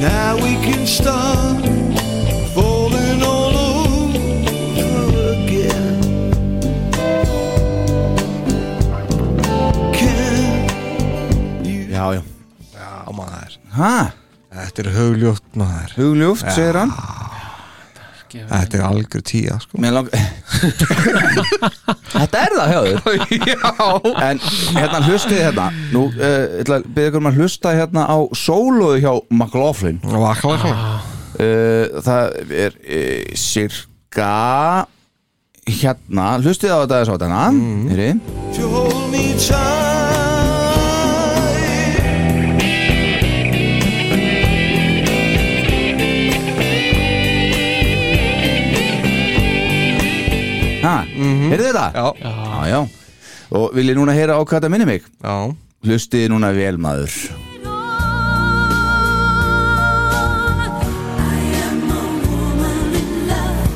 [SPEAKER 11] Now we can start falling all over again.
[SPEAKER 3] Já, já
[SPEAKER 5] Já maður
[SPEAKER 3] Ha?
[SPEAKER 5] Þetta er hugljótt maður
[SPEAKER 3] Hugljótt, segir hann
[SPEAKER 5] Þetta er algjör tíja sko
[SPEAKER 3] Mér lang... Þetta er það hjáður Já En hérna hlustið hérna Nú, uh, ætla að byrja ykkur um að hlusta hérna á sólóðu hjá McLaughlin
[SPEAKER 5] Vaklega
[SPEAKER 4] Ah.
[SPEAKER 3] uh, Það er uh, sirka Hérna, hlustið á þetta þess á þetta mm. Heyri
[SPEAKER 11] You hold me tight.
[SPEAKER 3] Ha,
[SPEAKER 11] Mhm.
[SPEAKER 3] heyrðu þetta?
[SPEAKER 5] Já.
[SPEAKER 3] já, já Og vil ég núna heyra á hvað þetta minni mig?
[SPEAKER 5] Já
[SPEAKER 3] Hlustiði núna vel maður
[SPEAKER 2] I am a woman in love.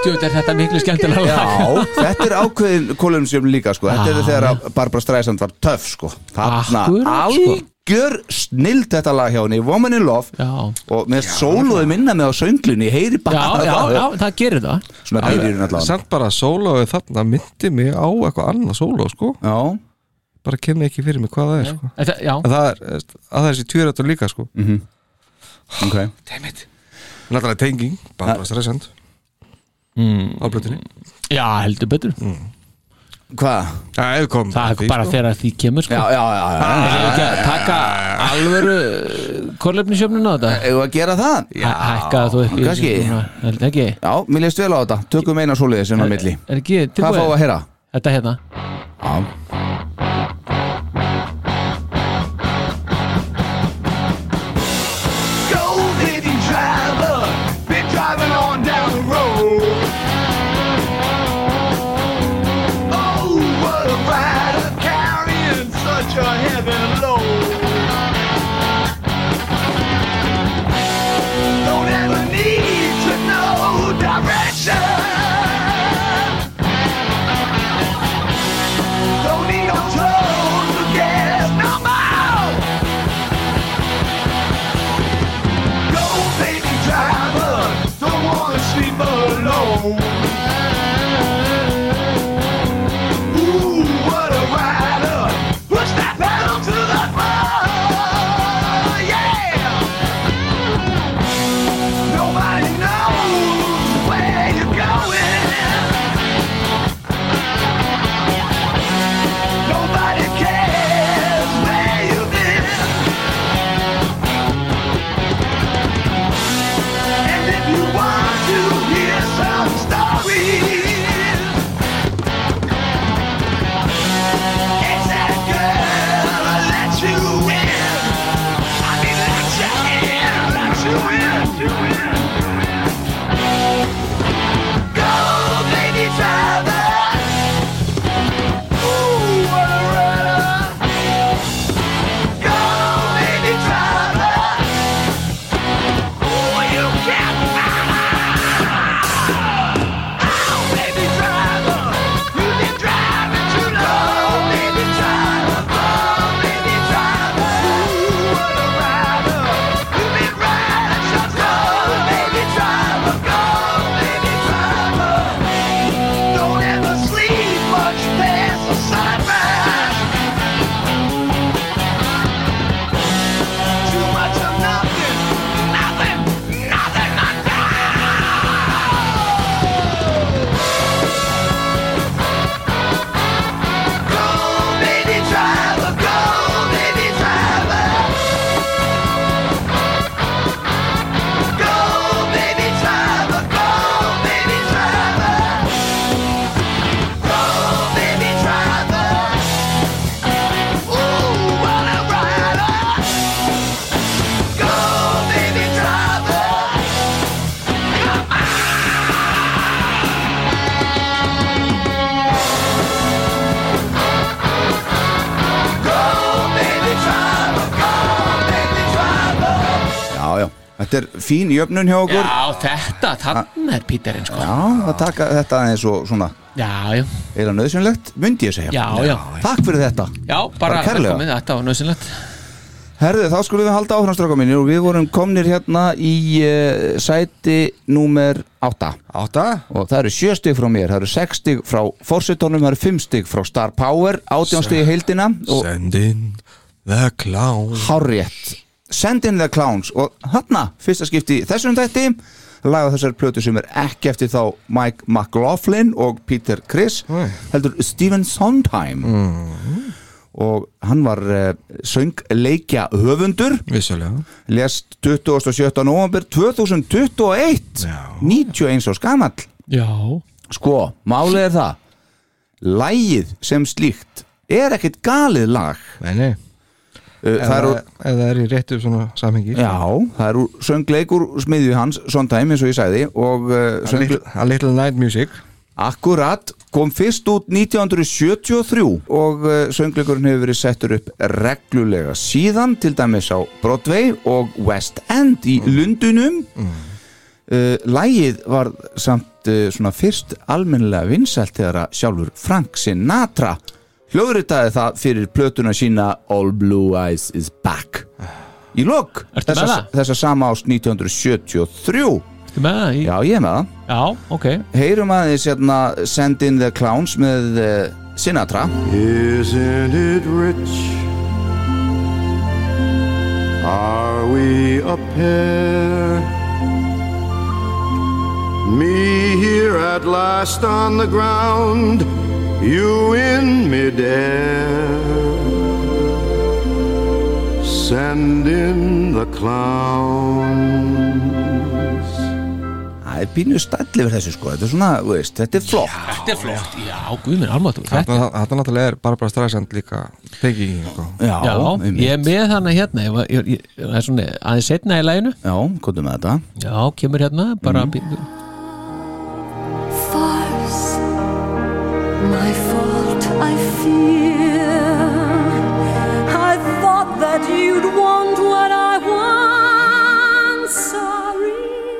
[SPEAKER 4] Djóð, er þetta miklu skemmtilega
[SPEAKER 3] sko- Já,
[SPEAKER 4] lag
[SPEAKER 3] þetta er ákveðin kolumnsjöfn líka sko. Þetta er
[SPEAKER 4] Ah.
[SPEAKER 3] þegar að Barbara Streisand var töff sko. Þarna
[SPEAKER 4] Akkurat, sko.
[SPEAKER 3] algjör snild þetta lag hjá henni Woman in Love já. og með sóluðu minna með á sönglunni heyri bara
[SPEAKER 4] Já, já, já, það gerir það
[SPEAKER 3] Svona byrjun allavega.
[SPEAKER 5] Samt bara sólóið þarna myndi mig á eitthvað annað sóló sko
[SPEAKER 3] Já
[SPEAKER 5] Bara kynna ekki fyrir mig hvað það er
[SPEAKER 4] Nei.
[SPEAKER 5] sko
[SPEAKER 4] Þetta- já.
[SPEAKER 5] En það er, eh, að það er þessi tvírættur líka sko mm
[SPEAKER 3] -hmm. Ok
[SPEAKER 5] Dammit Náttúrulega tenging, bara stressand mm. Á blötunni
[SPEAKER 4] Já, heldur betur
[SPEAKER 3] Mm, Hvað?
[SPEAKER 5] Það er komið
[SPEAKER 4] Það er bara þegar því kemur sko.
[SPEAKER 3] Já, já, já, já,
[SPEAKER 4] Það er ekki að taka alvöru kolefnisjöfnun á þetta
[SPEAKER 3] Eða að gera það?
[SPEAKER 4] Já, hækkaði þú upp í
[SPEAKER 3] kannski.
[SPEAKER 4] Held ekki
[SPEAKER 3] Já, mér leist vel á þetta Tökum eina sóluðu sinna á milli
[SPEAKER 4] Er ekki tilbúið?
[SPEAKER 3] Hvað fáum við að heyra?
[SPEAKER 4] Þetta hérna
[SPEAKER 3] Já
[SPEAKER 12] Go, baby driver, be driving on down the road. Oh, what a rider carrying such a heavy load. Don't ever need to know direction. Don't need no toes to guess no more. Go, baby driver, don't wanna sleep alone. Ooh, what a rider! Push that pedal to the floor, yeah. Nobody knows where you're going. Nobody cares where you've been. And if you want to hear some stories, it's that girl that let you in. I mean, let you in, let you in, Go, baby, driver. Ooh, what a rider. Go, baby, driver. Ooh, you can't Don't ever sleep much past the sunrise. Too much of nothing, nothing, nothing, nothing. Go, baby driver, go, baby driver. Go, baby driver, go, baby driver. Go, baby driver. Ooh, what a rider. Go, baby driver. Come on. Go, baby driver. Go, baby driver.
[SPEAKER 3] Já, já, þetta er fín jöfnun hjá okkur
[SPEAKER 4] Já, þetta, þannig er Píterinn sko
[SPEAKER 3] Já, að taka þetta aðeins og svona
[SPEAKER 4] Já, já
[SPEAKER 3] Er það nöðsynlegt? Myndi ég segja
[SPEAKER 4] Já, já.
[SPEAKER 3] Takk fyrir þetta
[SPEAKER 4] Já, bara,
[SPEAKER 3] Bara kærlega.
[SPEAKER 4] velkomin, þetta var nöðsynlegt
[SPEAKER 3] Herðu, þá skulum við halda áfram stráka mínir og við vorum komnir hérna í uh, sæti númer 8
[SPEAKER 5] 8?
[SPEAKER 3] Og það eru 7 stig frá mér, það eru 6 stig frá Forsetónum, það eru 5 stig frá Star Power 18 stig í heildina og
[SPEAKER 5] Send in the clown
[SPEAKER 3] Hárrétt Send in the clowns og hérna, fyrsta skipti í þessum þætti laga þessar plötu sem er ekki eftir þá Mike McLaughlin og Peter Criss heldur Stephen Sondheim og hann var uh, söngleikja höfundur
[SPEAKER 5] Vissulega
[SPEAKER 3] lest 27. november 2021 91 árs gamall
[SPEAKER 4] Já
[SPEAKER 3] sko, málið er það lægið sem slíkt er ekkert galið lag
[SPEAKER 5] Nei, nei
[SPEAKER 3] Uh, það
[SPEAKER 5] Ef
[SPEAKER 3] eru
[SPEAKER 5] það er í réttu svona samhengi
[SPEAKER 3] Já, það eru söngleikur smiðju hans, Sondheim eins og ég sagði og uh, söngleikur
[SPEAKER 5] A Little Night Music
[SPEAKER 3] Akkurat, kom fyrst út 1973 og uh, söngleikurinn hefur verið settur upp reglulega síðan, til dæmis á Broadway
[SPEAKER 4] Mm.
[SPEAKER 3] og West End í Lundunum mm. Lægið Eh, var samt einmitt uh, svona fyrst almennilega vinsælt þegar að sjálfur Frank Sinatra hljóðritaði það fyrir plötuna sína All Blue Eyes is Back í lok
[SPEAKER 4] Ertu með það?
[SPEAKER 3] þessa sama ást 1973
[SPEAKER 4] Ertu með það? Í...
[SPEAKER 3] Já, ég er með það
[SPEAKER 4] Já, ok
[SPEAKER 3] Heyrum aðeins hérna Send in the Clowns með uh, Sinatra
[SPEAKER 13] Isn't it rich? Are we a pair? Me here at last on the ground, you in midair. Send in the clowns.
[SPEAKER 3] Það er pínu stall yfir þessu sko Þetta er svona, þú veist, þetta er flott
[SPEAKER 4] Þetta er flott, já, guðminn, almatur
[SPEAKER 5] Þetta þetta náttúrulega er Barbara Streisand líka Peggy sko.
[SPEAKER 4] Já, ég er með hana hérna ég, var- ég, ég, það er svona aðeins setna í læginu
[SPEAKER 3] Já, komdu með þetta
[SPEAKER 4] Já, kemur hérna, bara mm.
[SPEAKER 14] farce. My fault, I fear. I thought that you'd want what I want. Sorry,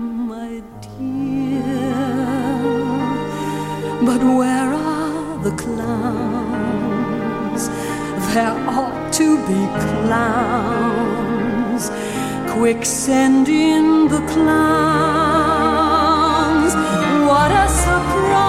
[SPEAKER 14] my dear. But where are the clowns? There ought to be clowns. Quick, send in the clowns. What a surprise!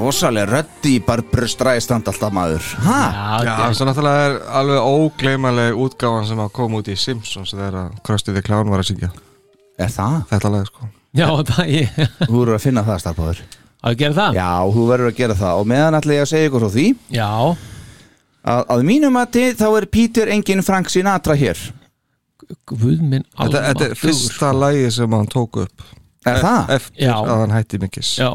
[SPEAKER 3] Rosalega rödd í Barbra Streisand alltaf maður Ha?
[SPEAKER 5] Já, svo náttúrulega er alveg ógleymanleg útgáfan sem að koma út í Simpsons þegar að Krusty the Clown var að syngja
[SPEAKER 3] Er það?
[SPEAKER 5] Þetta lag sko
[SPEAKER 4] Já, það ég
[SPEAKER 3] Þú verður að finna það starfbáður
[SPEAKER 4] Að gera það?
[SPEAKER 3] Já, þú verður að gera það og meðan ætla ég að segja ykkur svo því
[SPEAKER 4] Já
[SPEAKER 3] Að, að mínum mati þá er Pítur engin Frank Sinatra hér
[SPEAKER 4] Guðminn
[SPEAKER 5] Þetta, þetta er fyrsta lagi sem hann tók upp
[SPEAKER 3] Er það?
[SPEAKER 5] Eftir að hann hætti mikis
[SPEAKER 4] Já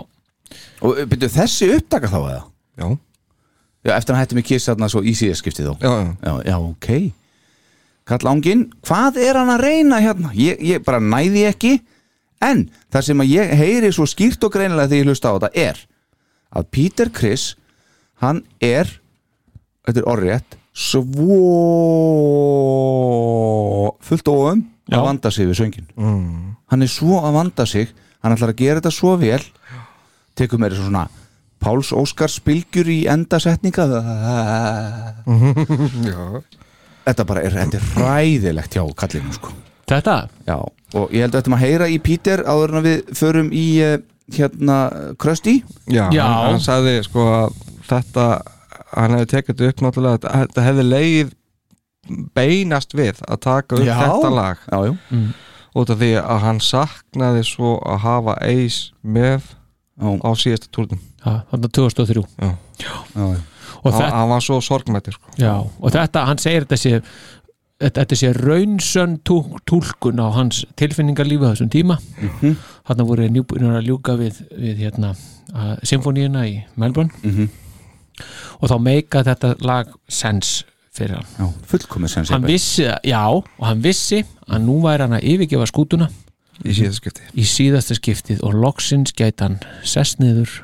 [SPEAKER 3] Og eh, byrju þessi upptaka þá eða?
[SPEAKER 5] Já
[SPEAKER 3] Já, eftir að hann hætti mig kiss þarna svo í síðar skiptið þó
[SPEAKER 5] Já, já,
[SPEAKER 3] já, já ok Kall ánginn, hvað er hann að reyna hérna? Ég, ég bara næði ekki En það sem að ég heyri svo skýrt og greinilega þegar ég hlusta á þetta er að Peter Criss hann er þetta er orðrétt svo fullt óum að vanda sig við söngin
[SPEAKER 5] mm.
[SPEAKER 3] hann er svo að vanda sig hann ætlar að gera þetta svo vel tekur meira svona Páls Óskars spilgjur í endasetninga þetta bara er, þetta er ræðilegt hjá kallinu sko
[SPEAKER 4] Þetta?
[SPEAKER 3] Já, og ég held að þetta maður heyra í Píter áður en við förum í eh, hérna Krösti
[SPEAKER 5] já, Hann, hann sagði sko að þetta hann hefði tekið þetta upp náttúrulega þetta- þetta hefði leið beinast við að taka upp
[SPEAKER 3] Já.
[SPEAKER 5] þetta lag
[SPEAKER 3] já, já.
[SPEAKER 4] Mm.
[SPEAKER 5] út af því að hann saknaði svo að hafa eis með á síðasta túrnum
[SPEAKER 4] Þannig 2003
[SPEAKER 5] Já.
[SPEAKER 3] Já, já.
[SPEAKER 4] Og
[SPEAKER 5] Hann-
[SPEAKER 4] þetta-
[SPEAKER 5] hann var svo sorgmættir sko.
[SPEAKER 4] Já, og þetta, hann segir þetta sé þetta, þetta sé raunsönn tú- túlkun á hans tilfinningarlífi á þessum tíma mm
[SPEAKER 5] Mhm.
[SPEAKER 4] -hmm. hann voru nýbúinur að ljúka við, við hérna, að, symfóníuna í Melbourne
[SPEAKER 3] Mhm.
[SPEAKER 4] og þá meika þetta lag sens fyrir hann
[SPEAKER 3] já, fullkomið sens
[SPEAKER 4] hann vissi, það- já, og hann vissi að nú væri hann að yfirgefa skútuna
[SPEAKER 5] í síðasta skipti
[SPEAKER 4] í síðasta skiptið og loksins gæti hann sessniður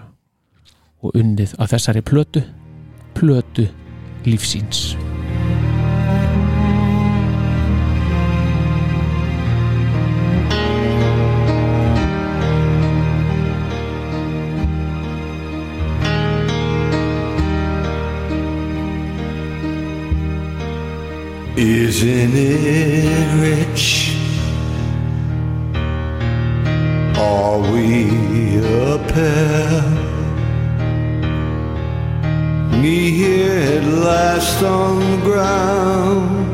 [SPEAKER 4] og unnið að þessari plötu plötu lífsíns
[SPEAKER 7] Isn't it rich? Are we a pair? Me here at last on the ground,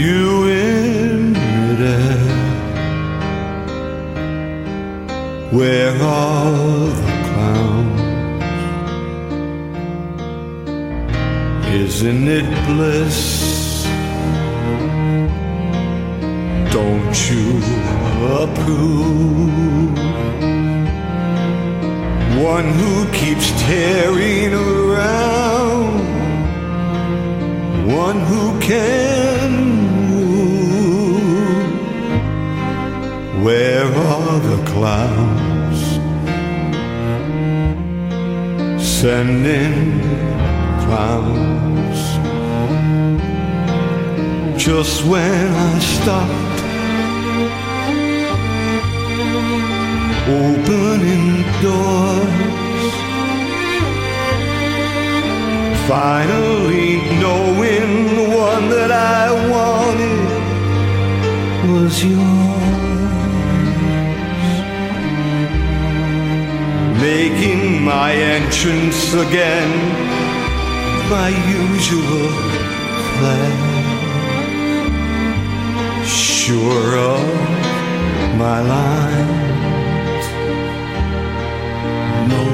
[SPEAKER 7] you in midair. Where are the clowns? Isn't it bliss? Don't you approve? One who keeps tearing around, one who can move. Where are the clowns? Sending clowns. Just when I stopped opening doors. Finally, knowing the one that I wanted was yours. Making my entrance again, my usual plan. Sure of my line. No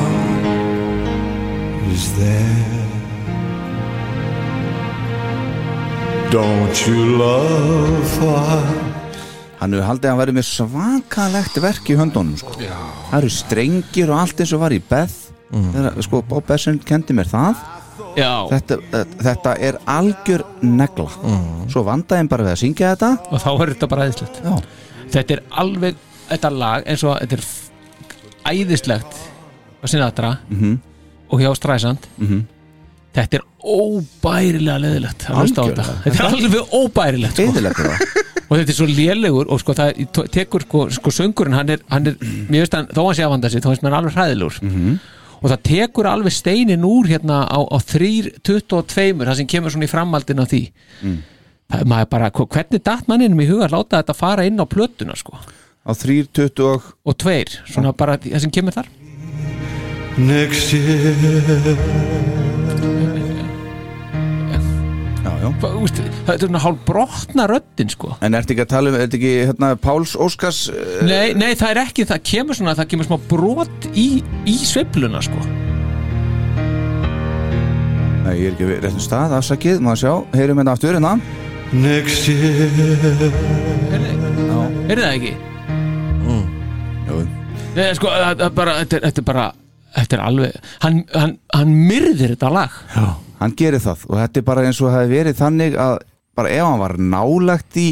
[SPEAKER 7] one is there. Don't you love us?
[SPEAKER 3] Hann hefur haldið að hann væri með svakalegt verk í höndunum sko. Það eru strengir og allt eins og var í Beth Þegar, sko, Bob Bessund kendi mér það
[SPEAKER 4] Já.
[SPEAKER 3] þetta, þetta er algjör negla Svo vandaðin bara við að syngja þetta
[SPEAKER 4] og þá er þetta bara æðislegt
[SPEAKER 3] Mm. Já. sko.
[SPEAKER 4] þetta er alveg, þetta lag eins og þetta er f- æðislegt á Sinatra
[SPEAKER 3] Mhm.
[SPEAKER 4] og hjá Stræsand
[SPEAKER 3] Mhm.
[SPEAKER 4] þetta er óbærilega leðilegt að hlusta á þetta
[SPEAKER 3] Algjörlega.
[SPEAKER 4] þetta er alveg óbærilegt sko. og þetta er svo lélegur og sko það í- tekur sko, sko söngurinn hann er, hann er mér veist hann, þó hann sé að vanda sig þá finnst mér hann alveg hræðilegur og það tekur alveg steinin úr hérna á, á 3.22 það sem kemur svona í framhaldin á því það, maður bara, hva- hvernig datt manninum í huga að láta þetta fara inn á plötuna sko
[SPEAKER 3] á 3.20 og
[SPEAKER 4] og tveir, svona bara það sem kemur þar
[SPEAKER 7] Next year
[SPEAKER 3] Já, já
[SPEAKER 4] Hva, úst, það er svona hálf brotna röddin sko
[SPEAKER 3] En ertu ekki að tala um, ertu ekki hérna, Páls Óskars uh,
[SPEAKER 4] nei, nei, það er ekki, það kemur svona það kemur smá brot í, í sveifluna sko
[SPEAKER 3] Nei, ég er ekki við réttum stað, afsakið, maður sjá Heyrum hérna aftur hérna
[SPEAKER 7] Next year
[SPEAKER 4] er það ekki?
[SPEAKER 3] Jú.
[SPEAKER 4] Nei, sko, það, það bara, þetta, er- þetta er bara þetta er alveg, hann, hann, hann myrðir þetta lag
[SPEAKER 3] Já, hann gerir það og þetta er bara eins og það hefði verið þannig að bara ef hann var nálagt í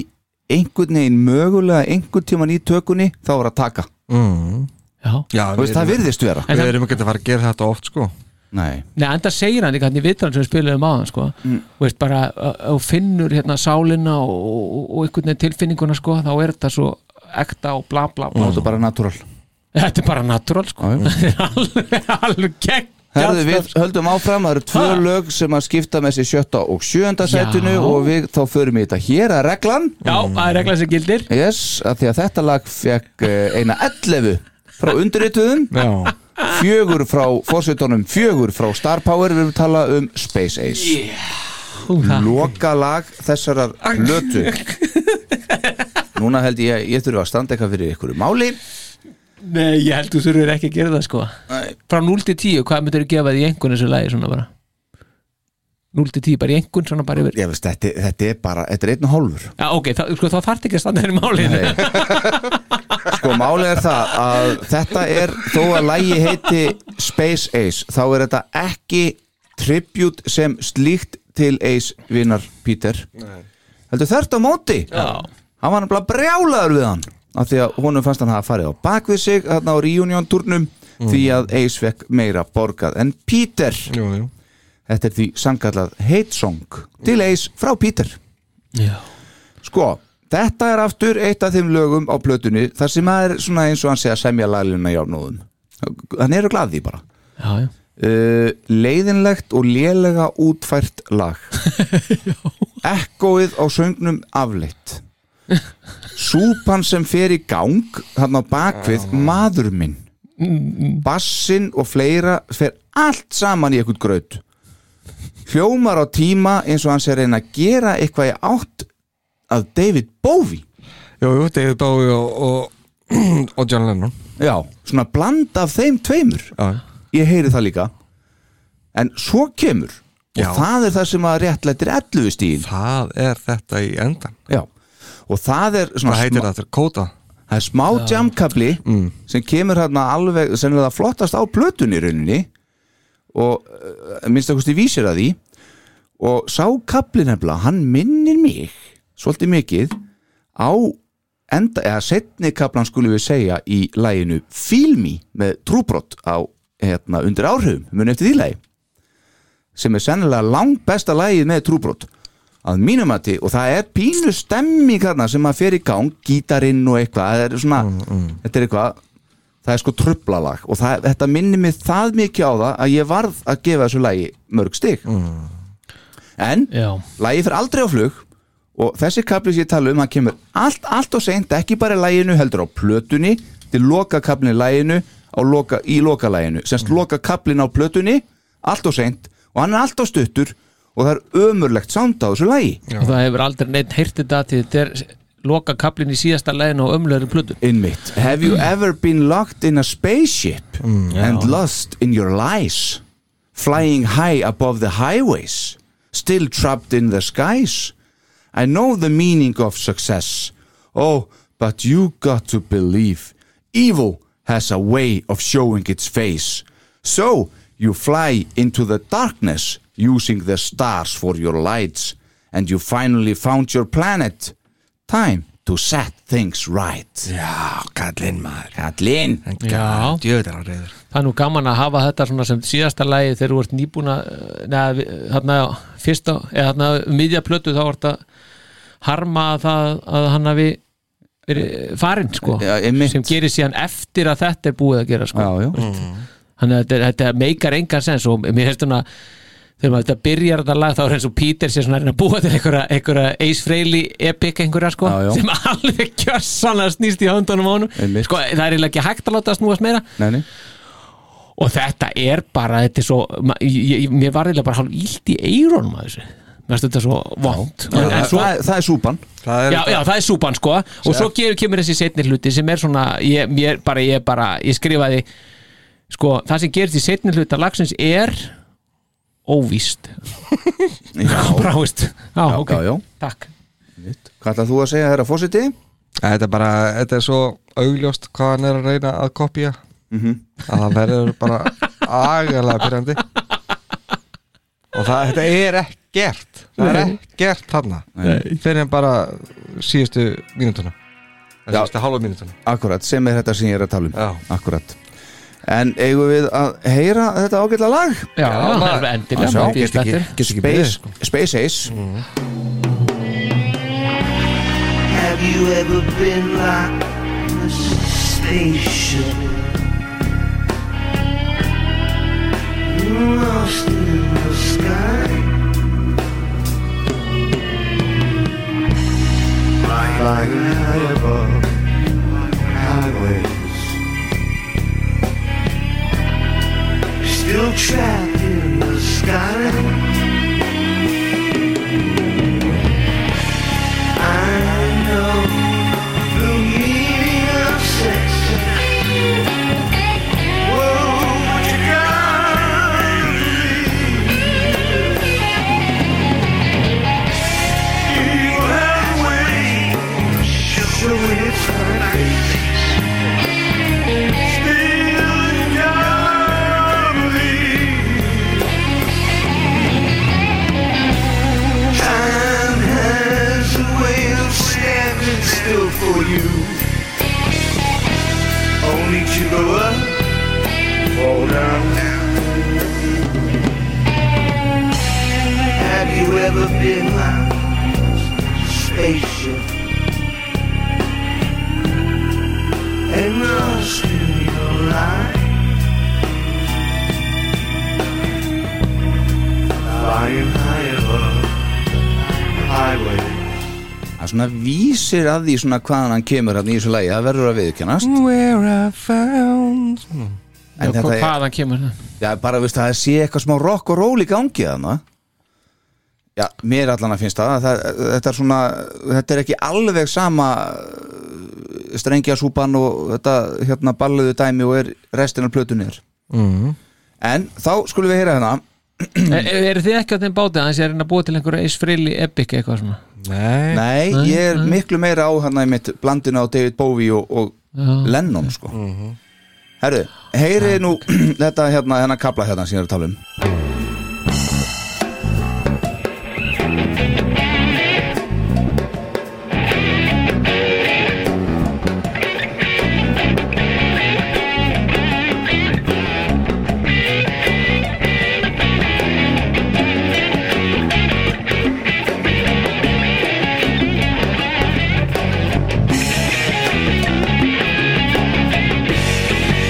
[SPEAKER 3] einhvern veginn mögulega einhvern tíman í tökunni þá var að taka
[SPEAKER 5] mm.
[SPEAKER 4] Já,
[SPEAKER 5] Já
[SPEAKER 3] Þú veist,
[SPEAKER 5] við
[SPEAKER 3] það
[SPEAKER 5] erum-
[SPEAKER 3] virðist vera. En
[SPEAKER 5] Við
[SPEAKER 3] það-
[SPEAKER 5] erum ekki að fara að gera þetta oft sko
[SPEAKER 3] Nei
[SPEAKER 4] Nei, enda segir hann líka hann í vitran sem við spilaðum á hann sko.
[SPEAKER 3] Mm.
[SPEAKER 4] og veist bara, uh, og finnur hérna sálinna og, og, og einhvern veginn tilfinninguna sko, þá er þetta svo ekta og bla bla bla
[SPEAKER 3] Þetta er bara natúral
[SPEAKER 4] Þetta er bara natúral sko Þetta er alveg, alveg sko. gegn
[SPEAKER 3] Mm. Herðu, við höldum áfram, það eru tvö
[SPEAKER 4] Ha?
[SPEAKER 3] lög sem að skipta með sér sjötta og sjöunda
[SPEAKER 4] Já.
[SPEAKER 3] sætinu og við þá förum í þetta hér að reglan
[SPEAKER 4] Já, það er regla sem gildir
[SPEAKER 3] Yes, að því að þetta lag fekk eh, eina 11 frá undirrituðum
[SPEAKER 5] Já.
[SPEAKER 3] fjögur frá fósveitunum, fjögur frá Star Power við erum að tala um Space Ace loka lag þessarar lötu núna held ég að ég þurfa að standa eitthvað fyrir ykkur máli
[SPEAKER 4] Nei, ég held þú þurfur ekki að gera það sko
[SPEAKER 3] Nei.
[SPEAKER 4] Frá 0 til 10, hvað myndir þú gefa því einhvern þessu lagi svona bara 0 til 10, bara í einhvern svona bara yfir
[SPEAKER 3] ég veist, þetta, þetta er bara, þetta er einn og hálfur
[SPEAKER 4] Já, ok, þá, sko, þá þarf ekki að standa henni málinu
[SPEAKER 3] sko málið er það að þetta er þó að lægi heiti Space Ace þá er þetta ekki tribute sem slíkt til Ace vinnar Peter heldur þert á móti
[SPEAKER 4] Já.
[SPEAKER 3] hann var nefnilega brjálaður við hann af því að honum fannst hann hafa farið á bak við sig þarna á reunion-turnum því að Ace fekk meira borgað en Peter
[SPEAKER 5] jú, jú.
[SPEAKER 3] þetta er því sangallað hate song til Ace frá Peter
[SPEAKER 4] Já.
[SPEAKER 3] sko þetta er aftur eitt af þeim lögum á plötunni þar sem það er svona eins og hann sé að semja laglina járnóðum hann eru glaði bara
[SPEAKER 4] Já, já
[SPEAKER 3] uh, leiðinlegt og lélega útfært lag ekkoið á söngnum afleitt súpan sem fer í gang þarna á bakvið maður minn bassin og fleira fer allt saman í eitthvað gröð hljómar á tíma eins og hann sé að reyna að gera eitthvað í átt að David Bowie
[SPEAKER 5] Jú, jú, David Bowie og, og, og John Lennon
[SPEAKER 3] Já, svona bland af þeim tveimur
[SPEAKER 5] Já.
[SPEAKER 3] Ég heyri það líka En svo kemur
[SPEAKER 5] Já.
[SPEAKER 3] Og það er það sem að réttlættir 11 stíðin
[SPEAKER 5] Það er þetta í endan
[SPEAKER 3] Já, og það er svona
[SPEAKER 5] Hvað heitir
[SPEAKER 3] smá-
[SPEAKER 5] þetta? Kóta?
[SPEAKER 3] Það er smá jamkabli sem kemur hérna alveg sem er það flottast á plötunni í rauninni og uh, minnst að kosti vísir að því og sá kapli nefnilega, hann minnir mig svolítið mikið á enda, eða setni kaplan skulum við segja í læginu Filmi með trúbrott á hérna, undir áhrifum, mun eftir því lægi sem er sennilega langt besta lægið með trúbrot að mínum að og það er pínu stemming hérna sem að fer í gang gítarinn og eitthvað það er svona, þetta er eitthvað það er sko trublalag og það, þetta minnir mig það mikið á það að ég varð að gefa þessu lagi mörg stig en
[SPEAKER 4] Já.
[SPEAKER 3] lagi fyrir aldrei á flug og þessi kapli sem ég tala um hann kemur allt, allt og seint, ekki bara í laginu heldur á plötunni, til loka kaplinu í laginu, á loka, í loka laginu semst loka kaplinu á plötunni allt og seint og hann er allt og stuttur og það er ömurlegt sound á þessu lagi
[SPEAKER 4] og það hefur aldrei neitt heyrti þetta því þetta er loka kaplinn í síðasta lægin og ömlegur plötu
[SPEAKER 3] Einmitt, have you ever been locked in a spaceship and lost in your lies flying high above the highways still trapped in the skies I know the meaning of success oh but you got to believe evil has a way of showing its face so you fly into the darkness using the stars for your lights and you finally found your planet time to set things right Já, kallinn maður Kallinn
[SPEAKER 4] Já.
[SPEAKER 5] Djöður á reyður
[SPEAKER 4] það er nú gaman að hafa þetta svona sem síðasta lægi þegar þú ert nýbúna neða, við- þarna fyrsta eða þarna um miðja plötu þá ert að harma að það að hann hafi verið farinn sko
[SPEAKER 3] Já,
[SPEAKER 4] sem gerir síðan eftir að þetta er búið að gera sko
[SPEAKER 3] Já, já
[SPEAKER 4] þannig að þetta, þetta meikar engan sens og mér finnst svona þegar maður þetta byrjar þetta lag þá er eins og Peter sé svona að reyna að búa til einhverja, einhverja Ace Frehley epic einhverja sko
[SPEAKER 3] Já, já.
[SPEAKER 4] sem alveg kjörsanlega snýst í höndunum á honum
[SPEAKER 3] Einmitt.
[SPEAKER 4] sko það er eiginlega ekki hægt að láta það snúast meira
[SPEAKER 3] Nei, nei
[SPEAKER 4] og þetta er bara þetta er svo, ma- ég, ég, mér var eiginlega bara hálf illt í eirónum að þessu mér finnst þetta svo vond
[SPEAKER 3] Já, það- það- það er súpan
[SPEAKER 5] það
[SPEAKER 4] já, já, það er súpan sko og svo gefur, kemur þessi setni hluti sem er svona ég, mér, bara, ég, bara, ég skrifaði sko, það sem gerist í setni hluta lagsins er óvíst
[SPEAKER 3] já.
[SPEAKER 4] bara óvíst já,
[SPEAKER 3] já,
[SPEAKER 4] ok,
[SPEAKER 3] já, já.
[SPEAKER 4] takk
[SPEAKER 3] Hvað ætlað þú að segja þeirra fósiti?
[SPEAKER 5] Þetta er bara, þetta er svo augljóst hvað hann er að reyna að kopja
[SPEAKER 4] Mhm.
[SPEAKER 5] að það verður bara agalega pyrrandi og það, þetta er ekkert það er
[SPEAKER 3] Nei.
[SPEAKER 5] ekkert þarna
[SPEAKER 3] Nei.
[SPEAKER 5] fyrir en bara síðustu mínútuna eða síðustu hálfa mínútuna
[SPEAKER 3] Akkurat, sem er þetta sem ég er að tala um
[SPEAKER 5] Já.
[SPEAKER 3] Akkurat En eigum við að heyra þetta ágætla lag?
[SPEAKER 4] Já, það er endilega,
[SPEAKER 3] Sjá,
[SPEAKER 4] maður býst
[SPEAKER 3] gest ekki,
[SPEAKER 4] eftir.
[SPEAKER 3] gest ekki
[SPEAKER 5] beðið, sko. Mm.
[SPEAKER 3] Space, Space Ace
[SPEAKER 12] Have you ever been locked in a station? Lost in the sky?
[SPEAKER 7] Flying high above highways.
[SPEAKER 12] Still trapped in the sky? I know the meaning of sex. Whoa, what you gotta believe. You have a way of showing it's right. Still you gotta believe. Time has a way of standing still for you. Only to go up, fall down. Have you ever been on a spaceship and lost in your life? Flying high above highway.
[SPEAKER 3] Það er svona vísir að því svona hvaðan hann kemur hann í þessu lagi Það verður að viðkennast
[SPEAKER 5] Where I found
[SPEAKER 3] En þetta er-
[SPEAKER 4] hvaðan kemur það
[SPEAKER 3] Já, bara veist að það sé eitthvað smá rock og roll í gangi þarna Já, mér allan að finnst það, það Þetta er svona, þetta er ekki alveg sama uh, strengjarsúpan og þetta hérna balluðu dæmi og er restin af plötunni er
[SPEAKER 5] mm.
[SPEAKER 3] En þá skulum við heyra hérna
[SPEAKER 4] er, eru þið ekki á þeim bátið að þessi er að reyna að búa til einhverja Ace Frehley epic eitthvað svona
[SPEAKER 5] Nei,
[SPEAKER 3] Nei,
[SPEAKER 4] Nei,
[SPEAKER 3] ég er
[SPEAKER 4] nei.
[SPEAKER 3] miklu meira á hérna í mitt blandina á David Bowie og, og
[SPEAKER 4] Já.
[SPEAKER 3] Lennon sko Herru, heyri nú þetta hérna, hérna kapla hérna sem ég er að tala um
[SPEAKER 12] Time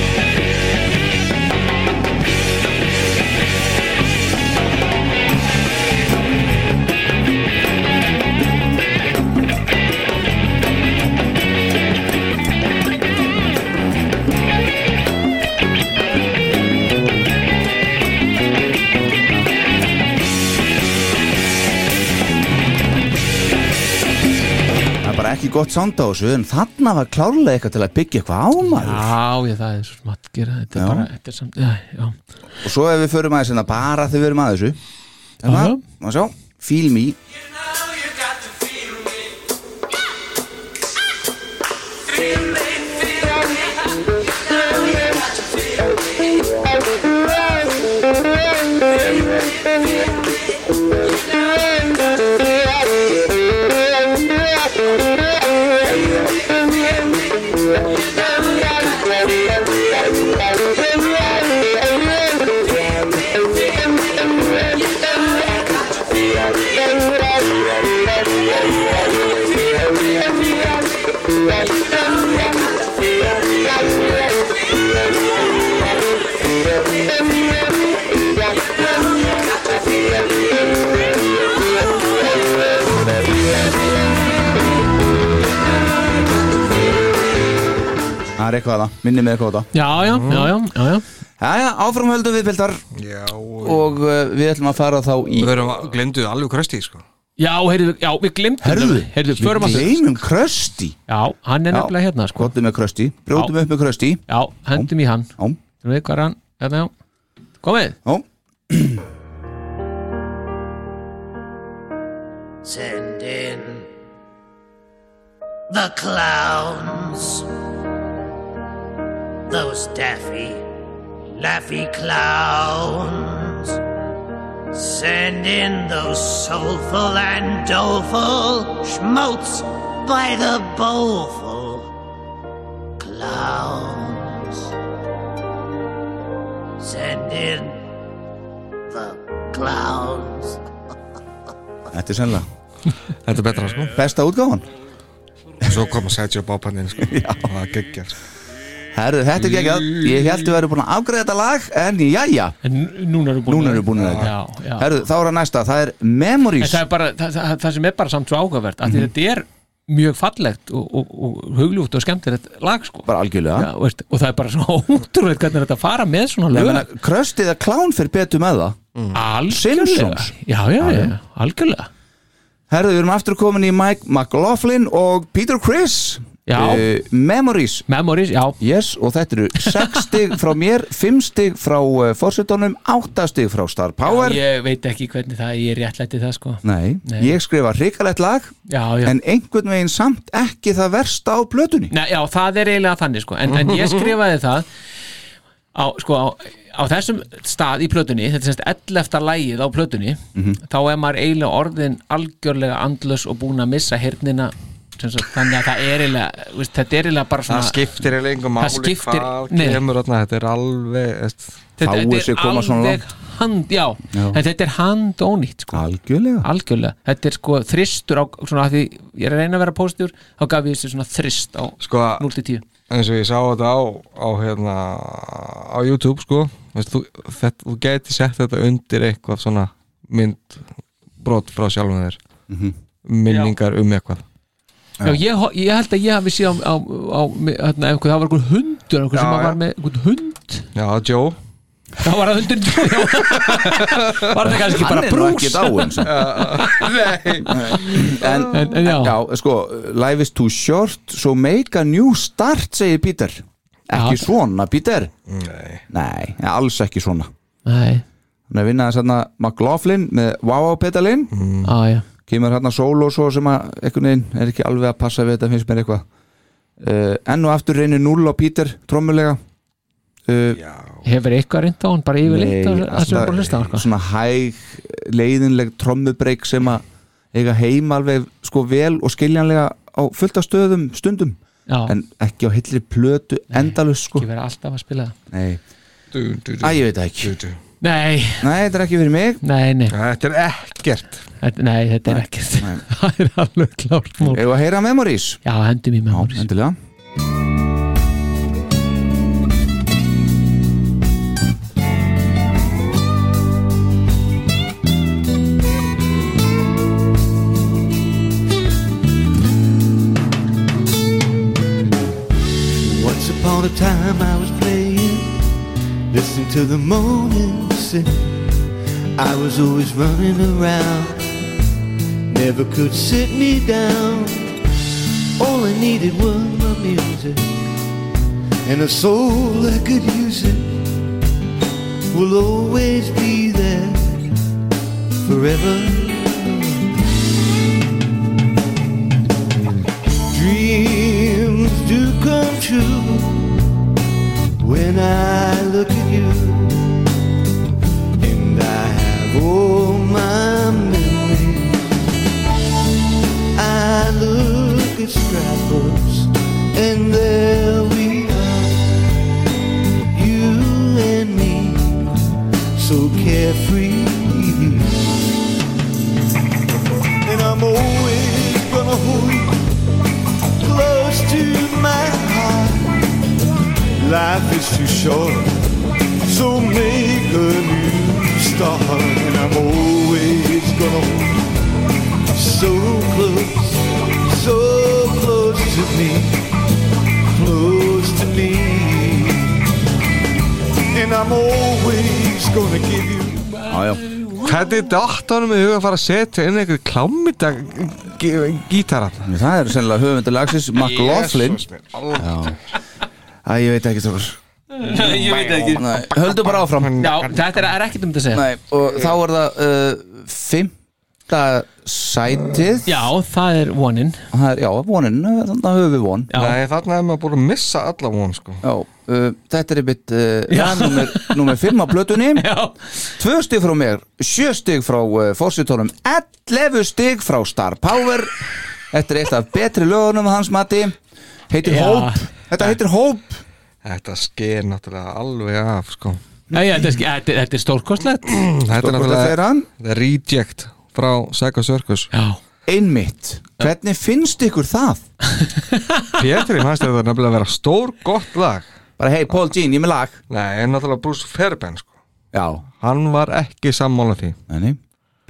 [SPEAKER 3] gott sound á þessu en þarna var klárlega eitthvað til að byggja eitthvað á maður
[SPEAKER 4] Já, ég, það er svo smatt gera Þetta
[SPEAKER 3] Já.
[SPEAKER 4] er bara, þetta er samt, já, já
[SPEAKER 3] og svo ef við förum aðeins hérna bara þegar við erum að þessu þannig
[SPEAKER 4] Aha.
[SPEAKER 3] að, má sjá, feel me það er eitthvað það, minni mig eitthvað á það
[SPEAKER 4] já, já, já, já, já,
[SPEAKER 3] Mm.
[SPEAKER 4] já.
[SPEAKER 3] Jæja, áfram höldum við pildar
[SPEAKER 5] Já,
[SPEAKER 3] og uh, við ætlum að fara þá í
[SPEAKER 5] Við erum að glemduð alveg krösti sko.
[SPEAKER 4] Já, heyrðu, já, við glemtum
[SPEAKER 3] Herðu,
[SPEAKER 4] þeim. heyrðu,
[SPEAKER 3] við
[SPEAKER 4] förum að
[SPEAKER 3] gleymum Krösti
[SPEAKER 4] Já, hann er
[SPEAKER 3] Já.
[SPEAKER 4] nefnilega hérna sko.
[SPEAKER 3] Kvotum með Krösti, brjótum
[SPEAKER 4] Já.
[SPEAKER 3] upp með Krösti
[SPEAKER 4] Já, hendum í hann
[SPEAKER 3] Já
[SPEAKER 4] Þú veit hvað er hann, hérna, já Komið
[SPEAKER 3] Já
[SPEAKER 12] Send in the clowns. Those daffy, laffy clowns. Send in those soulful and doleful schmaltz by the bowlful clowns. Send in the clowns.
[SPEAKER 3] Þetta er sennilega
[SPEAKER 5] Þetta er betra sko
[SPEAKER 3] Besta útgáfan
[SPEAKER 5] Og svo kom að setja upp ápannin sko. Það er geggjart
[SPEAKER 3] Herðu, þetta er geggjað Ég held við erum búin að afgreða þetta lag En jæja
[SPEAKER 4] En núna erum
[SPEAKER 3] Núna erum við búin að
[SPEAKER 4] Já, já.
[SPEAKER 3] Herðu, þá er að næsta Það er
[SPEAKER 4] En
[SPEAKER 3] Memories
[SPEAKER 4] það, er bara, það, það, það sem er bara samt svo ágæfvert mm
[SPEAKER 3] Mhm.
[SPEAKER 4] Þetta er mjög fallegt og, og, og hugljúft og skemmtilegt lag sko.
[SPEAKER 3] Bara
[SPEAKER 4] já,
[SPEAKER 3] algjörlega
[SPEAKER 4] veist, Og það er bara svo ótrúlega hvernig þetta fara með svona
[SPEAKER 3] Ég
[SPEAKER 4] lög
[SPEAKER 3] meina, Kröstið að klán fyrir betur með það Simpsons.
[SPEAKER 4] Já, já, já, algjörlega
[SPEAKER 3] Herðu, við erum aftur komin í Mike McLaughlin og Peter Criss
[SPEAKER 4] Já.
[SPEAKER 3] Eh, Memories
[SPEAKER 4] Memories, já
[SPEAKER 3] Yes, og þetta eru 6 stig frá mér 5 stig frá uh, fórsetunum 8 stig frá Star Power
[SPEAKER 4] Ég veit ekki hvernig það, ég réttlætti það sko.
[SPEAKER 3] Nei,
[SPEAKER 4] Nei.
[SPEAKER 3] ég skrifa hrikalegt lag
[SPEAKER 4] Já, já
[SPEAKER 3] en einhvern veginn samt ekki það versta á plötunni
[SPEAKER 4] Nei, já, það er eiginlega þannig sko. en, en ég skrifaði það á, sko, á, á þessum stað í plötunni þetta er semst 11. lægið á plötunni
[SPEAKER 5] Mhm.
[SPEAKER 4] þá er maður eiginlega orðin algjörlega andlös og búin að missa hernina semst, þannig að það er eiginlega þú veist, þetta er eiginlega bara svona
[SPEAKER 5] Það skiptir eiginlega engum máli
[SPEAKER 4] það skiptir,
[SPEAKER 5] hvað
[SPEAKER 4] nei,
[SPEAKER 5] kemur þarna, þetta er alveg veist,
[SPEAKER 4] þetta, þetta er alveg hand, já,
[SPEAKER 5] Já.
[SPEAKER 4] en þetta er hand ónýtt sko.
[SPEAKER 3] algjörlega.
[SPEAKER 4] þetta er sko þristur á, svona að því ég er að reyna að vera póstur þá gaf ég þessu svona þrist á
[SPEAKER 5] sko,
[SPEAKER 4] 0-10
[SPEAKER 5] eins og ég sá þetta á, á hérna á YouTube sko veist, þú, þetta, þú geti sett þetta undir eitthvað svona mynd brot frá sjálfum þér
[SPEAKER 3] Mhm.
[SPEAKER 5] minningar um eitthvað
[SPEAKER 4] Já, ég, ho- ég held að ég hafi síðan á, á, á hérna, einhver, það var einhver hundur einhver sem
[SPEAKER 5] Já, já.
[SPEAKER 4] var með einhver hund
[SPEAKER 5] Já, Joe
[SPEAKER 4] það var að hundur já. var það kannski bara brús
[SPEAKER 3] en, en, já. sko Life is too short, so make a new start segir Peter ekki svona Peter
[SPEAKER 5] Nei,
[SPEAKER 3] Nei alls ekki svona
[SPEAKER 4] Nei.
[SPEAKER 3] hann er vinnaðan hérna McLaughlin með wow pedalinn
[SPEAKER 4] Á, já.
[SPEAKER 3] kemur hérna solo svo sem að einhvern veginn er ekki alveg að passa við þetta finnst mér eitthvað uh, enn og aftur reynir 0 á Peter trommulega uh,
[SPEAKER 4] hefur eitthvað reynd á hann bara yfirleitt á- að sem bara hlusta á hann, sko.
[SPEAKER 3] svona hæg leiðinleg trommubreik sem að eiga heima alveg sko vel og skiljanlega á fullt af stöðum stundum
[SPEAKER 4] Já.
[SPEAKER 3] en ekki á hillri plötu endalus sko
[SPEAKER 4] ekki vera alltaf að spila það
[SPEAKER 3] Nei.
[SPEAKER 5] Du, du,
[SPEAKER 3] Æ, ég veit það ekki
[SPEAKER 4] nei,
[SPEAKER 3] Nei, þetta er ekki fyrir mig
[SPEAKER 4] nei, nei,
[SPEAKER 5] Þetta er ekkert
[SPEAKER 4] þetta, nei, þetta er ekkert það er alveg klárt mál
[SPEAKER 3] Eða að heyra Memories?
[SPEAKER 4] Já, hendum í Memories
[SPEAKER 3] Endilega
[SPEAKER 11] Once upon a time I was playing, listening to the morning sun. I was always running around, never could sit me down.
[SPEAKER 7] All I needed was my music and a soul that could use it. Will always be there forever. Dreams do come true when I look at you, and I have all my memories. I look at scrapbooks, and there we are, you and me, so carefree. And I'm always gonna hold you close to my heart. Life is too short, so make a new start. And I'm always gonna hold you so close, so close to me, close to me. And I'm always gonna give you
[SPEAKER 3] Já, já.
[SPEAKER 5] Hvernig dætt honum í huga að fara að setja inn einhver klámynda gítara?
[SPEAKER 3] Það er sennilega höfundur lagsins, McLaughlin Já. Æ, ég veit ekki strókar
[SPEAKER 4] Nei, ég veit ekki.
[SPEAKER 3] Nei, Höldum bara áfram
[SPEAKER 4] Já, þetta er, er ekkert um þetta að segja
[SPEAKER 3] Nei, og þá er það uh, Fymta sætið
[SPEAKER 4] Já, það er vonin
[SPEAKER 3] það er, Já, vonin, uh, þannig að höfum við von
[SPEAKER 4] Já. Nei,
[SPEAKER 3] þarna er maður búin að missa alla von sko. Já, uh, þetta er einmitt
[SPEAKER 4] Já.
[SPEAKER 3] uh, nummer, nummer fimm á plötunni Já. Tvö stig frá mér, sjö stig frá uh, fórsitónum, 11 stig frá Star Power Þetta er eitt af betri lögunum að hans mati Heitir
[SPEAKER 5] Já.
[SPEAKER 3] Hope Þetta heitir Hope
[SPEAKER 5] Þetta sker náttúrulega alveg af sko.
[SPEAKER 4] Nei, já, þetta er, þetta er- þetta er stórkostlegt
[SPEAKER 5] Þetta er
[SPEAKER 3] þegar
[SPEAKER 5] náttúrulega
[SPEAKER 3] hann?
[SPEAKER 5] þetta er reject frá Sega Circus
[SPEAKER 4] Já
[SPEAKER 3] Einmitt, hvernig finnst ykkur það?
[SPEAKER 5] Pétri, mannst þetta er nefnilega að vera stór gott lag
[SPEAKER 3] Bara hei, Paul Jean, ég er með lag
[SPEAKER 5] Nei, en náttúrulega Bruce Fairbairn sko.
[SPEAKER 3] Já
[SPEAKER 5] Hann var ekki sammála því
[SPEAKER 3] Nei,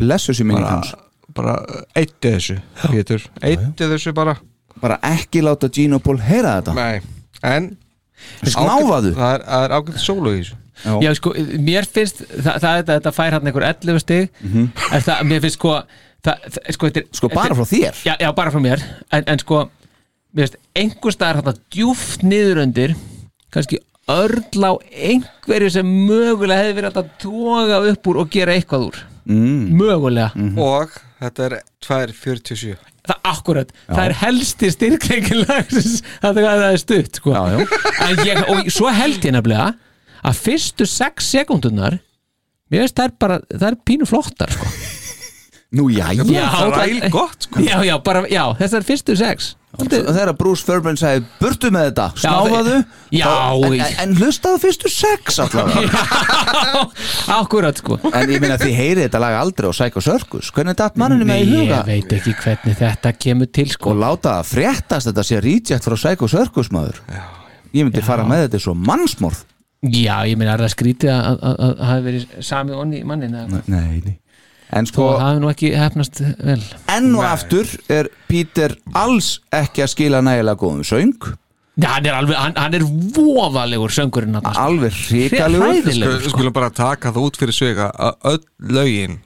[SPEAKER 3] blessu sér minni hans
[SPEAKER 5] Bara eittu þessu, Pétur Eittu þessu bara
[SPEAKER 3] Bara ekki láta Gene og Paul heyra þetta
[SPEAKER 5] Nei, en
[SPEAKER 3] Snáfaðu.
[SPEAKER 5] ágætt- Það er- það er ágætt sólu í þessu
[SPEAKER 4] Já, sko, mér finnst það, það, þetta, þetta fær hann einhver 11 stig mm það, Mér finnst sko það, það, sko, þetta er,
[SPEAKER 3] Mhm. Sko, bara frá þér?
[SPEAKER 4] Já, já bara frá mér En, en sko, mér finnst einhver staðar hann djúft niður undir kannski örl á einhverju sem mögulega hefði verið hægt að toga upp úr og gera eitthvað úr
[SPEAKER 3] mm.
[SPEAKER 4] Mögulega
[SPEAKER 5] Og þetta er 2.47
[SPEAKER 4] Það akkurat, það er helsti styrkleikin lagsins að það er stutt sko.
[SPEAKER 3] já,
[SPEAKER 4] já. Ég, og svo held ég nefnilega að fyrstu sex sekundunar mér veist það er bara, það er pínu flottar sko.
[SPEAKER 3] Nú, já, já
[SPEAKER 4] sko. já, já, bara, já, þessar fyrstu sex
[SPEAKER 3] Þegar Bruce Fairbairn sagði Burtu með þetta,
[SPEAKER 4] Já,
[SPEAKER 3] snáfaðu
[SPEAKER 4] Já,
[SPEAKER 3] þá- en,
[SPEAKER 4] ég-
[SPEAKER 3] en, en hlustaðu fyrstu sex allavega
[SPEAKER 4] Akkurat sko
[SPEAKER 3] En ég minna þið heyrið þetta lag aldrei á Psycho Circus Hvernig datt manninu með í
[SPEAKER 4] Nei,
[SPEAKER 3] huga?
[SPEAKER 4] ég veit ekki hvernig þetta kemur til sko
[SPEAKER 3] Og láta það fréttast þetta sé reject frá Psycho Circus maður Ég myndi fara með þetta svo mannsmorð
[SPEAKER 4] Já, ég meina er það skrítið að- að að- að hafi verið sami onni í mannin eða eitthvað?
[SPEAKER 3] Nei, nei En
[SPEAKER 4] Þó
[SPEAKER 3] sko,
[SPEAKER 4] að hafi nú ekki hefnast vel
[SPEAKER 3] enn og aftur er Peter alls ekki að skila nægilega góðum söng
[SPEAKER 4] Já, hann er alveg, hann, hann er vofalegur söngurinn sko. hann
[SPEAKER 3] Alveg
[SPEAKER 5] Sku- Skulum bara taka það út fyrir svega að öll lögin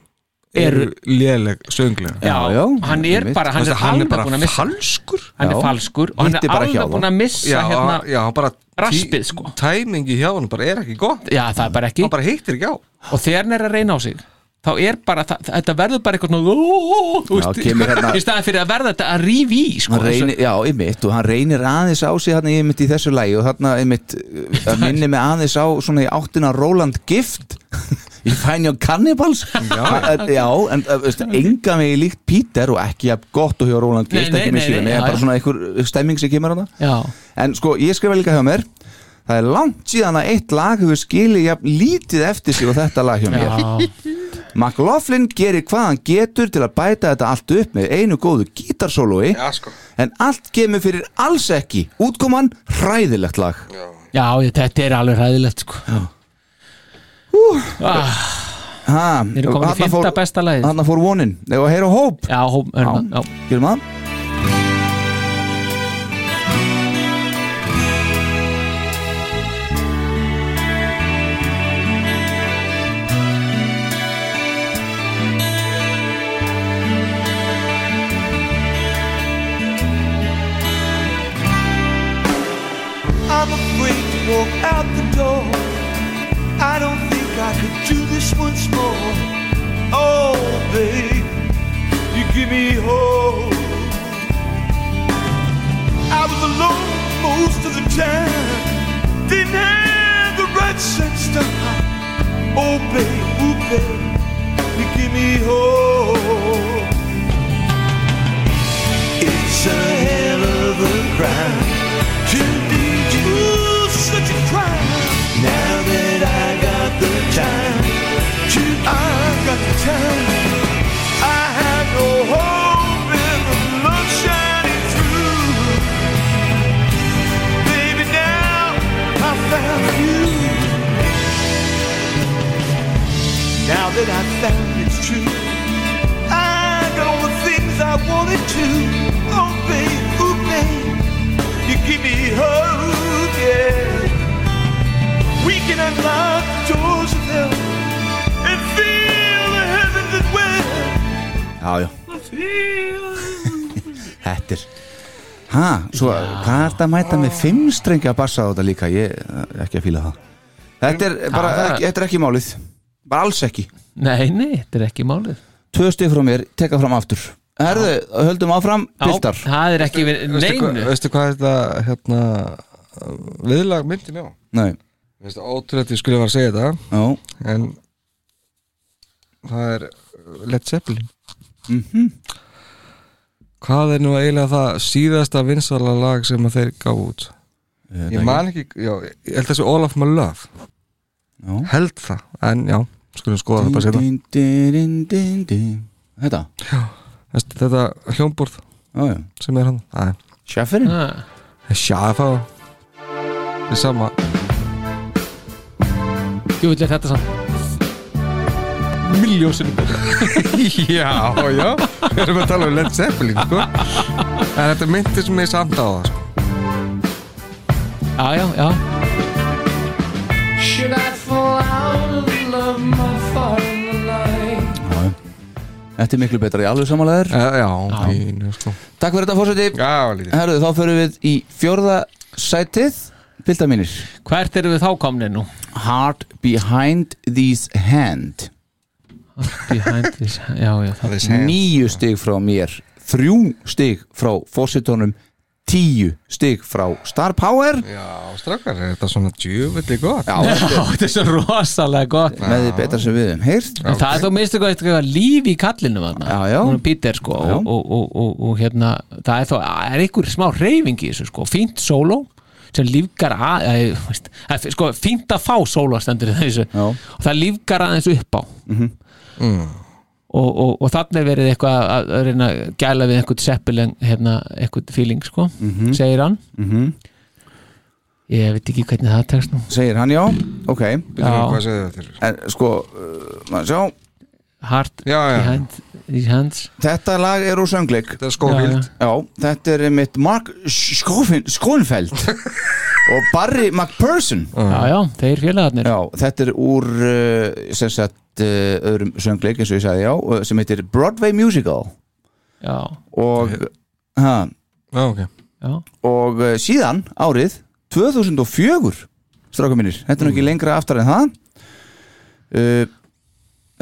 [SPEAKER 5] eru
[SPEAKER 4] Eru-
[SPEAKER 5] léleg sönglega
[SPEAKER 4] Já, hann er bara, hann er
[SPEAKER 5] hann er
[SPEAKER 4] alveg
[SPEAKER 5] bara
[SPEAKER 4] búin að missa
[SPEAKER 5] falskur
[SPEAKER 4] Hann er falskur og hann er alveg búin að missa
[SPEAKER 5] já,
[SPEAKER 4] hérna
[SPEAKER 5] já, hann bara
[SPEAKER 4] raspið, sko.
[SPEAKER 5] tæmingi hjá hann bara er ekki gott
[SPEAKER 4] Já, það er bara ekki
[SPEAKER 5] hann bara hittir ekki á
[SPEAKER 4] Og þegar hann er að reyna á sig þá er bara, það, þetta verður bara eitthvað svona ó, ó, ó, þú
[SPEAKER 3] Já,
[SPEAKER 4] veist,
[SPEAKER 3] kemur hérna-
[SPEAKER 4] í staðan fyrir að verða þetta að rífi í sko,
[SPEAKER 3] hann reynir, já, einmitt, og hann reynir aðeins á sig þarna einmitt í þessu lægi og þarna einmitt uh, að minni mig aðeins á svona í áttina Roland Gift í Fine Young Cannibals já, já en uh, veist, enga mig líkt Peter og ekki jafn gott og hjá
[SPEAKER 4] Nei,
[SPEAKER 3] Roland Gift
[SPEAKER 4] nei,
[SPEAKER 3] ekki
[SPEAKER 4] nei,
[SPEAKER 3] með síðan,
[SPEAKER 4] nei,
[SPEAKER 3] ég
[SPEAKER 4] já,
[SPEAKER 3] er bara
[SPEAKER 4] já.
[SPEAKER 3] svona einhver eh, stemming sem kemur á það
[SPEAKER 4] Já.
[SPEAKER 3] en sko, ég skrifa líka hjá mér það er langt síðan að eitt lag hefur skilið jafn lítið eftir sig og þetta lag hjá mér
[SPEAKER 4] Já.
[SPEAKER 3] McLaughlin gerir hvað hann getur til að bæta þetta allt upp með einu góðu gítarsólói
[SPEAKER 5] Já, sko.
[SPEAKER 3] en allt kemur fyrir alls ekki útkoman hræðilegt lag
[SPEAKER 4] Já, ég- þetta er alveg ræðilegt sko. ah,
[SPEAKER 3] ha,
[SPEAKER 4] Við erum komin í
[SPEAKER 3] þarna
[SPEAKER 4] fimmta
[SPEAKER 3] fór-
[SPEAKER 4] besta lagið.
[SPEAKER 3] þarna fór vonin, eða heyra hóp
[SPEAKER 4] Já, hóp,
[SPEAKER 3] já.
[SPEAKER 4] já.
[SPEAKER 3] Gerum það
[SPEAKER 12] Thank
[SPEAKER 7] walk out the door. I don't think I could do this once more. Oh, babe, you give me hope. I was alone most of the time. Didn't have the right sense to hide. Oh, babe, ooh, babe, you give me hope. It's a hell of a crime to need you. Ooh, such a crime. Now that I got the time, to I got the time. I have no hope in the love shining through. Baby, now I found you. Now that I found it's true, I got all the things I wanted to. Oh, babe, ooh, babe. You give me hope, Oh, yeah. We can unlock the doors of hell and feel the heaven that will.
[SPEAKER 3] já, já Þetta er Hæ, svo, hvað er þetta að mæta með fimm strengja bassa á þetta líka, ég er ekki að fíla það Þetta er bara,
[SPEAKER 4] Það er-
[SPEAKER 3] ekki, þetta er ekki málið Bara alls ekki
[SPEAKER 4] Nei, nei, þetta er ekki málið
[SPEAKER 3] Tvö stið frá mér, teka fram aftur Herðu, höldum áfram,
[SPEAKER 4] Já,
[SPEAKER 3] piltar
[SPEAKER 4] það er ekki við
[SPEAKER 5] Veistu hvað-
[SPEAKER 4] neinu
[SPEAKER 5] Veistu hvað þetta hérna, viðlag myndi mér á?
[SPEAKER 3] Nei
[SPEAKER 5] Veistu, ótrúlega ég skulle vera að segja þetta
[SPEAKER 3] Já.
[SPEAKER 5] En það er uh, Led Zeppelin
[SPEAKER 3] Mhm.
[SPEAKER 5] Hvað er nú eiginlega það síðasta vinsala lag sem að þeir gá út?
[SPEAKER 3] Ég,
[SPEAKER 5] ég man ekki, já, ég held þessi All of my love
[SPEAKER 3] já.
[SPEAKER 5] Held það, en já, skulum skoða það bara setna
[SPEAKER 3] Din, din, din, din, din. Þetta?
[SPEAKER 5] Já, veistu, þetta hljómborð
[SPEAKER 3] já, já.
[SPEAKER 5] sem er hann
[SPEAKER 3] Sjafferinn?
[SPEAKER 5] Sjafa Það er sama
[SPEAKER 4] Jú, þetta er þetta samt Miljósinu
[SPEAKER 5] Já, já Við erum að tala um Led Zeppelin, sko En þetta myndist mig samt á það, sko
[SPEAKER 4] Já, já, já
[SPEAKER 12] Should I fall out of love, my far in the night?
[SPEAKER 3] Þetta er miklu betra í alveg samanlegar
[SPEAKER 5] Eh, Já, pínu sko
[SPEAKER 3] Takk fyrir þetta fórseti
[SPEAKER 5] Já, lítið
[SPEAKER 3] Herðu, þá förum við í fjórða sætið Piltar mínir
[SPEAKER 4] Hvert eru við þá komnið nú?
[SPEAKER 3] Heart behind these hand
[SPEAKER 4] Behind this, já, já það-
[SPEAKER 3] Níu stig frá mér Þrjú stig frá fórsetunum Tíu stig frá Star Power
[SPEAKER 5] Já, strákar, er þetta svona djúvillig gott?
[SPEAKER 3] Já,
[SPEAKER 4] Já, þetta er svo rosalega gott
[SPEAKER 3] Með því betra sem við hefum heyrt
[SPEAKER 4] En það er þó minnstu hvað eitthvað líf í kallinu þarna.
[SPEAKER 3] já.
[SPEAKER 4] Hún er Peter sko og, og, og, og, og hérna það er þó, það er einhver smá reyfing í þessu sko fínt sóló sem lífgar að, að, veist, að sko, fínt að fá sóló stendur í þessu já. og það lífgar aðeins upp á
[SPEAKER 3] Mhm.
[SPEAKER 4] og, og, og þannig verið eitthvað að- að, að reyna að gæla við einhvern seppileg hérna, einhvern feeling sko segir hann
[SPEAKER 3] Mhm.
[SPEAKER 4] ég veit ekki hvernig það tekst nú
[SPEAKER 3] Segir hann já, ok
[SPEAKER 4] Já. Hvað
[SPEAKER 5] segir þetta?
[SPEAKER 3] En sko, uh, maður sjá
[SPEAKER 4] Heart
[SPEAKER 3] já, já.
[SPEAKER 4] Behind These Hands
[SPEAKER 3] Þetta lag er úr söngleik
[SPEAKER 5] Þetta er
[SPEAKER 4] Scofield.
[SPEAKER 3] Já, já. þetta er mitt Mark Skofin, Skonfeld og Barry McPherson
[SPEAKER 4] Já, já, þeir félagarnir
[SPEAKER 3] Já, þetta er úr uh, sem sagt uh, öðrum söngleik eins og ég sagði já, uh, sem heitir Broadway Musical
[SPEAKER 4] Já
[SPEAKER 3] og ha,
[SPEAKER 5] Já, ok
[SPEAKER 4] Já.
[SPEAKER 3] og uh, síðan árið 2004 stráka mínir, þetta er nú ekki lengra aftar en það uh,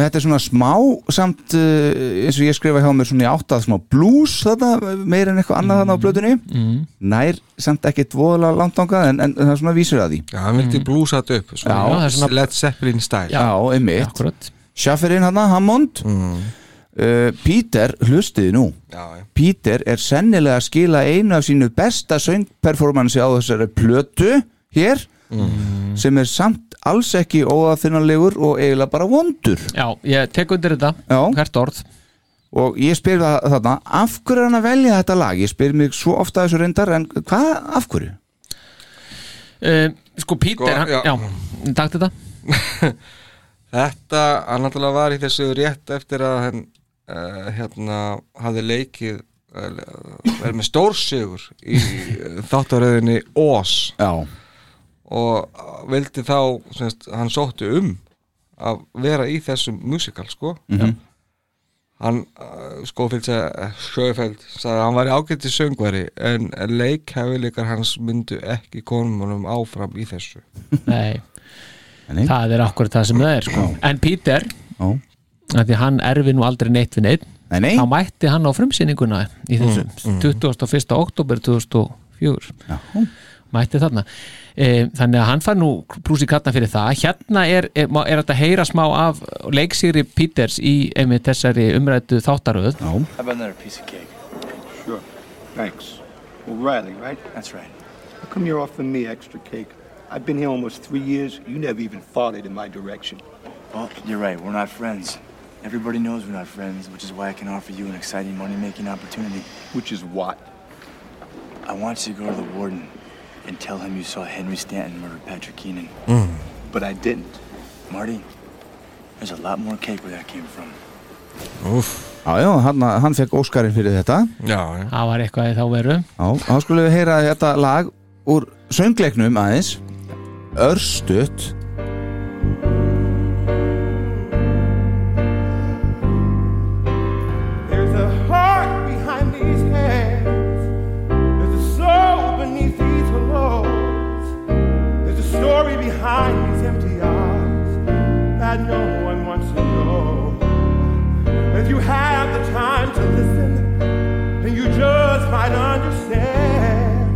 [SPEAKER 3] þetta er svona smá samt uh, eins og ég skrifa hjá mér svona í áttað smá blues þarna, uh, meira en eitthvað annað þarna á blötunni
[SPEAKER 4] mm.
[SPEAKER 3] nær samt ekki dvoðalega langt ángað en, en það er svona vísir að því
[SPEAKER 5] Já, hann vildi blúsa þetta upp svona,
[SPEAKER 3] Já, það er svona-
[SPEAKER 5] Led Zeppelin style
[SPEAKER 3] Já, Mm. einmitt Sjafferinn hann, Hammond uh, Peter, hlustiði nú
[SPEAKER 5] Mm. Já, já.
[SPEAKER 3] Peter er sennilega að skila einu af sínu besta söngperformansi á þessari plötu hér sem er samt alls ekki óafinnanlegur og eiginlega bara vondur
[SPEAKER 4] Já, ég tek undir þetta
[SPEAKER 3] Já.
[SPEAKER 4] hvert orð
[SPEAKER 3] og ég spyr það þarna af hverju er hann að velja þetta lag? Ég spyr mig svo ofta þessu reyndar en hvað, af hverju?
[SPEAKER 4] uh, Sko Peter,
[SPEAKER 5] Sko,
[SPEAKER 4] hann,
[SPEAKER 5] já.
[SPEAKER 4] já. takk þetta
[SPEAKER 5] Þetta, hann náttúrulega var í þessu rétt eftir að hann uh, hérna, hafði leikið uh, verið með stórsigur í uh, þáttaröðinni Oz
[SPEAKER 3] Já
[SPEAKER 5] og vildi þá, semst, hann sótti um að vera í þessum musikal, sko
[SPEAKER 3] Mhm.
[SPEAKER 5] hann uh, Skófield Sjöfeld eh, sagði að hann var ágætti söngveri en leikhæfileikar hans myndu ekki konum honum áfram í þessu
[SPEAKER 4] Nei, það er akkurat það sem það er sko. En Peter
[SPEAKER 3] Já.
[SPEAKER 4] að því hann erfi nú aldrei neitt við neitt
[SPEAKER 3] nei, nei.
[SPEAKER 4] þá mætti hann á frumsýninguna í þessu
[SPEAKER 3] Mm, mm.
[SPEAKER 4] 21. oktober 2004 Já. mætti þarna e, þannig að hann fær nú brúsi kattna fyrir það hérna er, er, má- er þetta að heyra smá af leiksýri Peters í einmitt þessari umrættu þáttaröð Já.
[SPEAKER 15] How about another piece of cake? Sure. Thanks. Well, Riley, right? That's right. How come you're offering me extra cake? I've been here almost three years. You never even farted in my direction.
[SPEAKER 16] Well, Oh, you're right. We're not friends. Everybody knows we're not friends, which is why I can offer you an exciting money-making opportunity. Which is what? I want you to go to the warden and tell him you saw Henry Stanton murder Patrick Keenan. But I didn't. Marty, there's a lot more cake where that came from.
[SPEAKER 3] Já, já, hann, hann fekk Óskarinn fyrir þetta
[SPEAKER 5] Já, já
[SPEAKER 4] það var eitthvað í þá veru
[SPEAKER 3] Já, þá skulum við heyra þetta lag úr söngleiknum aðeins Örstutt
[SPEAKER 17] There's a heart behind these hands. There's a soul beneath these hellos. There's a story behind these empty eyes that no one wants to know. If you have the time to listen, then you just might understand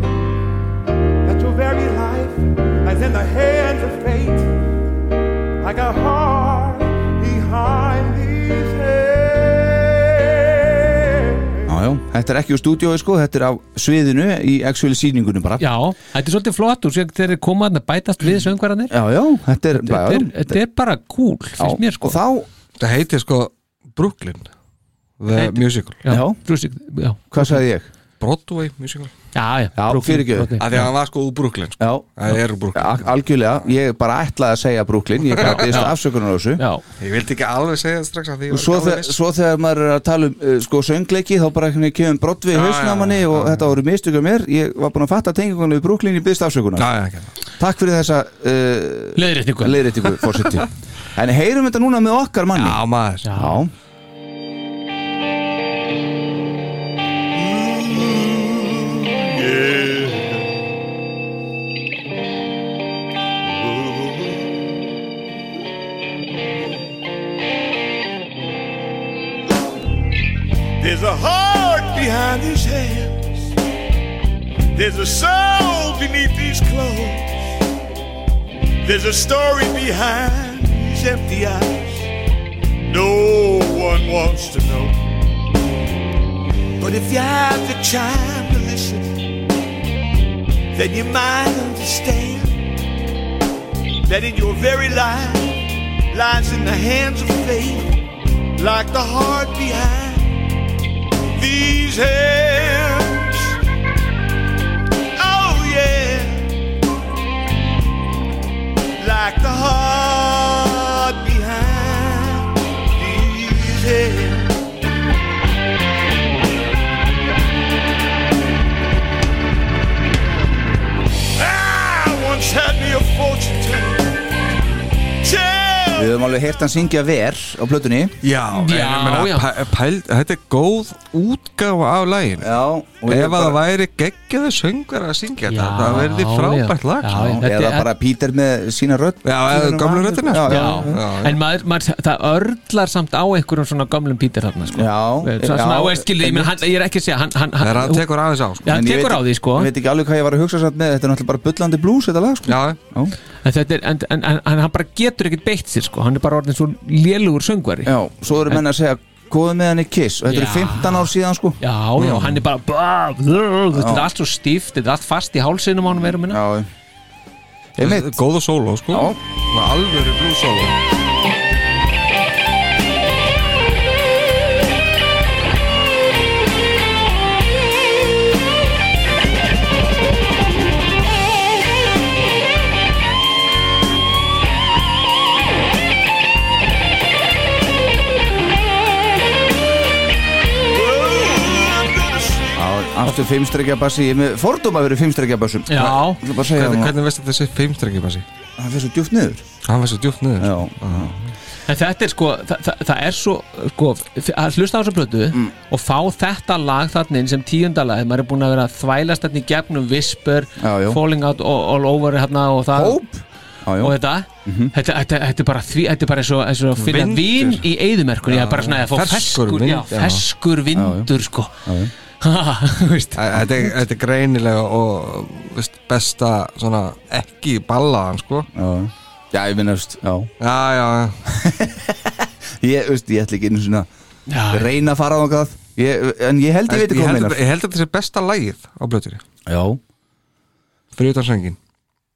[SPEAKER 17] that your very life lies in the hands of fate, like a heart behind these hands.
[SPEAKER 3] Já, já, þetta er ekki úr stúdíói sko, þetta er á sviðinu í actual sýningunum bara
[SPEAKER 4] Já, þetta er svolítið flott og sér þeir eru komaðan að bætast við söngvaranir
[SPEAKER 3] Já, já, þetta er,
[SPEAKER 4] þetta er, þetta er bara cool finnst mér sko
[SPEAKER 3] þá,
[SPEAKER 5] Það heitir sko Brooklyn The
[SPEAKER 4] Heitir-
[SPEAKER 5] Musical
[SPEAKER 4] Já, Já. Music- já.
[SPEAKER 3] Hvað sagði ég?
[SPEAKER 5] Broadway Musical
[SPEAKER 4] Já, já,
[SPEAKER 3] Já,
[SPEAKER 5] Brooklyn,
[SPEAKER 3] fyrirgefðu.
[SPEAKER 5] Brooklyn. Af því að hann var sko úr Brooklyn sko.
[SPEAKER 3] Já,
[SPEAKER 5] Það er úr Brooklyn
[SPEAKER 3] Al- algjörlega, ég bara ætlaði að segja Brooklyn ég bara
[SPEAKER 5] Já,
[SPEAKER 3] beðist
[SPEAKER 5] já.
[SPEAKER 3] afsökunar á þessu
[SPEAKER 4] já.
[SPEAKER 5] Ég vildi ekki alveg segja það strax af því ég
[SPEAKER 3] og
[SPEAKER 5] var
[SPEAKER 3] svo,
[SPEAKER 5] ekki alveg
[SPEAKER 3] þe
[SPEAKER 5] viss.
[SPEAKER 3] svo þegar maður er að tala um uh, sko söngleiki þá bara einhvern veginn kemur brottvi í
[SPEAKER 5] Já, já,
[SPEAKER 3] hausnamanni og þetta voru mistök af mér ég var búin að fatta tengingunni við Brooklyn í byggst afsökunar
[SPEAKER 5] já, já,
[SPEAKER 3] takk fyrir þessa uh,
[SPEAKER 4] leiðréttingu
[SPEAKER 3] leiðréttingu fórseti en heyrum þetta núna með okkar manni já
[SPEAKER 5] maður
[SPEAKER 3] já.
[SPEAKER 7] There's a heart behind these hands. There's a soul beneath these clothes. There's a story behind these empty eyes. No one wants to know. But if you have the time to listen, then you might understand that in your very life lies in the hands of faith, like the heart behind these hands. Oh yeah, like the heart behind these hands. I once had me a fortune teller. Tell
[SPEAKER 3] við höfum alveg heyrt hann syngja ver á plötunni
[SPEAKER 5] Já, en ég meina, pæ- Pæl, þetta er góð útgáfa af lægin
[SPEAKER 3] Já, og ég
[SPEAKER 5] Ef að
[SPEAKER 3] bara-
[SPEAKER 5] það væri geggjöðu söngar að syngja þetta Það verði frábært lag sko.
[SPEAKER 3] Já, eða bara Pítur með sína rödd já,
[SPEAKER 5] eða gömlu röddina,
[SPEAKER 3] já,
[SPEAKER 5] sko.
[SPEAKER 3] já,
[SPEAKER 5] Já.
[SPEAKER 3] já.
[SPEAKER 4] En maður, maður, það örlar samt á einhverjum svona gömlum Pítur þarna sko.
[SPEAKER 3] Já,
[SPEAKER 4] Svo, svona,
[SPEAKER 3] já,
[SPEAKER 4] já skilur, ég, menn, hann, ég er ekki að segja hann, hann,
[SPEAKER 3] Þegar hann tekur aðeins á, sko.
[SPEAKER 4] Já, hann
[SPEAKER 3] En ég
[SPEAKER 4] tekur
[SPEAKER 3] veit-
[SPEAKER 4] á því sko
[SPEAKER 3] ég veit ekki alveg hvað ég var að hugsa samt með þetta er náttúrulega bara bullandi blues þetta lag sko.
[SPEAKER 5] já.
[SPEAKER 4] En, þetta er, en, en, en, en hann bara getur ekkert beitt sér sko Hann er bara orðin svo lélugur söngvari
[SPEAKER 3] Já, svo eru menn að segja góðu með hann í Kiss og
[SPEAKER 4] Já.
[SPEAKER 3] þetta er 15 ár síðan sko
[SPEAKER 4] Já, já, hann er bara bla, bla, Þetta er allt svo stíft, þetta er allt fast í hálsinum á hann verum minna
[SPEAKER 3] Já,
[SPEAKER 5] Einmitt. Góða sóló sko
[SPEAKER 4] Já.
[SPEAKER 5] Svona Alvöru blú sóló
[SPEAKER 7] Oh,
[SPEAKER 3] Já, aftur fimmstrekja bassi, ég er með fordóma að vera fimmstrekja bassum
[SPEAKER 5] Já.
[SPEAKER 3] Hvernig,
[SPEAKER 5] Hvernig- hvernig veistu þessi fimmstrekja bassi?
[SPEAKER 3] Hann fyrir svo djúpt niður
[SPEAKER 5] Hann var svo djúpt niður
[SPEAKER 3] Já, já.
[SPEAKER 4] En þetta er sko, þa þa það er svo sko, f- að hlusta á þessu plötu
[SPEAKER 5] Mm.
[SPEAKER 4] og fá þetta lag þarna inn sem tíundalagi maður er búin að vera að þvælast þarna í gegnum Whisper,
[SPEAKER 3] já.
[SPEAKER 4] Falling Out all, all Over hérna og það
[SPEAKER 3] Hope. Já, já.
[SPEAKER 4] og þetta,
[SPEAKER 5] Mhm.
[SPEAKER 4] þetta, þetta, þetta er bara því, þetta er bara eins og, eins og að finna
[SPEAKER 3] Vindur.
[SPEAKER 4] vín í eyðumerkun, ég er bara svona að fá
[SPEAKER 5] Ferskur
[SPEAKER 4] ferskur,
[SPEAKER 5] vind,
[SPEAKER 4] já,
[SPEAKER 5] já.
[SPEAKER 4] ferskur vindur sko Þetta
[SPEAKER 5] er- þetta er greinilega og veist, besta svona ekki ballaðan sko
[SPEAKER 3] Já, já ég minna, veist, já
[SPEAKER 5] Já, já
[SPEAKER 3] Ég, veist, ég ætla ekki einu svona
[SPEAKER 5] Já.
[SPEAKER 3] reyna að fara á það ég, En ég held ég veit ekki
[SPEAKER 5] ég
[SPEAKER 3] hvað
[SPEAKER 5] held,
[SPEAKER 3] meinar
[SPEAKER 5] að- ég held að þetta er besta lagið á blötunni
[SPEAKER 3] Já
[SPEAKER 5] Fyrir utan söngin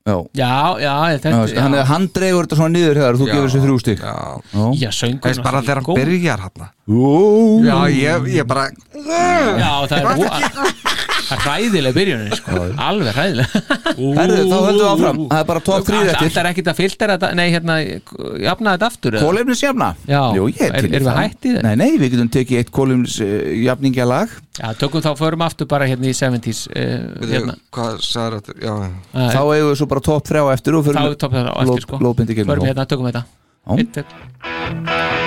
[SPEAKER 3] Já,
[SPEAKER 4] Já, já, þetta
[SPEAKER 3] Já, hann,
[SPEAKER 4] já.
[SPEAKER 3] hann dregur þetta svona niður hér þú
[SPEAKER 5] Já.
[SPEAKER 3] gefur þessu þrjú stík
[SPEAKER 5] Já,
[SPEAKER 4] já söngur
[SPEAKER 5] Veist bara þegar hann byrjar hann
[SPEAKER 3] Já,
[SPEAKER 5] Já, ég, ég bara
[SPEAKER 4] Já, það er vo- það er hræðilega byrjunin sko. alveg hræðilega
[SPEAKER 3] Herðu, þá höldum við áfram. Það er bara top three
[SPEAKER 4] Ætlar-
[SPEAKER 3] eftir.
[SPEAKER 4] ætlar ekkert að filtera þetta, nei hérna jafna þetta aftur eða?
[SPEAKER 3] Kólefnisjafna?
[SPEAKER 4] Já,
[SPEAKER 3] Jú, ég
[SPEAKER 4] er,
[SPEAKER 3] til í
[SPEAKER 4] erum við
[SPEAKER 3] það.
[SPEAKER 4] hættið það?
[SPEAKER 3] Nei, nei, við getum tekið eitt kólefnisjafningjalag
[SPEAKER 4] Já, tökum þá, förum aftur bara hérna í 70s uh, hérna.
[SPEAKER 5] Hvað sagði þetta? Já,
[SPEAKER 4] Æ.
[SPEAKER 3] Þá eigum við svo bara top 3 á eftir og
[SPEAKER 4] Þá
[SPEAKER 3] förum
[SPEAKER 4] er topp þetta á eftir sko
[SPEAKER 3] lópindi gilmur
[SPEAKER 4] Förum hérna, tökum þetta Einn, tök-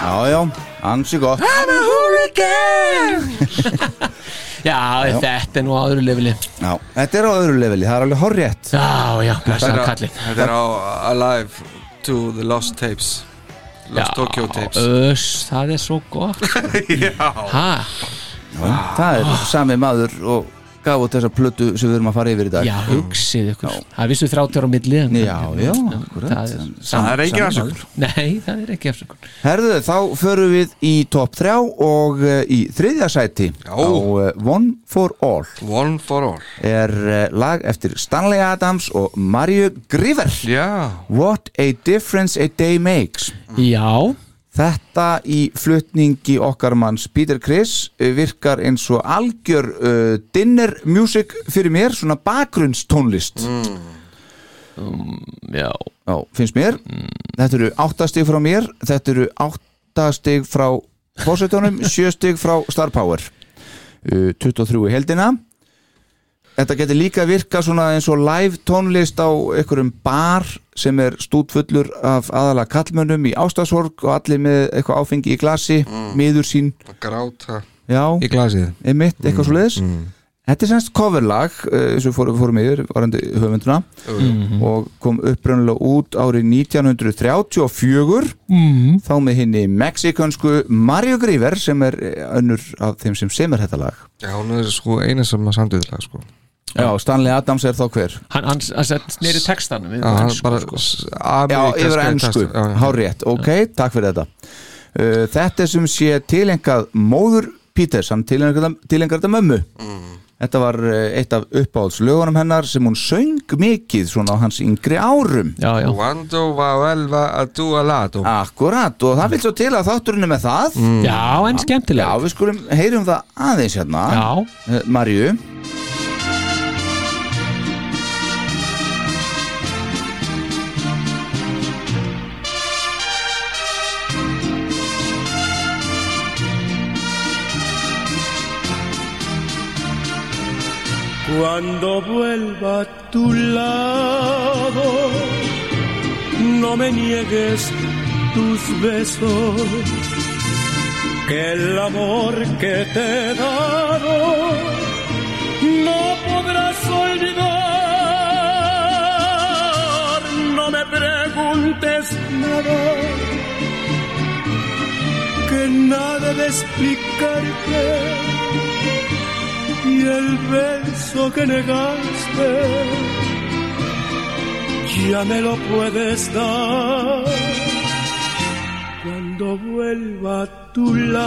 [SPEAKER 3] Já, já, ansi gott
[SPEAKER 4] I'm a hurricane Já,
[SPEAKER 3] Já.
[SPEAKER 4] þetta er nú á öðru lefili
[SPEAKER 3] Já, þetta er á öðru leveli, það er alveg horrétt
[SPEAKER 4] Já, já, blessaður kallinn.
[SPEAKER 5] Þetta er á Alive to the Lost Tapes Lost Tokyo Tapes
[SPEAKER 4] Öss, það er svo gott
[SPEAKER 5] Já
[SPEAKER 4] Ha,
[SPEAKER 3] Það er sami maður og gaf út þessa plötu sem við erum að fara yfir í dag
[SPEAKER 4] já, hugsið ykkur Það er vissu 30 ára á milli en-
[SPEAKER 3] Já, já, akkurat.
[SPEAKER 4] Það er,
[SPEAKER 3] Það er engin afsökun.
[SPEAKER 4] Nei, það er ekki afsökun
[SPEAKER 3] Herðu, þá förum við í top 3 og uh, í þriðja sæti Já. á uh, One for All
[SPEAKER 5] One for All
[SPEAKER 3] er uh, lag eftir Stanley Adams og Mario Griever
[SPEAKER 5] Já.
[SPEAKER 3] What a difference a day makes
[SPEAKER 4] Já
[SPEAKER 3] Þetta í flutningi okkar manns Peter Criss uh, virkar eins og algjör uh, dinner music fyrir mér, svona bakgrunnstónlist mm.
[SPEAKER 4] Já
[SPEAKER 3] finnst mér Þetta eru áttastig frá mér Þetta eru áttastig frá fósitónum, sjöstig frá Star Power uh, 23 í heldina Þetta getur líka virka svona eins og live tónlist á einhverjum bar sem er stútfullur af aðalega kallmönnum í ástasorg og allir með eitthvað áfengi í glasi, miður sín
[SPEAKER 5] Gráta
[SPEAKER 3] Já,
[SPEAKER 5] Í glasið
[SPEAKER 3] einmitt, eitthvað mm. svo leiðis Þetta er semst coverlag eh, eins og fórum, fórum yfir varandi höfunduna
[SPEAKER 4] Mhm.
[SPEAKER 3] og kom upprunalega út árið 1934
[SPEAKER 4] Mhm.
[SPEAKER 3] þá með henni mexikansku Mario Gríver sem er eh, önnur af þeim sem semur þetta lag
[SPEAKER 5] Já, hún er sko eina sem að samtidilega sko.
[SPEAKER 3] Já, Stanley Adams er þá hver?
[SPEAKER 4] Hann, hann, hann sett neyri textanum við
[SPEAKER 5] Já, hann
[SPEAKER 4] ensku,
[SPEAKER 5] bara
[SPEAKER 4] sko.
[SPEAKER 5] s-
[SPEAKER 3] Já,
[SPEAKER 5] ameríkanskri
[SPEAKER 3] yfir að ennsku,
[SPEAKER 5] texta, já, já.
[SPEAKER 3] hárétt, ok, takk fyrir þetta uh, Þetta er sem sé tilengað móður Peters, hann tilengar þetta mömmu
[SPEAKER 5] Mm.
[SPEAKER 3] Þetta var uh, eitt af uppáhaldslögunum hennar sem hún söng mikið svona á hans yngri árum
[SPEAKER 4] Já, já
[SPEAKER 5] Cuando va velva a tu a lato
[SPEAKER 3] Akkurat og það vil svo til að þátturinn er með það
[SPEAKER 5] Mm.
[SPEAKER 4] Já, en skemmtilega
[SPEAKER 3] Já, við skulum heyrum það aðeins hérna
[SPEAKER 4] Já
[SPEAKER 3] uh, Marju
[SPEAKER 18] Cuando vuelva a tu lado, no me niegues tus besos, que el amor que te he dado no podrás olvidar. No me preguntes nada, que nada de explicarte y el beso que negaste ya me lo puedes dar cuando vuelva a tu lado.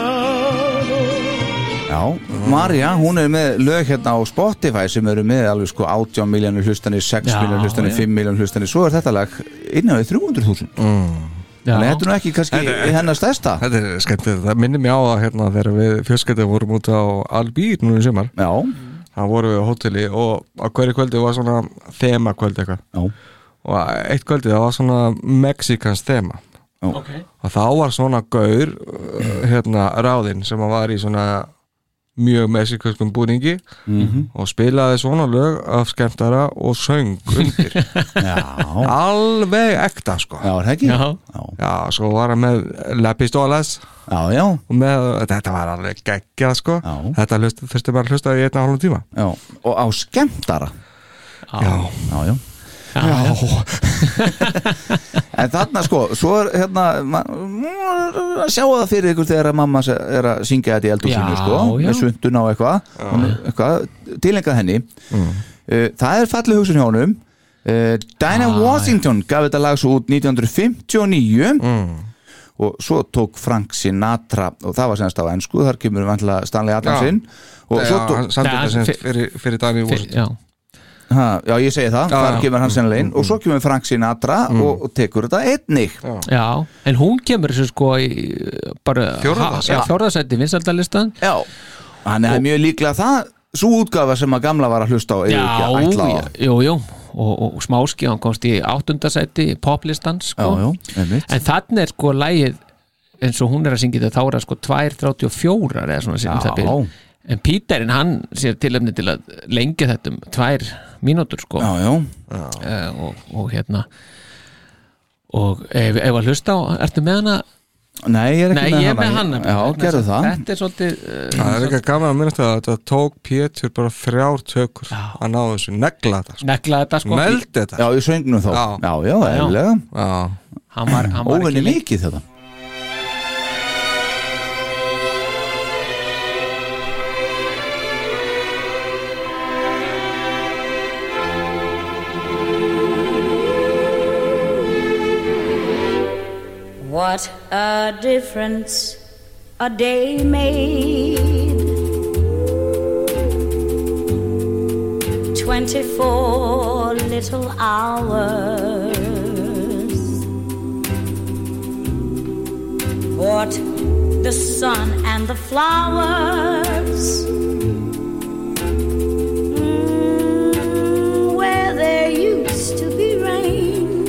[SPEAKER 3] Já,
[SPEAKER 5] Mm.
[SPEAKER 3] Marja, hún er með lög hérna á Spotify sem eru með alveg sko 18 miljónir hlustanir, 6
[SPEAKER 4] Já,
[SPEAKER 3] miljónir hlustanir,
[SPEAKER 4] já.
[SPEAKER 3] 5 miljónir hlustanir svo er þetta lag inn á við 300.000 mm.
[SPEAKER 4] Já.
[SPEAKER 3] Þannig að þetta er nú ekki kannski hennar stærsta
[SPEAKER 5] Þetta er skemmtilegt, það minnir mér á það hérna þegar við fjölskeldið vorum út á Albír núna í sumar
[SPEAKER 3] Já
[SPEAKER 5] Það vorum við á hóteli og á hverju kvöldi var svona þema kvöldi eitthvað
[SPEAKER 3] Já
[SPEAKER 5] Og eitt kvöldi það var svona Mexikans þema
[SPEAKER 3] Já
[SPEAKER 4] Ok.
[SPEAKER 5] Og þá var svona gaur, uh, hérna ráðinn sem að var í svona mjög mexikanskum búningi
[SPEAKER 3] Mhm.
[SPEAKER 5] og spilaði svona lög af skemmtara og söng undir alveg ekta sko
[SPEAKER 3] Já, er það ekki?
[SPEAKER 5] Já, svo var hann með Lepistólas
[SPEAKER 3] Já, já
[SPEAKER 5] og með, þetta var alveg geggjað sko já. þetta hlust, þurfti bara að hlusta í einna hálfum tíma
[SPEAKER 3] já. og á skemmtara
[SPEAKER 5] já,
[SPEAKER 3] já, já. En þarna sko, svo er hérna ma- að sjá það fyrir ykkur þegar að mamma se- er að syngja þetta í eldhúsinu
[SPEAKER 4] Já,
[SPEAKER 3] sko,
[SPEAKER 4] já.
[SPEAKER 3] með svundun á eitthvað hún er eitthvað, tilengað henni uh, það er fallið hugsun hjá honum uh, Dinah Washington gaf þetta lag svo út 1959 og svo tók Frank Sinatra og það var semst á ennsku, þar kemur vantilega Stanley Adamsinn og
[SPEAKER 5] já,
[SPEAKER 3] svo tók-
[SPEAKER 5] hann samdi þetta sem sagt fyrir, fyrir Dani Washington
[SPEAKER 4] já.
[SPEAKER 3] ha, já, ég segi
[SPEAKER 5] Já,
[SPEAKER 3] það, þar
[SPEAKER 5] já.
[SPEAKER 3] kemur hann sennilega inn og svo kemur Frank Sinatra og, og tekur þetta einnig
[SPEAKER 4] Mm. Já, en hún kemur þessu sko í, bara
[SPEAKER 3] Fjórða sæti.
[SPEAKER 4] fjórðasætti vinsaldalistan
[SPEAKER 3] Já, hann er mjög líklega það svo útgafa sem að gamla var að hlusta á
[SPEAKER 4] Já,
[SPEAKER 3] eigum ekki að ætla á
[SPEAKER 4] já, jú, jú og, og smáski, hann komst í áttundasætti í poplistans sko.
[SPEAKER 3] Já, já, einmitt.
[SPEAKER 4] en þannig er sko lægið eins og hún er að syngja þetta þá er það sko 2.34 eða svona sem
[SPEAKER 3] Já.
[SPEAKER 4] það byrð en Píterinn hann sér tilefni til að lengja þetta um tvær mínútur sko
[SPEAKER 3] já, já.
[SPEAKER 4] og, og hérna og ef, ef að hlusta á ertu með hana?
[SPEAKER 3] Nei, ég er ekki
[SPEAKER 4] Nei,
[SPEAKER 3] með
[SPEAKER 4] ég er
[SPEAKER 3] hana.
[SPEAKER 4] með hana
[SPEAKER 3] Já,
[SPEAKER 4] vegna
[SPEAKER 3] gerðu
[SPEAKER 4] þess að
[SPEAKER 3] það.
[SPEAKER 4] Þetta er svolítið uh,
[SPEAKER 5] það er líka gaman að minnast að þetta tók Pétur bara þrjár tökur að ná þessu, negla þetta sko.
[SPEAKER 4] negla þetta sko
[SPEAKER 5] meld þetta
[SPEAKER 3] Já, ég söngnum þá
[SPEAKER 5] Já.
[SPEAKER 3] Já, já, eðlilega
[SPEAKER 4] Hann var, hann var
[SPEAKER 3] Óvenni
[SPEAKER 4] ekki lengi.
[SPEAKER 3] mikið þetta
[SPEAKER 19] What a difference a day made. Twenty four little hours. What the sun and the flowers. Mm, where there used to be rain.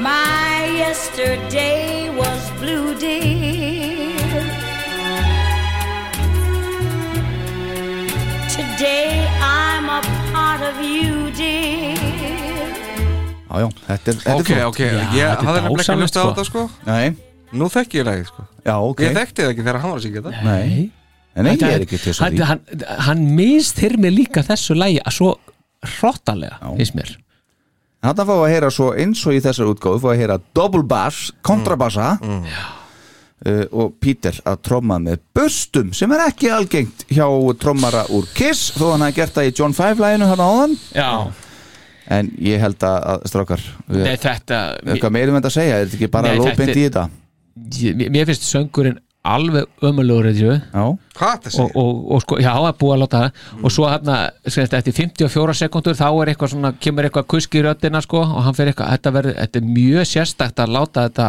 [SPEAKER 19] My yesterday was blue, dear. Today I'm a part of you, dear.
[SPEAKER 3] Já, já, þetta er, þetta
[SPEAKER 5] ok,
[SPEAKER 3] er flott.
[SPEAKER 5] ok, ég hafði nefnilega ekki hlusta á þetta sko
[SPEAKER 3] Nei,
[SPEAKER 5] nú þekki ég lagið sko
[SPEAKER 3] já, ok
[SPEAKER 5] ég þekkti það ekki þegar hann var að syngja þetta
[SPEAKER 3] Nei nei,
[SPEAKER 4] Þetta-
[SPEAKER 3] ég er ekki til þess að
[SPEAKER 4] hann,
[SPEAKER 3] því.
[SPEAKER 4] hann, hann misþyr mig líka þessu lægi að svo hróttalega, finnst mér
[SPEAKER 3] Þetta fá að heyra svo eins og í þessar útgáðu fá að heyra double bass, kontrabassa uh, og Peter að tromma með bustum sem er ekki algengt hjá trommara úr Kiss þó hann hafi gert það í John 5 læginu hann áðan
[SPEAKER 4] Já.
[SPEAKER 3] en ég held að, að strákar við-
[SPEAKER 4] Nei, þetta
[SPEAKER 3] eitthvað meirum þetta að segja, er þetta ekki bara
[SPEAKER 4] Nei,
[SPEAKER 3] lóðbind í þetta
[SPEAKER 4] Ég- mér- Mér finnst söngurinn alveg ömulegur þessu
[SPEAKER 5] Hvað
[SPEAKER 4] þessi? Og, og, og sko, já, það er búið að láta það og svo hérna, segist, eftir 54 sekundur þá er eitthvað svona, kemur eitthvað kusk í röddina sko, og hann fer eitthvað, þetta verður þetta er mjög sérstakt að láta þetta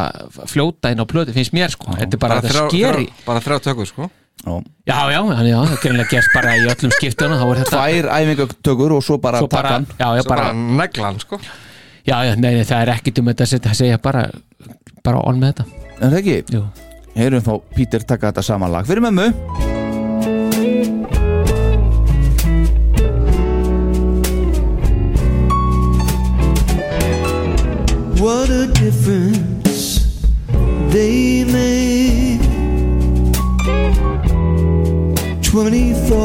[SPEAKER 4] fljóta inn á plötu, finnst mér sko, þetta er bara, þetta
[SPEAKER 5] þrjár-
[SPEAKER 4] skeri
[SPEAKER 5] þrjár- bara þrjá tökur sko
[SPEAKER 4] Já, já, hann, já, það er greinlega gert bara í öllum skiptunum, þá er þetta
[SPEAKER 3] Tvær æfingatökur og svo bara
[SPEAKER 4] Svo bara-
[SPEAKER 3] takkan
[SPEAKER 4] já, já, Svo bara bara-
[SPEAKER 5] neglan sko
[SPEAKER 4] Já, já, nei, nei, það er ekkit um þetta að setja- segja bara, bara on með þetta
[SPEAKER 3] En það ekki? Jú Heyrum þá Pítur taka þetta saman lag fyrir mömmu
[SPEAKER 12] What a difference they made.
[SPEAKER 13] 24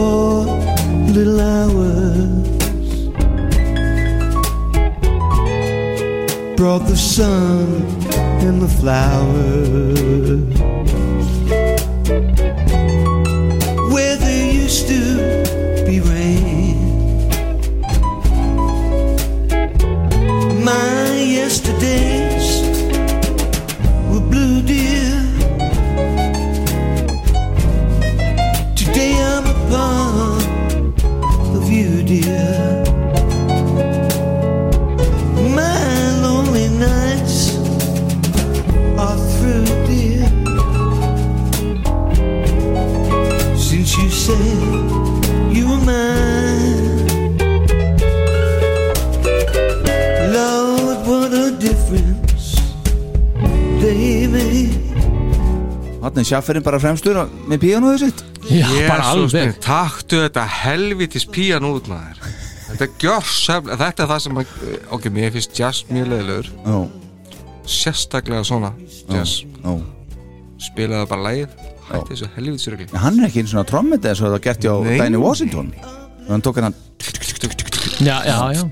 [SPEAKER 13] little hours brought the sun and the flowers
[SPEAKER 12] Where there used to be rain.
[SPEAKER 13] My yesterdays were blue, dear. Today I'm a part of you, dear. My lonely nights are through, dear. Since you said you were mine. Lord, what a difference they made.
[SPEAKER 3] Þannig er sjafferinn bara fremstur á- með píanóðu sitt
[SPEAKER 5] Jesus minn, taktu þetta helvitis pían út maður Þetta er gjörsefn Þetta er það sem að, Ok, mér finnst jazz mjög leiðilegur
[SPEAKER 3] Já.
[SPEAKER 5] Sérstaklega svona jazz
[SPEAKER 3] Já.
[SPEAKER 5] Spilaðu bara lægið Hætti þessu helvitis regli
[SPEAKER 3] En Hann er ekki eins og trommeta eins og það var gert hjá
[SPEAKER 5] Nei.
[SPEAKER 3] Danny Washington Og hann tók hann
[SPEAKER 4] Já, já, já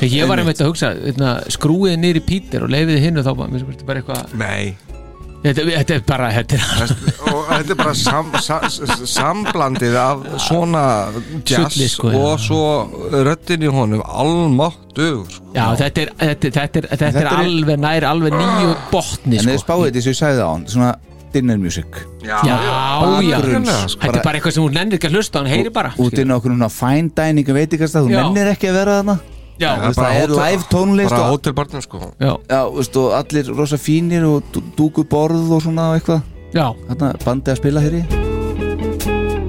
[SPEAKER 4] Þegar ég var einmitt að hugsa, veitna, skrúið niður í Pítur og leiðið hinn og þá bara, mér finnst þetta bara eitthvað
[SPEAKER 5] Nei
[SPEAKER 4] Þetta, þetta er bara, þetta er
[SPEAKER 5] Og þetta er bara sam, sa, s- samblandið af svona jazz
[SPEAKER 4] Sulli, sko, já.
[SPEAKER 5] og svo röddin í honum almáttugur sko.
[SPEAKER 4] Já, þetta er, þetta, þetta er, þetta
[SPEAKER 3] Þetta
[SPEAKER 4] er
[SPEAKER 3] er-
[SPEAKER 4] alveg nær, alveg nýju botni
[SPEAKER 3] En
[SPEAKER 4] sko.
[SPEAKER 3] þeir spáði þetta sem ég sagði á hann Svona dinner music
[SPEAKER 4] Já, já,
[SPEAKER 3] Bakgrunns,
[SPEAKER 4] Þetta er bara eitthvað sem hún nennir ekki að hlusta, hún heyri bara
[SPEAKER 3] Út inn á okkur núna fine dining veitast að þú
[SPEAKER 4] Já.
[SPEAKER 3] mennir ekki að vera þarna
[SPEAKER 4] Já.
[SPEAKER 3] Þú veist, Það er
[SPEAKER 5] hótel-
[SPEAKER 3] live tónlist
[SPEAKER 5] Bara
[SPEAKER 3] og-
[SPEAKER 5] hótelbarnum sko
[SPEAKER 4] Já,
[SPEAKER 3] þú veist, og allir rosa fínir og dú- dúku borð og svona og eitthvað
[SPEAKER 4] Já
[SPEAKER 3] Þarna er bandið að spila hér í
[SPEAKER 13] 24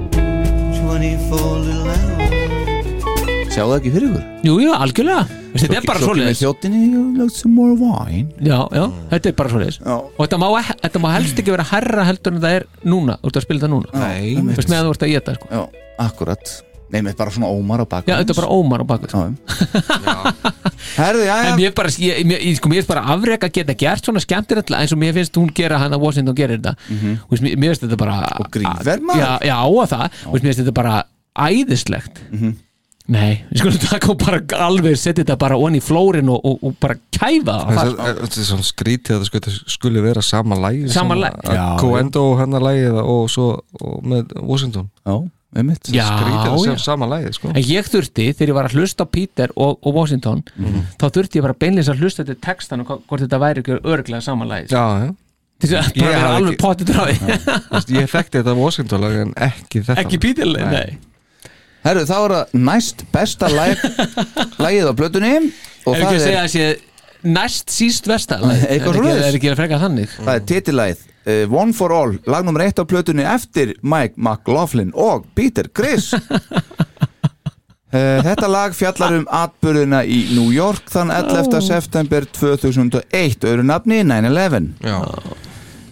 [SPEAKER 13] little hours.
[SPEAKER 3] Sjáu það ekki fyrir ykkur?
[SPEAKER 4] Jú, jú, algjörlega Veist, Þetta er bara svoleiðis
[SPEAKER 3] Svo kemur þjóttinni og lagt some more wine
[SPEAKER 4] Já, já, þetta er bara svoleiðis Og þetta má, e- þetta má helst ekki vera herra heldur en það er núna, þú ert að spila þetta núna
[SPEAKER 3] Nei.
[SPEAKER 4] Þú veist meðan þú ert að geta sko.
[SPEAKER 3] Já, akkurat Nei, með bara svona ómar á bakgrunns
[SPEAKER 4] Já, þetta er bara ómar á bakvið sko.
[SPEAKER 3] Herðu, já, já
[SPEAKER 4] En mér bara, ég, mér, ég, sko, mér finnst bara afrek að geta gert svona skemmtilega eins og mér finnst hún gera hann að Washington gerir þetta
[SPEAKER 3] Mhm.
[SPEAKER 4] Þú veist, mér, mér finnst þetta bara Og
[SPEAKER 3] grífer maður.
[SPEAKER 4] Já, já á að það, Þú veist, mér finnst þetta bara æðislegt
[SPEAKER 3] Mhm.
[SPEAKER 4] Nei, við skulum taka og bara alveg setja þetta bara onni í flórin og, og, og bara kæfa það
[SPEAKER 5] Þetta
[SPEAKER 4] þar,
[SPEAKER 5] er- þetta er svona skrítið að það skuli, skuli vera sama lægi
[SPEAKER 4] Sama lag. Já, já.
[SPEAKER 5] Coendo hennar lægið og svo og með Washington
[SPEAKER 3] Já, með mitt
[SPEAKER 4] Já,
[SPEAKER 5] Skrítið að
[SPEAKER 4] já.
[SPEAKER 5] sem sama lægið sko
[SPEAKER 4] En ég þurfti, þegar ég var að hlusta á Peter og, og Washington þá þurfti ég bara beinleins að hlusta þetta textan og hva- hvort þetta væri ekki örglega samanlægis
[SPEAKER 5] Já, já
[SPEAKER 4] Til þess að bara vera alveg pottið dráði
[SPEAKER 5] Ég þekkti þetta Washington lag en ekki þetta
[SPEAKER 4] Ekki Peter lag, nei.
[SPEAKER 3] Herru, þá er það næst besta lag, lagið á blötunni og
[SPEAKER 4] Er ekki að segja að sé næst síst vestal
[SPEAKER 3] Eitthvað svo
[SPEAKER 4] Er ekki að freka þannig
[SPEAKER 3] Það er titillagið uh, One for All, lag nummer eitt á plötunni eftir Mike McLaughlin og Peter Criss Uh, þetta lag fjallar um atburðina í New York þann 11.
[SPEAKER 1] Ó.
[SPEAKER 3] september 2001 öðru nafni 9-11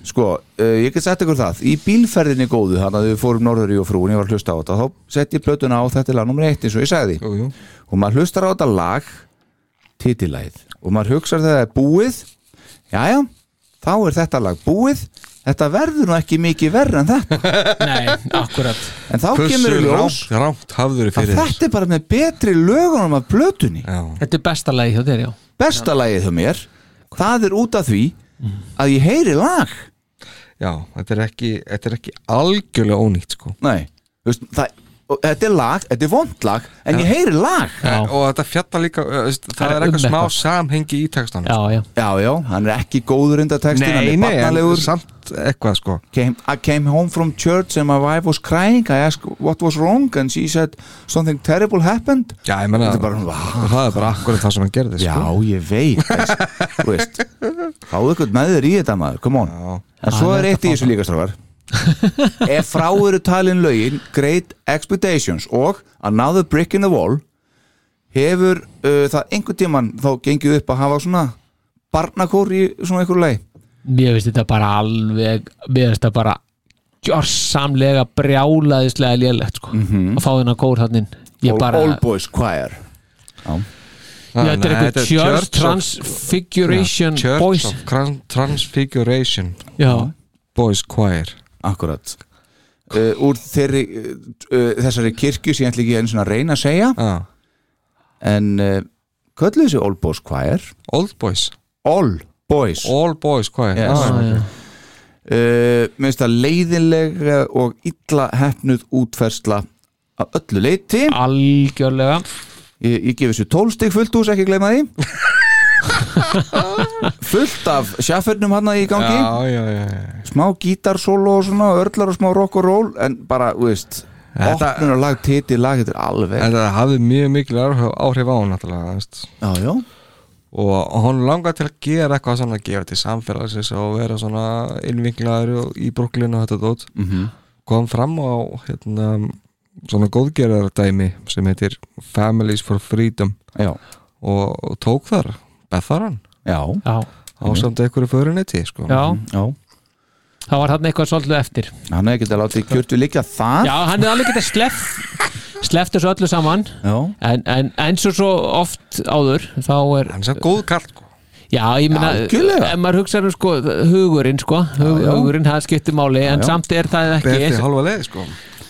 [SPEAKER 3] sko, uh, ég get sett ykkur það í bílferðinni góðu, þannig að við fórum norður í og frúin, ég var að hlusta á þetta þá sett ég plötuna á þetta er lag nummer 1 eins og ég sagði jú,
[SPEAKER 5] jú.
[SPEAKER 3] og maður hlustar á þetta lag titillæð og maður hugsar þegar það er búið jæja, þá er þetta lag búið þetta verður nú ekki mikið verð en þetta
[SPEAKER 4] Nei, akkurat
[SPEAKER 3] En þá kemur í ljós
[SPEAKER 5] rámt, rámt hafður
[SPEAKER 3] að
[SPEAKER 5] fyrir þér.
[SPEAKER 3] þetta er bara með betri lögunum af blötunni
[SPEAKER 4] Þetta er besta lagi hjá þér, já
[SPEAKER 3] Besta lagið hjá mér Það er út af því að ég heyri lag
[SPEAKER 5] Já, þetta er ekki, þetta er ekki algjörlega ónýtt sko
[SPEAKER 3] Nei, þú veist, það, og þetta er lag, þetta er vond lag En ég heyri lag
[SPEAKER 5] Já. Og þetta fjallar líka, ö, veist, það,
[SPEAKER 3] Það er
[SPEAKER 5] er eitthvað
[SPEAKER 3] um
[SPEAKER 5] smá
[SPEAKER 3] eitthvað.
[SPEAKER 5] samhengi í textanum
[SPEAKER 4] Já, já
[SPEAKER 3] Já, já, hann er ekki góður undar textin
[SPEAKER 5] Nei,
[SPEAKER 3] hann
[SPEAKER 5] nei,
[SPEAKER 3] er
[SPEAKER 5] en
[SPEAKER 3] barnalegur
[SPEAKER 5] samt eitthvað sko
[SPEAKER 3] came, I came home from church and my wife was crying I asked what was wrong and she said something terrible happened
[SPEAKER 5] Já, ég meina
[SPEAKER 3] Þetta er bara,
[SPEAKER 5] og það er bara akkurat það sem hann gerði sko.
[SPEAKER 3] Já, ég veit þess, Þú veist, fáðu ykkur með þér í þetta maður Come on En svo
[SPEAKER 5] Það er
[SPEAKER 3] er
[SPEAKER 5] hægt
[SPEAKER 3] eitt í þessu líka strafar Ef frá eru talin lögin Great Expectations og Another Brick in the Wall Hefur uh, það einhvern tíman þá gengið upp að hafa svona barnakór í svona einhverju leið
[SPEAKER 4] Mér finnst þetta bara alveg Mér finnst þetta bara gjörsamlega brjálaðislega lélegt sko. að fá þennan kór hann inn Ég
[SPEAKER 3] Old-
[SPEAKER 4] bara,
[SPEAKER 3] Old Boys Choir Já
[SPEAKER 4] Já, þetta er eitthvað Church Transfiguration
[SPEAKER 5] Já, Church
[SPEAKER 4] Boys.
[SPEAKER 5] of Tran- Transfiguration
[SPEAKER 4] Já.
[SPEAKER 5] Boys Choir
[SPEAKER 3] Akkurat uh, Úr þeirri, uh, uh, þessari kirkju sem ég ætla ekki einu svona að reyna að segja
[SPEAKER 5] ah.
[SPEAKER 3] En uh, kölluðu þessi Old Boys Choir
[SPEAKER 5] Old Boys
[SPEAKER 3] All Boys
[SPEAKER 5] All Boys Choir
[SPEAKER 3] yes.
[SPEAKER 5] Ah,
[SPEAKER 3] Ah,
[SPEAKER 5] Já, já.
[SPEAKER 3] uh, Mér finnst það leiðinlega og illa hefnuð útfersla að öllu leiti
[SPEAKER 4] Algjörlega
[SPEAKER 3] Ég, ég gefi þessu tólstig fullt hús, ekki gleyma því Fullt af sjaffernum hann í gangi
[SPEAKER 5] Já, já, já, já.
[SPEAKER 3] smá gítarsólo og svona örlar og smá rock og roll en bara, þú veist
[SPEAKER 5] Þetta-
[SPEAKER 3] opnunar lag, titi, lag, þetta er alveg
[SPEAKER 5] En það hafði mjög mikil áhrif, áhrif á hann náttúrulega þú veist.
[SPEAKER 3] Já, já
[SPEAKER 5] Og hann langaði til að gera eitthvað svona að gefa til samfélagsins og vera svona innvinklaður og- í Brooklyn og þetta dót
[SPEAKER 3] Mhm.
[SPEAKER 5] kom fram á hérna, svona góðgerðardæmi sem heitir Families for Freedom
[SPEAKER 3] já.
[SPEAKER 5] og og tók þar Betharan
[SPEAKER 3] Já.
[SPEAKER 4] Já.
[SPEAKER 5] ásamt einhverju förunetti sko.
[SPEAKER 4] Já.
[SPEAKER 3] Já.
[SPEAKER 4] það var hann eitthvað svolítið eftir
[SPEAKER 3] hann hefði getað látið kjörtu líka þar
[SPEAKER 4] Já, hann er alveg getað sleff sleft þessu öllu saman
[SPEAKER 3] Já.
[SPEAKER 4] en, en eins og svo oft áður þá er
[SPEAKER 5] Hann er svo góð kall sko.
[SPEAKER 4] Já, ég meina,
[SPEAKER 5] Algjörlega.
[SPEAKER 4] ef maður hugsaður um sko, hugurinn sko, hug,
[SPEAKER 5] já.
[SPEAKER 4] hugurinn það skiptir máli, en
[SPEAKER 5] já.
[SPEAKER 4] samt er það ekki
[SPEAKER 5] Berti halva leið sko.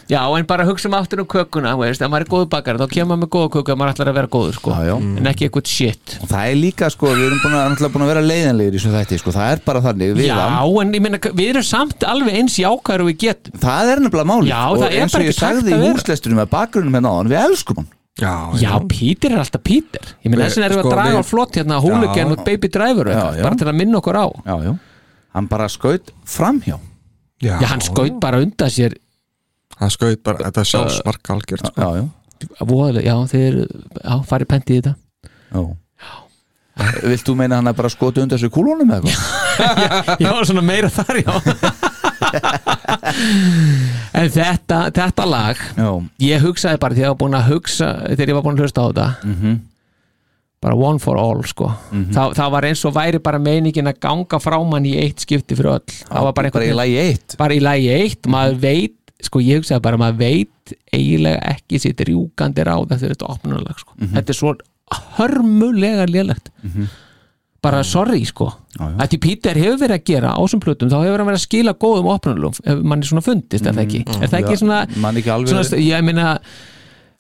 [SPEAKER 4] Já, en bara hugsa um áttunum kökuna, þú veist, ef maður er góðu bakar, þá kemur maður með góða köku ef maður ætlar að vera góður sko,
[SPEAKER 3] já. Mm.
[SPEAKER 4] en ekki eitthvað shit
[SPEAKER 3] og það er líka, sko, við erum búin að, náttúrulega búin að vera leiðanlegir í svo þætti, sko, það er bara þannig við
[SPEAKER 4] Já,
[SPEAKER 3] hann.
[SPEAKER 4] en ég meina, við erum samt alveg eins jákvæður og við getum
[SPEAKER 3] það er nefnilega máli
[SPEAKER 4] Já,
[SPEAKER 3] og
[SPEAKER 4] það er
[SPEAKER 3] eins
[SPEAKER 4] bara
[SPEAKER 3] og
[SPEAKER 4] ekki
[SPEAKER 3] ég
[SPEAKER 4] hægt
[SPEAKER 3] sagði í
[SPEAKER 4] að vera.
[SPEAKER 3] húsleistunum að bakgrunum hérna á hann, við elskum hann
[SPEAKER 5] Já,
[SPEAKER 4] Já, Pítur er alltaf Pítur Ég meina,
[SPEAKER 3] Við-
[SPEAKER 4] þess vegna erum við
[SPEAKER 3] sko,
[SPEAKER 4] að draga
[SPEAKER 3] við-
[SPEAKER 4] á flott hérna
[SPEAKER 3] Já.
[SPEAKER 4] Hooligan og Baby Driver og
[SPEAKER 3] Já,
[SPEAKER 4] eitthvað,
[SPEAKER 3] já.
[SPEAKER 4] bara til að minna okkur á
[SPEAKER 3] já, já, hann bara skaut framhjá
[SPEAKER 5] Já,
[SPEAKER 4] Já, hann skaut bara undan sér
[SPEAKER 5] Hann skaut bara, þetta er sjálfsmark algjört sko.
[SPEAKER 3] já,
[SPEAKER 4] Voðalega, já, þeir já, farið pent í þetta
[SPEAKER 3] já. Vilt þú meina að hann að bara skoti undan sér kúlunum eða eitthvað?
[SPEAKER 4] Já, svona meira þar, já En þetta, þetta lag
[SPEAKER 3] Já.
[SPEAKER 4] Ég hugsaði bara þegar ég var búin að hugsa þegar ég var búin að hlusta á þetta
[SPEAKER 3] Mhm.
[SPEAKER 4] bara one for all, sko það, það var eins og væri bara meiningin að ganga frá mann í eitt skipti fyrir öll það var bara
[SPEAKER 3] bara
[SPEAKER 4] einhvern
[SPEAKER 3] í lagi eitt
[SPEAKER 4] bara í lagi eitt,
[SPEAKER 3] Mm.
[SPEAKER 4] maður veit sko ég hugsaði bara, maður veit eiginlega ekki sitt rjúkandi ráð eftir þetta opnulag, sko,
[SPEAKER 3] Mhm.
[SPEAKER 4] þetta er svo hörmulega lélegt bara sorry, sko að því Peter hefur verið að gera ásum plötum þá hefur hann verið að skila góðum opnunlum ef mann er svona fundist, er það ekki er það ekki
[SPEAKER 3] Mhm. Já,
[SPEAKER 4] svona,
[SPEAKER 3] man ekki alveg-
[SPEAKER 4] svona ég meina,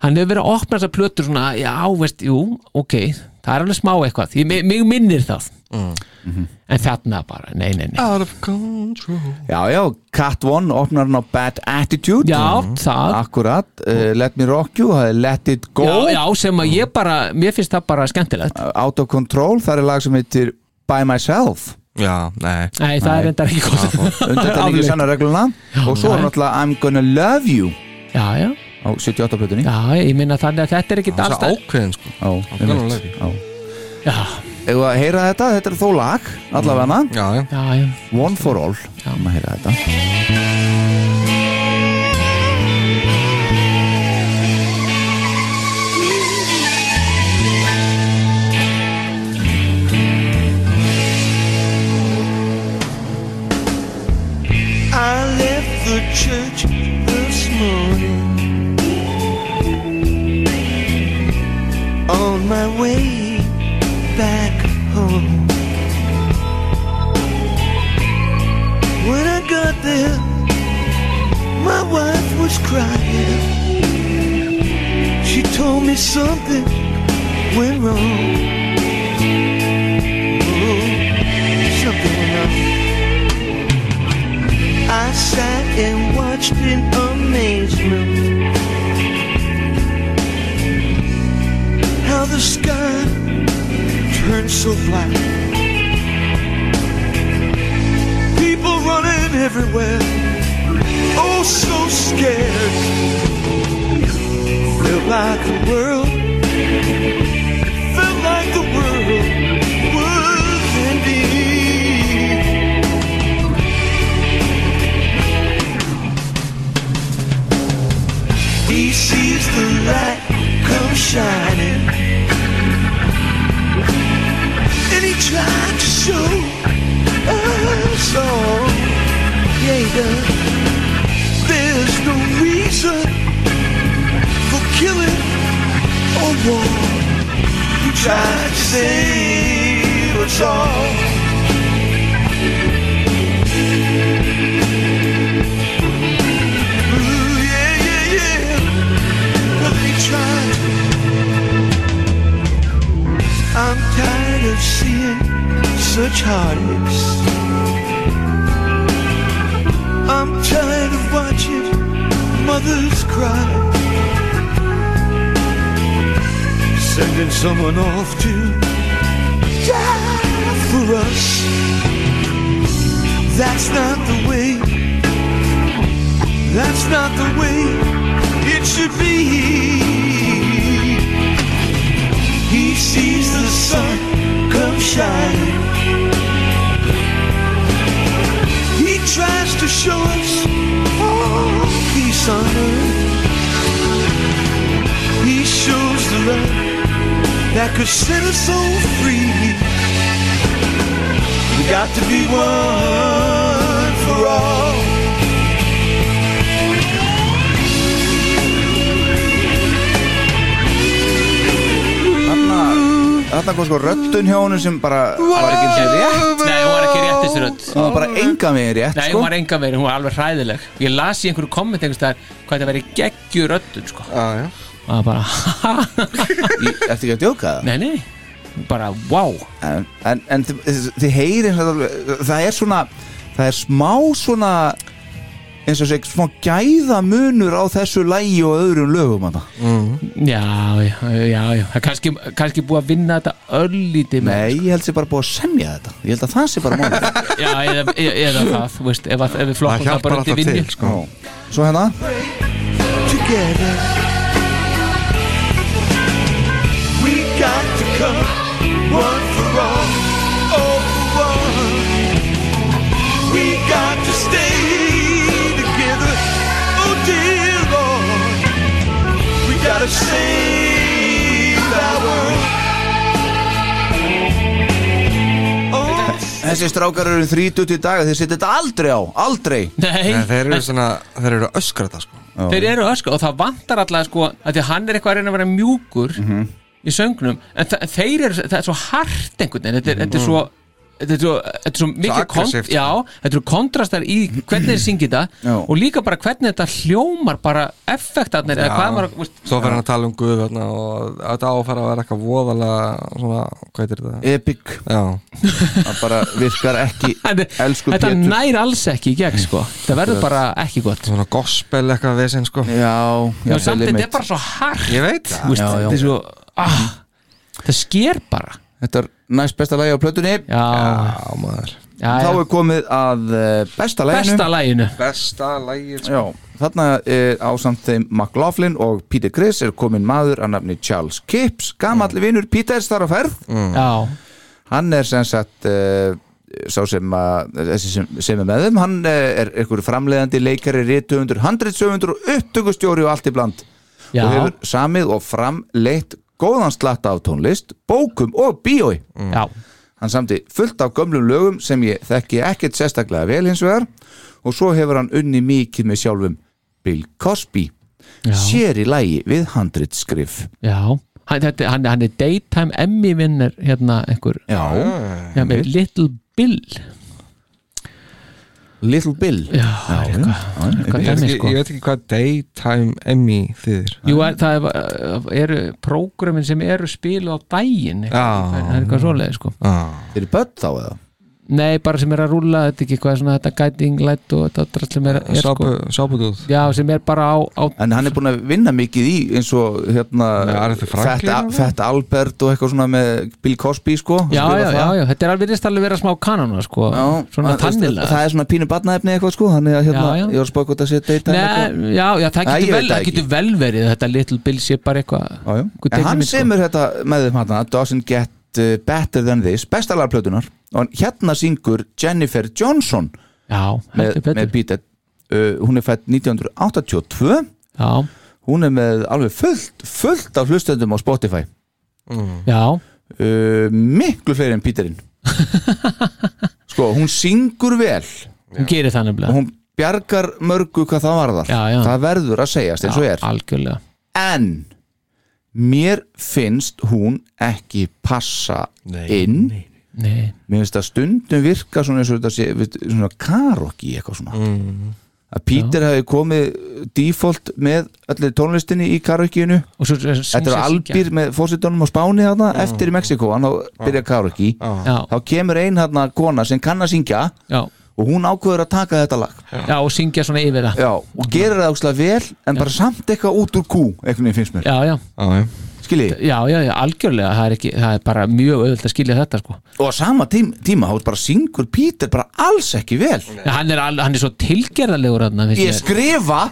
[SPEAKER 4] hann hefur verið að opna þessar plötur svona, já, veist, jú, ok það er alveg smá eitthvað, ég, mig- mig minnir það
[SPEAKER 3] Mhm.
[SPEAKER 4] en þarna bara, nei, nei,
[SPEAKER 3] Ah.
[SPEAKER 4] nei
[SPEAKER 5] Out of control
[SPEAKER 3] Já, já, Cat One opnar hann á Bad Attitude
[SPEAKER 4] Já, það
[SPEAKER 3] Akkurat, uh, Let Me Rock You, það er Let It Go
[SPEAKER 4] já, já, sem að ég bara, mér finnst það bara skemmtilegt
[SPEAKER 3] Out of Control, það er lag sem heitir By Myself
[SPEAKER 5] Já, nei
[SPEAKER 4] Nei, það er reyndar ekki gott.
[SPEAKER 3] Undan líka
[SPEAKER 4] Afleitt.
[SPEAKER 3] sannar regluna Og svo er
[SPEAKER 4] nei.
[SPEAKER 3] náttúrulega I'm Gonna Love You
[SPEAKER 4] Já, já
[SPEAKER 3] Á 78 plötunni
[SPEAKER 4] Já, ég minna þannig að þetta er ekki
[SPEAKER 3] Það er svo
[SPEAKER 5] ákveðin sko
[SPEAKER 3] Já,
[SPEAKER 5] gonna
[SPEAKER 3] einmitt,
[SPEAKER 5] love you.
[SPEAKER 3] já.
[SPEAKER 4] Já.
[SPEAKER 3] Eigum við að heyra þetta, þetta er þó lag
[SPEAKER 5] já,
[SPEAKER 3] Allavega
[SPEAKER 5] já.
[SPEAKER 4] Já, já.
[SPEAKER 5] Mm.
[SPEAKER 3] One for all, já, maður heyra þetta
[SPEAKER 12] I left the church this morning on my way back home. When I go crying. She told me something went wrong. Oh, something went wrong. I sat and watched in amazement how the sky turned so black. People running everywhere, oh so scared. Felt like the world, felt like the world was ending. He sees the light come shining. And he tried to show us all. Yeah, he does. There's no reason for killing or war. He tried to save us all. Ooh, yeah, yeah, yeah. Well, they tried to I'm tired of seeing such heartaches. I'm tired of watching mothers cry. Sending someone off to die for us. That's not the way. That's not the way it should be. He sees the sun come shining. He tries to show us all peace on earth. He shows the love that could set us all free. We got to be one for all.
[SPEAKER 3] Þarna, þarna kom sko röddun hjá honum sem bara var ekki eins og rétt
[SPEAKER 4] Nei, hún var ekki rétt þessi rödd
[SPEAKER 3] Það var bara enga megin rétt
[SPEAKER 4] Nei,
[SPEAKER 3] sko
[SPEAKER 4] hún var enga verið, hún var alveg hræðileg Ég las í einhverju komment einhvers þar hvað þetta verið geggjur röddun sko.
[SPEAKER 5] ah,
[SPEAKER 4] Það var bara
[SPEAKER 3] Ertu ekki að djóka það?
[SPEAKER 4] Nei, nei bara wow
[SPEAKER 3] en, en, en þi- þi- þið heyri það er svona það er smá svona eins og seg smá gæðamunur á þessu lægi og öðrum lögum hana.
[SPEAKER 4] Já, já, já, já Það er kannski, kannski búið að vinna þetta öllítið með
[SPEAKER 3] Nei, ég held sér bara búið að semja þetta Ég held að það sé bara málið
[SPEAKER 4] Já, eða, eða, eða það, þú veist, ef, að- ef við flokkum það bara undir sko. vinni
[SPEAKER 5] sko.
[SPEAKER 3] Svo hérna
[SPEAKER 12] together. We got to come one for all, all for one. We got to stay together, oh dear Lord. We gotta save our world.
[SPEAKER 3] Þessi strákar eru þrítut í dag Þeir setja þetta aldrei á, aldrei
[SPEAKER 4] Nei. Nei, þeir eru
[SPEAKER 3] svona, þeir eru öskrata sko.
[SPEAKER 4] Þeir eru ösku og það vantar alltaf sko að því að hann er eitthvað að reyna að vera mjúkur
[SPEAKER 3] Mhm.
[SPEAKER 4] í söngnum en þa- þeir eru, það er svo hart einhvern veginn þetta er, þetta er svo Þetta er svo, þetta er svo mikið
[SPEAKER 5] aggressivt.
[SPEAKER 4] já, þetta eru kontrastar í hvernig þeir syngi þetta og líka bara hvernig þetta hljómar bara effektarnir eða hvað maður, veist,
[SPEAKER 5] Svo fer hann að tala um Guð þarna, og þetta áfæra að vera eitthvað voðalega svona, hvað heitir þetta?
[SPEAKER 3] Epic
[SPEAKER 5] Já
[SPEAKER 3] Það bara virkar ekki Elsku
[SPEAKER 4] þetta
[SPEAKER 5] Pétur.
[SPEAKER 4] nær alls ekki í gegn sko það verður bara ekki gott
[SPEAKER 5] Svona gospel eitthvað vesen sko
[SPEAKER 3] Já,
[SPEAKER 4] já, samt þetta er bara svo hart
[SPEAKER 5] Ég veit
[SPEAKER 4] Þú veist, þetta er svo ah, það sker bara
[SPEAKER 3] Þetta er næst besta lagi á plötunni Já,
[SPEAKER 4] já
[SPEAKER 5] maður
[SPEAKER 3] Þá er komið að eh, besta laginu
[SPEAKER 4] Besta laginu.
[SPEAKER 5] Besta lægið sko
[SPEAKER 3] Já, þarna er ásamt þeim McLaughlin og Peter Criss er komin maður að nafni Charles Kipps
[SPEAKER 4] Mm.
[SPEAKER 3] gamalli vinnur Peter þar á ferð
[SPEAKER 4] Já
[SPEAKER 3] Hann er sem sagt uh, sá sem, að, þessi sem, sem er með þeim hann eh, er einhver framleiðandi leikari rithöfundur, handritsöfundur og upptökustjóri og allt í bland
[SPEAKER 4] Já.
[SPEAKER 3] og hefur samið og framleitt góðan slatta af tónlist, bókum og bíói
[SPEAKER 4] Já
[SPEAKER 3] Hann samti fullt af gömlum lögum sem ég þekki ekkert sérstaklega vel hins vegar og svo hefur hann unni mikið með sjálfum Bill Cosby sér í lægi við handritskrif
[SPEAKER 4] Já, hann, þetta, hann, hann er daytime Emmy vinnar hérna einhver
[SPEAKER 3] Já,
[SPEAKER 4] já með Little Bill
[SPEAKER 3] Little Bill Já, já, já,
[SPEAKER 4] eitthvað
[SPEAKER 5] ég,
[SPEAKER 4] dæmi,
[SPEAKER 5] ég,
[SPEAKER 4] sko.
[SPEAKER 5] ég veit ekki hvað Daytime Emmy þýðir
[SPEAKER 4] Jú, er- það er- eru prógramin sem eru spilu á daginn eitthvað,
[SPEAKER 5] Já.
[SPEAKER 4] það er eitthvað svoleið sko.
[SPEAKER 3] Þeir eru börn þá eða?
[SPEAKER 4] Nei, bara sem er að rúlla þetta ekki hvað svona þetta gæting, lætt og þetta drall sem er, sko. er
[SPEAKER 5] Sápu- Sápudúð
[SPEAKER 4] Já, sem er bara á, á
[SPEAKER 3] En hann er búin að vinna mikið í eins og hérna
[SPEAKER 4] Franklin
[SPEAKER 3] Fett-
[SPEAKER 4] alveg?
[SPEAKER 3] Fett Albert og eitthvað svona með Bill Cosby sko
[SPEAKER 4] Já,
[SPEAKER 3] Skrifa
[SPEAKER 4] já,
[SPEAKER 3] það.
[SPEAKER 4] já, já, þetta er alveg reist alveg vera smá kanana sko,
[SPEAKER 3] Já,
[SPEAKER 4] svona
[SPEAKER 3] að-
[SPEAKER 4] tannilega
[SPEAKER 3] Það er svona pínu barnaefni eitthvað sko Þannig að hérna,
[SPEAKER 4] Já, já.
[SPEAKER 3] ég var að spá hvort að setja eitt
[SPEAKER 4] Nei, já, já, það
[SPEAKER 3] Nei, ég
[SPEAKER 4] getur
[SPEAKER 3] veit
[SPEAKER 4] vel, það
[SPEAKER 3] ekki.
[SPEAKER 4] getur vel verið að þetta Little Bill sé bara eitthvað einhver
[SPEAKER 3] En hann
[SPEAKER 4] teiknimynd, sko.
[SPEAKER 3] semur þetta með þeim hann Doesn't get uh, better than this Besta lagplötunar Og hann- hérna syngur Jennifer Johnson
[SPEAKER 4] Já,
[SPEAKER 3] með,
[SPEAKER 4] heldur betur.
[SPEAKER 3] með Beat It uh, Hún er fætt 1982
[SPEAKER 4] Já
[SPEAKER 3] Hún er með alveg fullt, fullt af hlustendum á Spotify
[SPEAKER 4] Já
[SPEAKER 3] uh, Miklu fleiri en Peterinn Sko, hún syngur vel
[SPEAKER 4] Hún gerir það nefnilega
[SPEAKER 3] Hún bjargar mörgu hvað það varðar já, já. Það verður að segjast eins og er
[SPEAKER 4] Algjörlega
[SPEAKER 3] En mér finnst hún ekki passa inn
[SPEAKER 4] Nei
[SPEAKER 3] Mér finnst að stundum virka svona eins og þetta sé við- svona karokki eitthvað svona
[SPEAKER 4] Mhm.
[SPEAKER 3] mm. að Peter hefði komið default með öllu tónlistinni í karokkinu
[SPEAKER 4] og svo
[SPEAKER 3] Þetta er albýr með fórsetunum á Spáni þarna, eftir í Mexiko, hann á byrja karaoke
[SPEAKER 4] Já.
[SPEAKER 3] þá kemur ein þarna kona sem kann að syngja
[SPEAKER 4] Já.
[SPEAKER 3] og hún ákveður að taka þetta lag
[SPEAKER 4] Já, og syngja svona yfir það
[SPEAKER 3] Já, og gerir það ákslega vel en bara samt eitthvað út úr kú einhvern veginn finnst mér
[SPEAKER 4] Já, já,
[SPEAKER 3] Skilji?
[SPEAKER 4] já, já, já, algjörlega það er, ekki, það er bara mjög auðvöld að skilja þetta sko.
[SPEAKER 3] og á sama tím, tíma, hún bara syngur Peter bara alls ekki vel
[SPEAKER 4] Já, hann, er, al- hann er svo tilgerðarlegur hann,
[SPEAKER 3] ég skrifa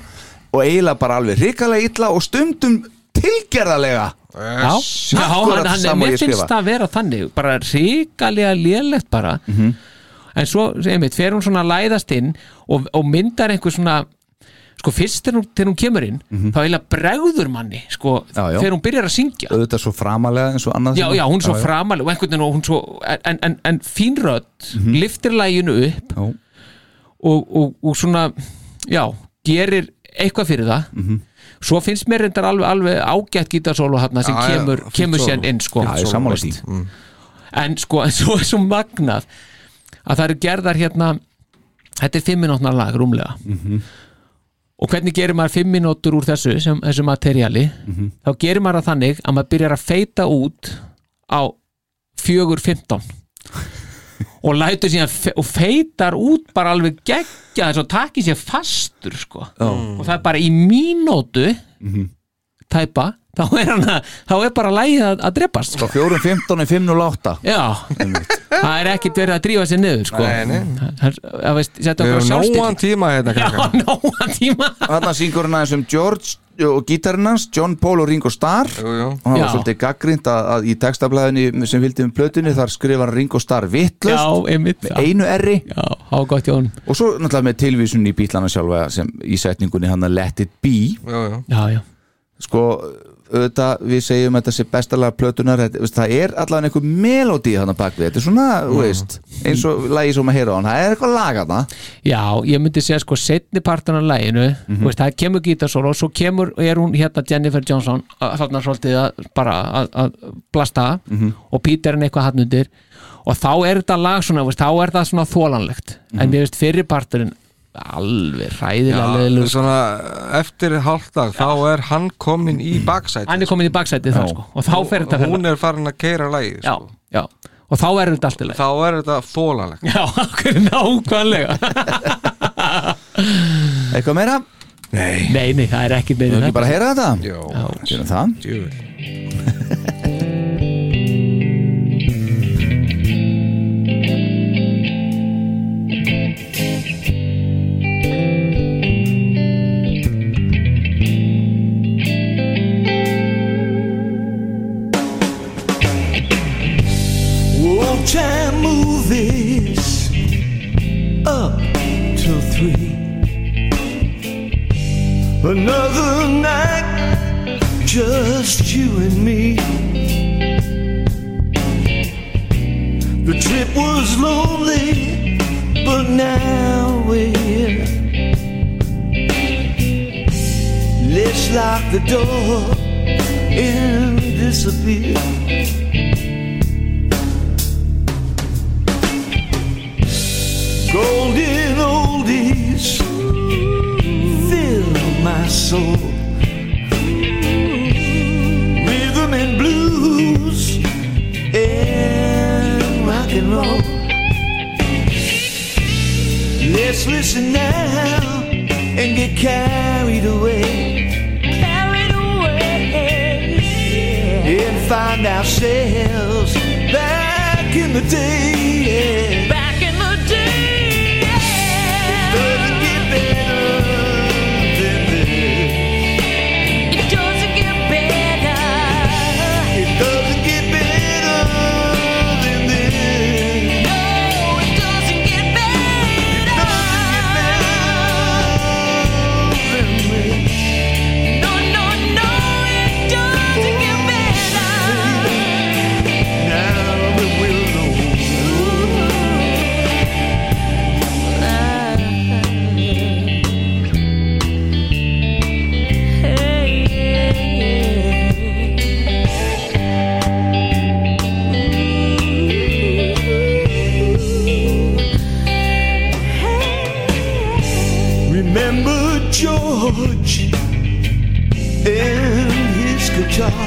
[SPEAKER 3] og eiginlega bara alveg hrikalega illa og stundum tilgerðarlega
[SPEAKER 4] Já, já hann, hann, hann, mér finnst það að vera þannig bara ríkalega lélegt bara
[SPEAKER 3] Mhm.
[SPEAKER 4] en svo, einmitt, fer hún svona að læðast inn og, og myndar einhver svona sko fyrst þegar hún, þegar hún kemur inn
[SPEAKER 3] Mhm.
[SPEAKER 4] þá eiginlega bregður manni sko, þegar hún byrjar að syngja
[SPEAKER 3] auðvitað svo framalega eins og annað
[SPEAKER 4] já,
[SPEAKER 3] sem-
[SPEAKER 4] já, hún er svo
[SPEAKER 3] já.
[SPEAKER 4] framaleg og einhvern veginn og hún svo, en, en, en fín rödd liftir læginu upp
[SPEAKER 3] Mhm. Já.
[SPEAKER 4] og, og, og svona já, gerir eitthvað fyrir það
[SPEAKER 3] Mhm.
[SPEAKER 4] svo finnst mér reyndar alveg, alveg ágætt gítarsólu hann sem
[SPEAKER 3] Já, já,
[SPEAKER 4] kemur,
[SPEAKER 3] fínt
[SPEAKER 4] kemur
[SPEAKER 3] sóló.
[SPEAKER 4] sér inn sko,
[SPEAKER 3] Já, ég er sammála því.
[SPEAKER 4] mm. en sko, en svo er svo magnað að það eru gerðar hérna þetta er fimminóttnar lag rúmlega
[SPEAKER 3] Mhm.
[SPEAKER 4] og hvernig gerir maður fimm mínútur úr þessu sem, þessu materiali
[SPEAKER 3] Mhm.
[SPEAKER 4] þá gerir maður það þannig að maður byrjar að feita út á 4.15 og lætur síðan fe og feitar út bara alveg geggja þess og takir sér fastur sko. og það er bara í mínútu tæpa þá er, hann að, þá er bara lægið að, að drepast sko.
[SPEAKER 3] 4.15 er 5.08
[SPEAKER 4] já, það er ekkert verið að drífa sér niður sko.
[SPEAKER 5] Nei, nei.
[SPEAKER 4] Það er- það veist, setja
[SPEAKER 5] Við
[SPEAKER 4] okkur á
[SPEAKER 5] höfum nógan
[SPEAKER 4] sjálfstilling
[SPEAKER 5] tíma hérna
[SPEAKER 4] já,
[SPEAKER 5] krakkar.
[SPEAKER 4] nógan tíma
[SPEAKER 3] Þarna syngur hann aðeins um George og gítarinn hans, John Paul og Ringo Starr jú,
[SPEAKER 5] jú.
[SPEAKER 3] og hann
[SPEAKER 4] Já.
[SPEAKER 3] var svolítið gaggrind að, að í textablaðinni sem fylgdi um plötunni þar skrifa hann Ringo Starr vittlust
[SPEAKER 4] Já, einmitt,
[SPEAKER 3] með
[SPEAKER 4] já.
[SPEAKER 3] einu erri
[SPEAKER 4] já, á gott jón
[SPEAKER 3] og svo náttúrulega með tilvísun í bílana sjálfa sem í setningunni hann að Let It Be
[SPEAKER 5] já, já.
[SPEAKER 4] já, já.
[SPEAKER 3] sko auðvitað við segjum þetta sé bestalega plötunar þetta, veist, það er allavega einhver melódi hann að bakvið, þetta er svona, þú veist eins og lagi sem að heyra á hann, það er eitthvað lag hann
[SPEAKER 4] Já, ég myndi segja sko setni partan af læginu,
[SPEAKER 5] Mhm.
[SPEAKER 4] mm veist, það kemur gítarsóla og svo kemur, er hún hérna Jennifer Johnson að- þarna svolítið að bara að- að blasta
[SPEAKER 5] Mhm.
[SPEAKER 4] og Peter er eitthvað hann undir og þá er þetta lag svona, veist, þá er það svona þólanlegt
[SPEAKER 5] Mhm.
[SPEAKER 4] en mér veist fyrri parturinn alveg ræðilega leðilegur
[SPEAKER 5] svona, eftir hálfdag þá er hann komin í baksæti
[SPEAKER 4] hann er komin í baksætið þá sko og þá fer þetta
[SPEAKER 5] hún er farin að sko. keira lægi
[SPEAKER 4] já, já, og þá er þetta allt í leið
[SPEAKER 5] þá er þetta þólalegt
[SPEAKER 4] já, okkur nákvæmlega
[SPEAKER 3] eitthvað meira?
[SPEAKER 5] Nei,
[SPEAKER 4] nei, nei það er ekki meira
[SPEAKER 3] Við
[SPEAKER 4] en
[SPEAKER 3] ekki bara heyra þetta?
[SPEAKER 5] Jó.
[SPEAKER 3] Gerum það?
[SPEAKER 13] Oh,
[SPEAKER 7] Old time movies up till three. Another night, just you and me. The trip was lonely, but now we're here. Let's lock the door and disappear. golden old soul. Rhythm and blues and rock and roll. Let's listen now and get carried away. Carried away. And find ourselves back in the day. yeah. Back in the day. It doesn't get better than this. It doesn't get better. It doesn't get better than this. No, it doesn't get No, no, no, it doesn't get better. Now we will know. Remember George and his guitar.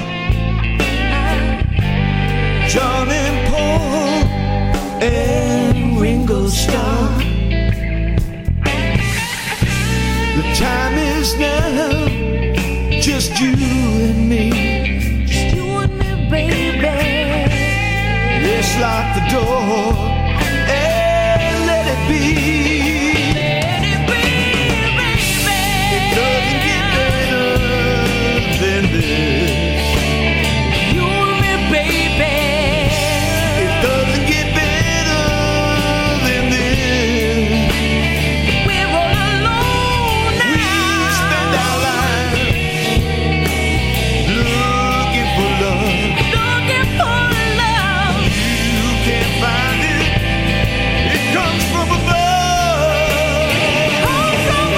[SPEAKER 7] John and Paul and Ringo Starr. The time is now, just you and me. Just you and me, baby. Let's lock the door and let it be. Let it be, baby. It doesn't get better than this. You and me, baby. It doesn't get better than this. We're all alone now. We spend our lives looking for love. Looking for love. You can't find it. It comes from above. It comes from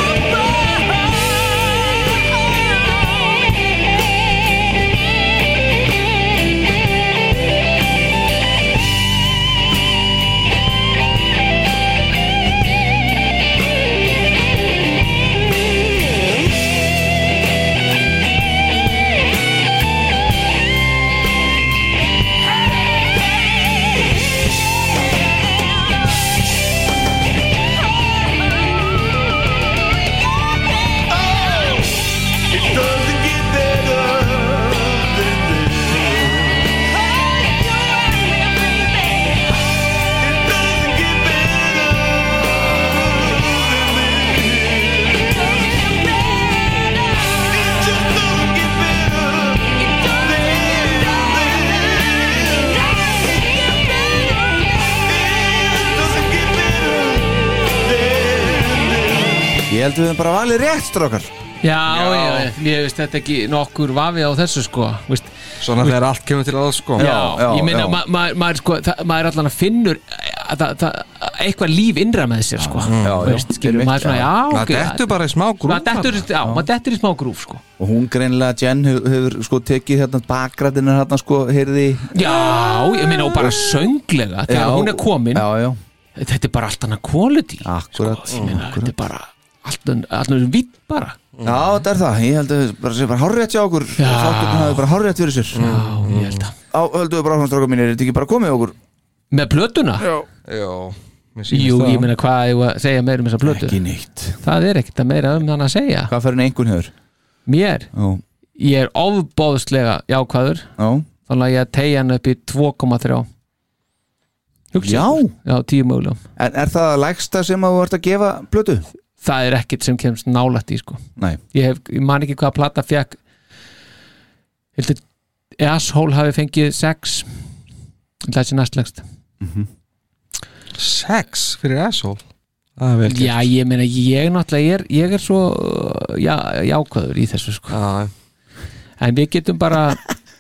[SPEAKER 7] It doesn't get better than this. It doesn't get better than this. It just doesn't get better
[SPEAKER 3] Ég held við höfum bara valið rétt, strókar
[SPEAKER 4] Já, já, já, ég veist þetta ekki nokkur vafi á þessu sko veist,
[SPEAKER 5] Svona þegar allt kemur til alls sko
[SPEAKER 4] Já, ég meina ma ma maður, sko, það- maður allan að finnur að það- það- eitthvað líf innra með sér sko
[SPEAKER 3] já, já.
[SPEAKER 4] veist, skilur maður svona, já,
[SPEAKER 3] Maður
[SPEAKER 4] ok
[SPEAKER 3] dettur bara í smá grúf
[SPEAKER 4] Maður dettur í-
[SPEAKER 3] þarna.
[SPEAKER 4] Já, maður dettur í smá grúf sko
[SPEAKER 3] Og hún greinlega, Jen, hefur, hefur sko tekið hérna bakgrætinir hérna sko, heyrði
[SPEAKER 4] Já, ég meina og bara sönglega þegar
[SPEAKER 3] Já,
[SPEAKER 4] hún er komin
[SPEAKER 3] já, já.
[SPEAKER 4] Þetta er bara allt annað quality
[SPEAKER 3] Akkurat,
[SPEAKER 4] sko, ég meina, Þetta er bara allt annað- allt annað vitt bara
[SPEAKER 3] Já, þetta er það, ég held að við bara séum bara hárétt hjá okkur Sko. Já Þáttum hafi bara hárétt fyrir sér Já,
[SPEAKER 4] ég held að
[SPEAKER 3] Á, höldum við bara áfram strákar mínir, er þetta ekki bara komið hjá okkur?
[SPEAKER 4] Með plötuna?
[SPEAKER 3] Já
[SPEAKER 5] Já mér sýnist
[SPEAKER 4] Jú,
[SPEAKER 5] það.
[SPEAKER 4] ég meina hvað ég að segja meira um þessa plötu
[SPEAKER 3] Ekki neitt
[SPEAKER 4] Það er ekkert að meira um þann að segja
[SPEAKER 3] Hvað fyrir einhvern hefur?
[SPEAKER 4] Mér?
[SPEAKER 3] Já.
[SPEAKER 4] Ég er ofbóðslega jákvæður
[SPEAKER 3] Já.
[SPEAKER 4] Þannig að ég tegja hann upp í 2,3 Hugsa
[SPEAKER 3] Já.
[SPEAKER 4] ykkur. Já, 10 mögulegum
[SPEAKER 3] En er það lægsta sem að þú ert að gefa plötu?
[SPEAKER 4] Það er ekkert sem kemst nálætt í sko
[SPEAKER 3] Nei
[SPEAKER 4] Ég, hef, ég man ekki hvaða plata fekk Hildur Asshole hafi fengið 6 Það sé næstlegst
[SPEAKER 5] Sex fyrir asshole Það er vel gert.
[SPEAKER 4] Já, ég meina, ég náttúrulega er, ég er svo uh, já, jákvæður í þessu sko. En við getum bara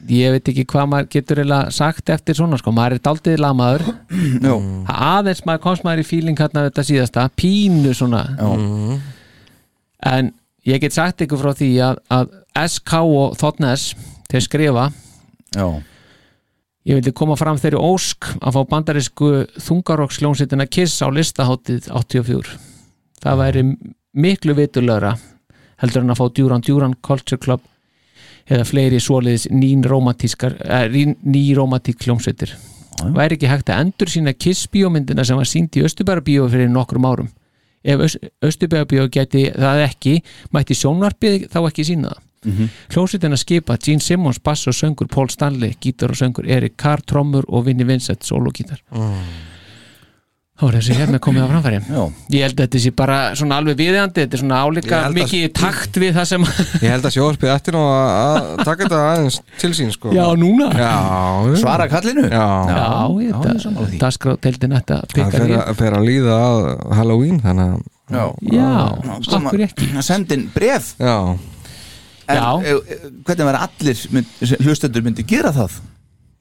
[SPEAKER 4] ég veit ekki hvað maður getur eiginlega sagt eftir svona, sko, maður er daldið lamaður
[SPEAKER 3] Jó.
[SPEAKER 4] aðeins maður komst maður í fíling hérna þetta síðasta, pínu svona
[SPEAKER 3] Já.
[SPEAKER 4] en ég get sagt ykkur frá því að, að SK og Þotnes þeir skrifa
[SPEAKER 3] Já.
[SPEAKER 4] ég vildi koma fram þeirri ósk að fá bandarísku þungaroksljónsitina Kiss á listaháttið 84 það væri miklu vitulögra heldur en að fá Duran Duran Culture Club eða fleiri svoleiðis nýrómatískar eh, nýrómatík hljómsveitir væri ekki hægt að endur sína Kiss bíómyndina sem var sínd í Östubærabíó fyrir nokkrum árum ef Östubærabíó geti það ekki mætti sjónvarpið þá ekki sína það Hljómsveitina skipa Gene Simmons, bass og söngur, Paul Stanley, gítar og söngur, Erik Carr, trommur og Vinnie Vincent, sólogítar Það var þessi hérna komið á framfæri Já. Ég held að þetta sé bara svona alveg viðjandi Þetta er svona álíka
[SPEAKER 5] Ég held að-
[SPEAKER 4] mikið í takt við það sem
[SPEAKER 5] Ég held að sjóðarpið eftir nú að að taka þetta aðeins til sín sko.
[SPEAKER 4] Já, núna
[SPEAKER 5] Já,
[SPEAKER 3] Svara kallinu?
[SPEAKER 5] Já,
[SPEAKER 4] Já, ég þetta Dasgrá teildin þetta
[SPEAKER 5] Það
[SPEAKER 4] pikar
[SPEAKER 5] fer
[SPEAKER 4] í
[SPEAKER 5] að, fer að líða að Halloween þannig að
[SPEAKER 3] Já,
[SPEAKER 4] Já,
[SPEAKER 3] af hverju ekki Sendin bref
[SPEAKER 5] Já
[SPEAKER 3] En, e, e, hvernig verður allir mynd, hlustendur myndi gera það?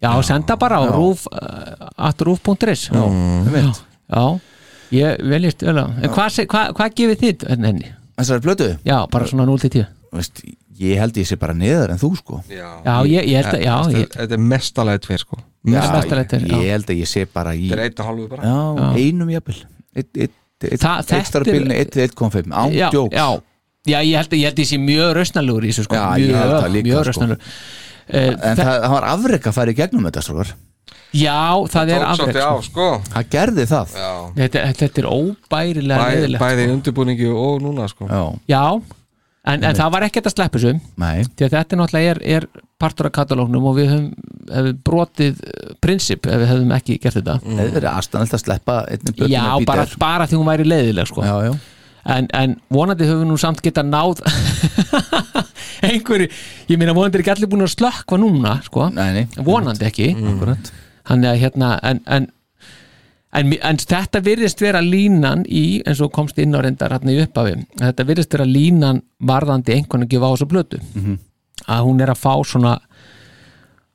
[SPEAKER 4] Já, senda bara á rúf at rúf.is Já,
[SPEAKER 3] ég veit
[SPEAKER 4] Já, ég veljist vel að En hvað hva, hva gefið þið henni?
[SPEAKER 3] Þessar blötu?
[SPEAKER 4] Já, bara svona 0-10
[SPEAKER 3] Veist, Ég held ég sé bara neðar en þú sko
[SPEAKER 5] Já,
[SPEAKER 4] Já, ég- ég held að- já,
[SPEAKER 5] Þetta er-
[SPEAKER 4] ég-
[SPEAKER 5] Þetta er mestalega tveir sko
[SPEAKER 3] ég, ég held að ég sé bara í
[SPEAKER 5] Þetta er einn og hálfu bara.
[SPEAKER 3] Já,
[SPEAKER 5] Já.
[SPEAKER 3] einum jafnvel Eitt- eitt- eitt-
[SPEAKER 4] Þa- þetta
[SPEAKER 3] eitt stara
[SPEAKER 4] er-
[SPEAKER 3] bílni, eitt- 1,5 Án
[SPEAKER 4] já,
[SPEAKER 3] djóks
[SPEAKER 4] já, já, ég held að ég held að ég sé mjög rausnalugur í þessu sko
[SPEAKER 3] Já,
[SPEAKER 4] mjög,
[SPEAKER 3] ég held það líka,
[SPEAKER 4] Mjög
[SPEAKER 3] sko.
[SPEAKER 4] rausnalugur
[SPEAKER 3] En það, það var afrek að fara í gegnum þetta strókar
[SPEAKER 4] Já, það er
[SPEAKER 5] tók
[SPEAKER 4] afrek
[SPEAKER 5] svolítið á, sko.
[SPEAKER 3] Það gerði það
[SPEAKER 4] þetta, þetta er óbærilega
[SPEAKER 5] Bæ,
[SPEAKER 4] reyðilegt
[SPEAKER 5] Bæði í undirbúningi og núna sko.
[SPEAKER 3] Já,
[SPEAKER 4] Já, en, en það var ekkert að sleppa þessu
[SPEAKER 3] Nei.
[SPEAKER 4] því að þetta náttúrulega er, er partur af katalóknum og við höfum, höfum brotið eh, prinsip ef við höfum ekki gert þetta
[SPEAKER 3] Það er verið aðstæðanlegt að sleppa einni blötu
[SPEAKER 4] Mm. Já, bara, sko. bara því hún væri leiðileg sko.
[SPEAKER 3] já, já.
[SPEAKER 4] En, en vonandi höfum við nú samt geta náð einhverju ég meina vonandi er ekki allir búin að slökkva núna sko.
[SPEAKER 3] nei, nei,
[SPEAKER 4] vonandi ekki
[SPEAKER 3] Akkurat.
[SPEAKER 4] Þannig að hérna en, en, en, en þetta virðist vera línan í, eins og komst inn á reyndar hérna í upphafi, þetta virðist vera línan varðandi einhvern að gefa á þessu blötu
[SPEAKER 3] Mhm.
[SPEAKER 4] að hún er að fá svona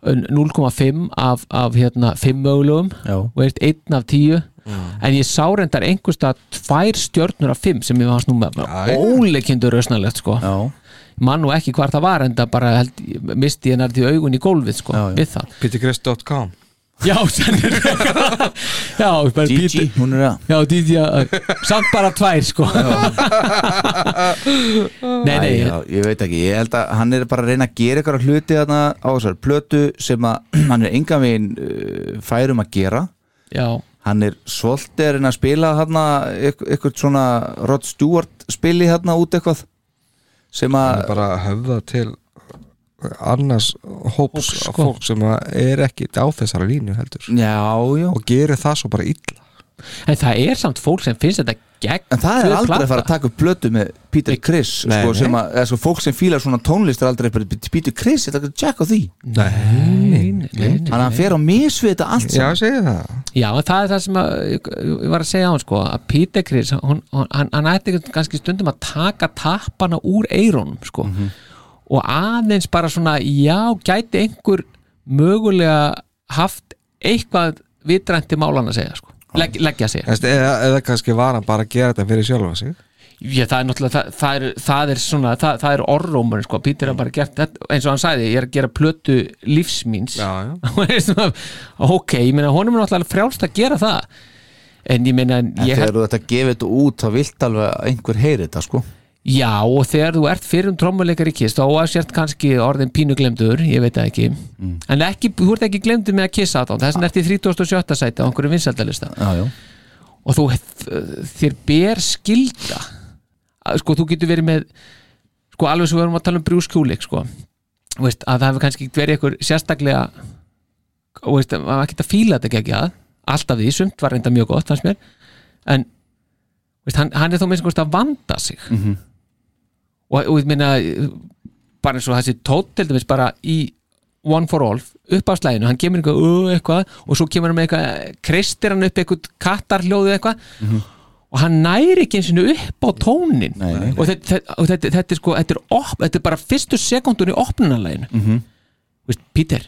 [SPEAKER 4] eh, 0,5 af, af hérna 5 mögulegum
[SPEAKER 3] Já. Mm.
[SPEAKER 4] og veist 1 af 10 en ég sá reyndar einhverstað tvær stjörnur af 5 sem ég var hans nú með óleikindur rausnalegt sko
[SPEAKER 3] Já.
[SPEAKER 4] mann og ekki hvar það var en það bara held, misti hennar því augun í gólfið sko við það
[SPEAKER 5] Petergrist.com
[SPEAKER 4] Já, sennir Já, bara
[SPEAKER 3] Gigi,
[SPEAKER 4] Peter-
[SPEAKER 3] hún er að
[SPEAKER 4] Já, Didi, já, samt bara tvær sko Nei, nei,
[SPEAKER 3] já, ég veit ekki, ég held að hann er bara að reyna að gera eitthvað hluti þarna á þessar plötu sem að hann er engan veginn uh, færum að gera
[SPEAKER 4] já,
[SPEAKER 3] hann er svolítið að reyna að spila þarna eit- eitthvað svona Rod Stewart spili þarna út eitthvað sem
[SPEAKER 5] Það
[SPEAKER 3] að
[SPEAKER 5] er bara að höfða til annars hóps
[SPEAKER 3] Hóps,
[SPEAKER 5] Hóp,
[SPEAKER 3] sko.
[SPEAKER 5] fólk sem að er ekki á þessari línu heldur
[SPEAKER 3] Já, já
[SPEAKER 5] Og gerir það svo bara illa
[SPEAKER 4] En það er samt fólk sem finnst þetta gegn
[SPEAKER 3] En það er aldrei að fara að taka upp blötu með Peter Criss
[SPEAKER 5] Nei,
[SPEAKER 3] sko,
[SPEAKER 5] nei.
[SPEAKER 3] sem að, eða, sko, fólk sem fílar svona tónlist er aldrei bara, Peter Criss, ég ætla að tjekka á því
[SPEAKER 5] Nei,
[SPEAKER 3] um
[SPEAKER 4] nei, nei
[SPEAKER 3] Þannig að hann fer á misvið þetta allt
[SPEAKER 5] Já, segir það
[SPEAKER 4] Já, en það er það sem að, ég, ég var að segja á hann sko að Peter Chris, hún, hún, hann, hann ætti einhvern- kannski stundum að taka tappana úr eirónum sko og aðeins bara svona, já, gæti einhver mögulega haft eitthvað vitrænti málan að segja sko, Legg, leggja sig
[SPEAKER 5] Eða, eða, eða kannski var hann bara að gera þetta fyrir sjálfa sig
[SPEAKER 4] Já, það er náttúrulega, það, það, er, það er svona, það, það er orrómur, sko, Pítur er bara gert þetta, eins og hann sagði, ég er að gera plötu lífsmýns
[SPEAKER 5] Já,
[SPEAKER 4] já Ok, ég meina, honum er náttúrulega frjálst að gera það En ég meina, en
[SPEAKER 3] En
[SPEAKER 4] ég
[SPEAKER 3] þegar þú þetta gefið þetta út þá vilt alveg að einhver heyri þetta sko
[SPEAKER 4] Já, og þegar þú ert fyrir um trommuleikar í kiss, þá að sért kannski orðin pínu glemdur, ég veit það ekki En ekki, þú ert ekki glemdur með að kissa á þess vegna ert í 37. sæti á einhverju vinsældalista
[SPEAKER 3] Já, já
[SPEAKER 4] og þú þér ber skilda að, sko þú getur verið með sko alveg svo við erum að tala um brjúskjúlik sko Þú veist, að það hefur kannski ekki verið eitthvað sérstaklega og veist, að maður ekkert að fíla þetta ekki að alltaf því, sumt var reynda mjög gott fannst mér en veist, hann, hann er þó minnst að vanda sig
[SPEAKER 3] Mhm.
[SPEAKER 4] og, og ég meina bara eins og þessi tótt til dæmis bara í One for All upp á slæðinu, hann kemur eitthvað, uh, eitthvað og svo kemur hann með eitthvað, kreistir hann upp eitthvað kattarhljóðu eitthvað og hann næri ekki eins og upp á tónin
[SPEAKER 3] Mhm. nei.
[SPEAKER 4] og þetta, þetta, og þetta, þetta er sko þetta er, op, þetta er bara fyrstu sekundun í opnunalæginu mm
[SPEAKER 3] Mhm.
[SPEAKER 4] -hmm. veist, Pítur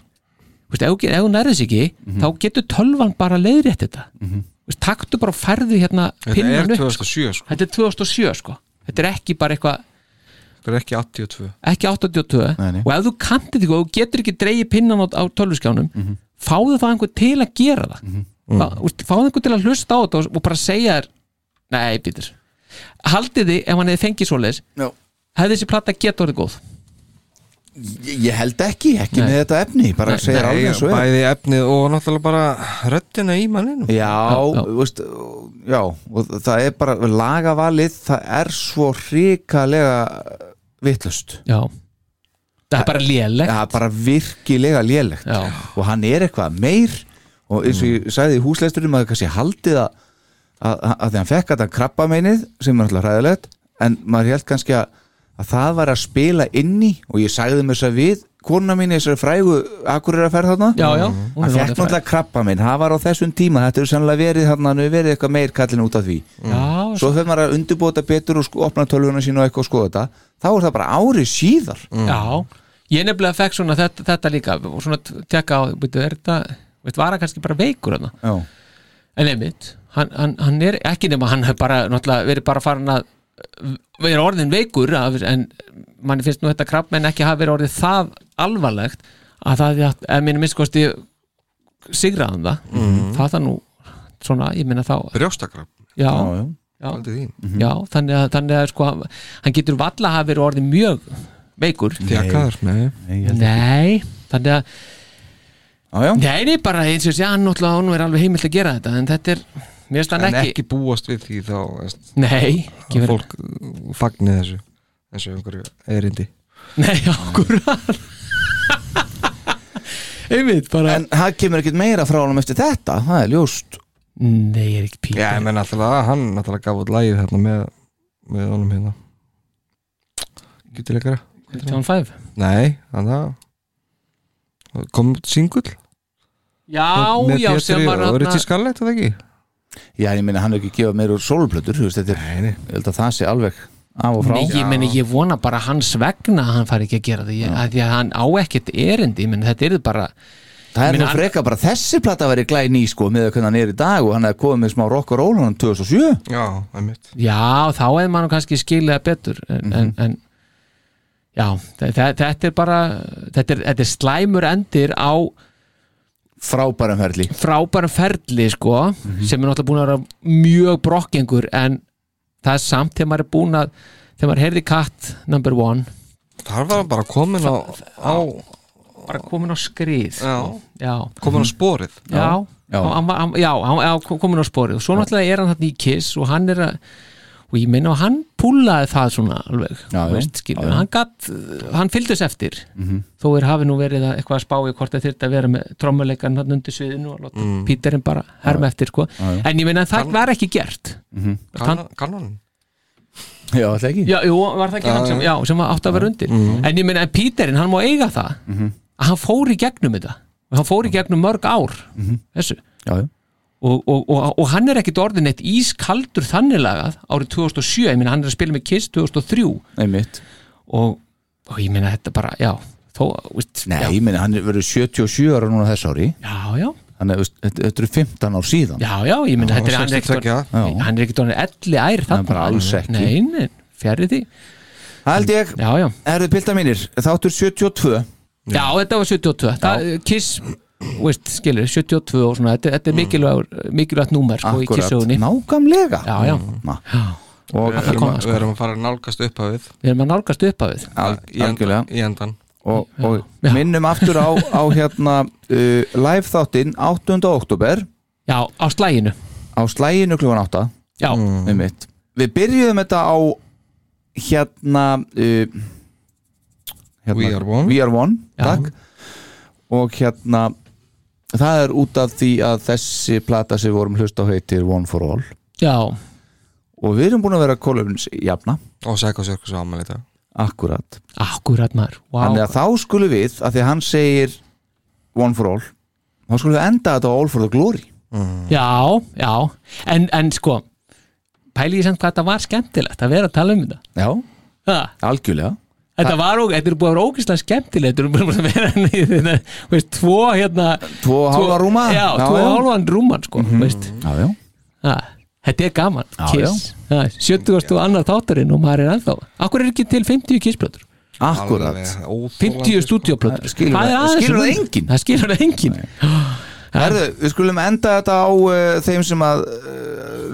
[SPEAKER 4] veist, ef, þú ge- ef hún nærðis ekki
[SPEAKER 3] Mhm.
[SPEAKER 4] þá getur tölvan bara leiðrétt þetta mm -hmm. veist, taktu bara og færðu hérna
[SPEAKER 5] Þetta
[SPEAKER 4] pinnan
[SPEAKER 5] er
[SPEAKER 4] upp sko.
[SPEAKER 5] 2007 sko.
[SPEAKER 4] þetta er 2007 sko þetta er ekki bara eitthvað
[SPEAKER 5] Þetta er ekki 82
[SPEAKER 4] ekki 82 og ef þú kantir því og þú getur ekki dreigið pinnan á, á tölvuskjánum fáðu það einhver til að gera það mm -hmm. fáðu einhver til að hlusta á þetta og, og bara segja þér nei, býtur haldið þið ef hann hefði fengið svoleiðis
[SPEAKER 3] Já.
[SPEAKER 4] hefði þessi plata geta orðið góð
[SPEAKER 3] Ég held ekki, ekki með þetta efni Bara
[SPEAKER 5] Nei,
[SPEAKER 3] segir alveg eins og er
[SPEAKER 5] Bæði efnið og náttúrulega bara röddina í manninu
[SPEAKER 3] Já, já. Veist, já og það er bara lagavalið, það er svo hrikalega vittlust
[SPEAKER 4] Já Það er bara lélegt
[SPEAKER 3] Það er bara virkilega lélegt já. og hann er eitthvað meir og eins og ég sagði í húsleisturum að kannski haldið að, að, að því hann fekk þetta krabbameinið sem er alltaf hræðilegt en maður held kannski að, að það var að spila inn í og ég sagði mér þess að við kona mín í þessari frægu akkur er að ferð þarna
[SPEAKER 4] Já, já, hún er
[SPEAKER 3] hann fekk
[SPEAKER 4] orðin fræg.
[SPEAKER 3] náttúrulega krabba minn, það var á þessum tíma þetta er sannlega verið þarna, hann hefur verið eitthvað meir kallin út af því
[SPEAKER 4] Já, sko,
[SPEAKER 3] svo þegar maður er að undirbúta betur og sko- opna tölvuna sín og eitthvað og skoða þetta þá er það bara ári síðar
[SPEAKER 4] Mm. Já Ég nefnilega fekk svona þetta, þetta líka og svona t- tekka á, veitu, er þetta veitu, var hann kannski bara veikur hann
[SPEAKER 3] Já.
[SPEAKER 4] En einmitt, hann, hann, hann er ekki nema hann hefur bara, náttúrulega, verið bara farin að verið orðin veikur af, en manni finnst nú þetta krabb menn ekki hafa verið orðið það alvarlegt að það, hefði átt- ef minni minnskosti sigraðan það
[SPEAKER 5] Mhm.
[SPEAKER 4] það það nú, svona, ég minna þá
[SPEAKER 5] Brjóstakrab
[SPEAKER 4] Já,
[SPEAKER 5] Já, já. Mhm.
[SPEAKER 4] já.
[SPEAKER 5] Haldið því.
[SPEAKER 4] Já, þannig að, þannig að sko, hann getur valla hafa verið orðið mjög veikur
[SPEAKER 5] Þjakaður, nei. Nei, ég held
[SPEAKER 4] Nei, þannig að
[SPEAKER 3] Já, já.
[SPEAKER 4] Nei, nei, bara eins og sé hann náttúrulega hún er alveg heimilt að gera þetta en þetta er, mér finnst hann
[SPEAKER 5] En
[SPEAKER 4] ekki,
[SPEAKER 5] ekki búast við því þá veist,
[SPEAKER 4] Nei, ekki
[SPEAKER 5] að
[SPEAKER 4] verið.
[SPEAKER 5] Fólk fagnir þessu eins og einhverju erindi
[SPEAKER 4] Nei, okkur Einmitt, bara
[SPEAKER 3] En það kemur ekkert meira frá honum eftir þetta Það er ljóst
[SPEAKER 4] Nei, ég er ekki pípar
[SPEAKER 5] Já, ég menn alltaf að hann alltaf gaf út lagið hérna með, með honum hérna Gutilegara
[SPEAKER 4] John Five?
[SPEAKER 5] Nei, hann það kom singull
[SPEAKER 4] Já,
[SPEAKER 5] Með
[SPEAKER 4] já,
[SPEAKER 5] Pétri
[SPEAKER 4] sem var
[SPEAKER 5] og
[SPEAKER 4] þarna-
[SPEAKER 5] Richie Scarlett, eða ekki?
[SPEAKER 3] Já, ég meina hann hefur ekki gefað meira úr sólplötur þú veist, þetta er, ég held að það sé alveg af og frá
[SPEAKER 4] Nei, ég meni, ég vona bara hans vegna að hann fari ekki að gera það, ég, að því að hann á ekkert erindi, ég meni, þetta er bara
[SPEAKER 3] Það er
[SPEAKER 4] Ég meina,
[SPEAKER 3] nú freka bara þessi platta væri glæð ný sko með hvernig hann er í dag og hann hefði komið með smá rock og roll hann 2007
[SPEAKER 5] Já, einmitt
[SPEAKER 4] Já, þá hefði maður kannski skilið það betur en, en,
[SPEAKER 5] Mhm.
[SPEAKER 4] en já, þe- þe- þetta er bara þetta er, þetta er slæmur endir á
[SPEAKER 3] frábærum ferli
[SPEAKER 4] frábærum ferli, sko sem er náttúrulega búin að vera mjög brokkingur en það er samt þegar maður er búin að þegar maður heyrði katt number one
[SPEAKER 5] Þar var hann bara komin á, á
[SPEAKER 4] bara komin á skrið
[SPEAKER 5] Já, Mhm.
[SPEAKER 4] já.
[SPEAKER 5] komin á sporið
[SPEAKER 4] já, já. Hann, var- hann, já, hann já, kom- komin á sporið og svo náttúrulega er hann þarna í Kiss og hann er að og ég meina að hann púlaði það svona alveg, já,
[SPEAKER 3] já.
[SPEAKER 4] veist, skilur,
[SPEAKER 3] Já, já.
[SPEAKER 4] hann gatt hann fylgdist eftir þó er hafi nú verið að eitthvað að spá í hvort það þyrfti að vera með trommuleikan hann undir sviðinu og láta
[SPEAKER 5] Mm.
[SPEAKER 4] Píterinn bara herma eftir sko.
[SPEAKER 5] Já, já.
[SPEAKER 4] en ég meina að það var ekki gert
[SPEAKER 5] Mhm.
[SPEAKER 4] Hann-
[SPEAKER 5] Kannan
[SPEAKER 3] Já, alltaf ekki
[SPEAKER 4] já, jú, var það ekki
[SPEAKER 5] Já,
[SPEAKER 4] hann sem,
[SPEAKER 5] já.
[SPEAKER 4] já, sem var átt að vera undir
[SPEAKER 5] Mhm.
[SPEAKER 4] en ég meina að Píterinn, hann má eiga það að hann fór í gegnum þetta og hann fór í gegnum mörg ár þessu
[SPEAKER 3] já, já.
[SPEAKER 4] Og, og, og, og hann er ekkit orðin eitt ískaldur þannig lagað árið 2007 ég meina hann er að spila með Kiss 2003
[SPEAKER 3] einmitt
[SPEAKER 4] og, og ég meina þetta bara, já þó, veist,
[SPEAKER 3] Nei, ég meina hann verður 77 ára núna þess ári
[SPEAKER 4] Já, já
[SPEAKER 3] Þannig, veist, þetta þetta eru 15 ár síðan
[SPEAKER 4] já, já, ég meina þetta er hann er ekkit orðin hann er ekkit orðin elli ær
[SPEAKER 3] Nei, bara alls ekki.
[SPEAKER 4] nei, nei, fjarið því
[SPEAKER 3] Það held ég,
[SPEAKER 4] já, já.
[SPEAKER 3] erðu pilda mínir, þáttur 72
[SPEAKER 4] já, þetta var 72 það, Kiss, veist, skilur 72 og svona, þetta,
[SPEAKER 3] Mm.
[SPEAKER 4] þetta er mikilvægt mikilvægt númer sko í
[SPEAKER 3] Akkúrat.
[SPEAKER 4] Kiss-sögunni
[SPEAKER 3] nákvæmlega Mm.
[SPEAKER 4] já, já, já.
[SPEAKER 3] Og
[SPEAKER 5] Við erum,
[SPEAKER 4] koma,
[SPEAKER 5] að,
[SPEAKER 4] sko.
[SPEAKER 5] við erum að fara að nálgast upphafið
[SPEAKER 4] við erum að nálgast upp að við
[SPEAKER 5] í endan, í endan.
[SPEAKER 3] og, og minnum aftur á, á hérna uh, live þáttinn 8. oktober
[SPEAKER 4] Já, á slæginu
[SPEAKER 3] Á slæginu klukkan 8
[SPEAKER 4] Já
[SPEAKER 3] Mm. Einmitt. Við byrjuðum þetta á hérna, uh, hérna
[SPEAKER 5] We Are One.
[SPEAKER 3] We Are One, takk og hérna það er út af því að þessi plata sem við vorum hlust á heitir One for All
[SPEAKER 4] já,
[SPEAKER 3] og við erum búin að vera kólöfnins jafna
[SPEAKER 5] og Psycho Circus á ámæli í dag
[SPEAKER 3] akkurat
[SPEAKER 4] akkurat maður
[SPEAKER 3] Þannig
[SPEAKER 4] wow.
[SPEAKER 3] að þá skulum við, að því að hann segir One for All þá skulum við enda þetta á All for the Glory
[SPEAKER 4] já, já en, en sko, pæli ég sem hvað þetta var skemmtilegt að vera að tala um þetta
[SPEAKER 3] Já,
[SPEAKER 4] ha,
[SPEAKER 3] algjörlega
[SPEAKER 4] þetta var og, þetta er búið að vera ógeðslega skemmtilegt þetta er búið að vera henni þetta, veist, tvo hérna
[SPEAKER 3] Tvo og hálfa rúma
[SPEAKER 4] já,
[SPEAKER 3] Já,
[SPEAKER 4] tvo
[SPEAKER 3] já. Mhm.
[SPEAKER 4] og hálfan rúman sko, veist
[SPEAKER 3] Já, já
[SPEAKER 4] ha, þetta er gaman,
[SPEAKER 3] Já,
[SPEAKER 4] kiss ha, 70. annar þátturinn og maður er ennþá akkur er ekki til 50 kissblöður
[SPEAKER 3] Akkurat
[SPEAKER 4] 50 stúdíoplöður
[SPEAKER 3] Skilur það- skilur það enginn?
[SPEAKER 4] það skilur það enginn
[SPEAKER 3] Herðu, við skulum enda þetta á uh, þeim sem að uh,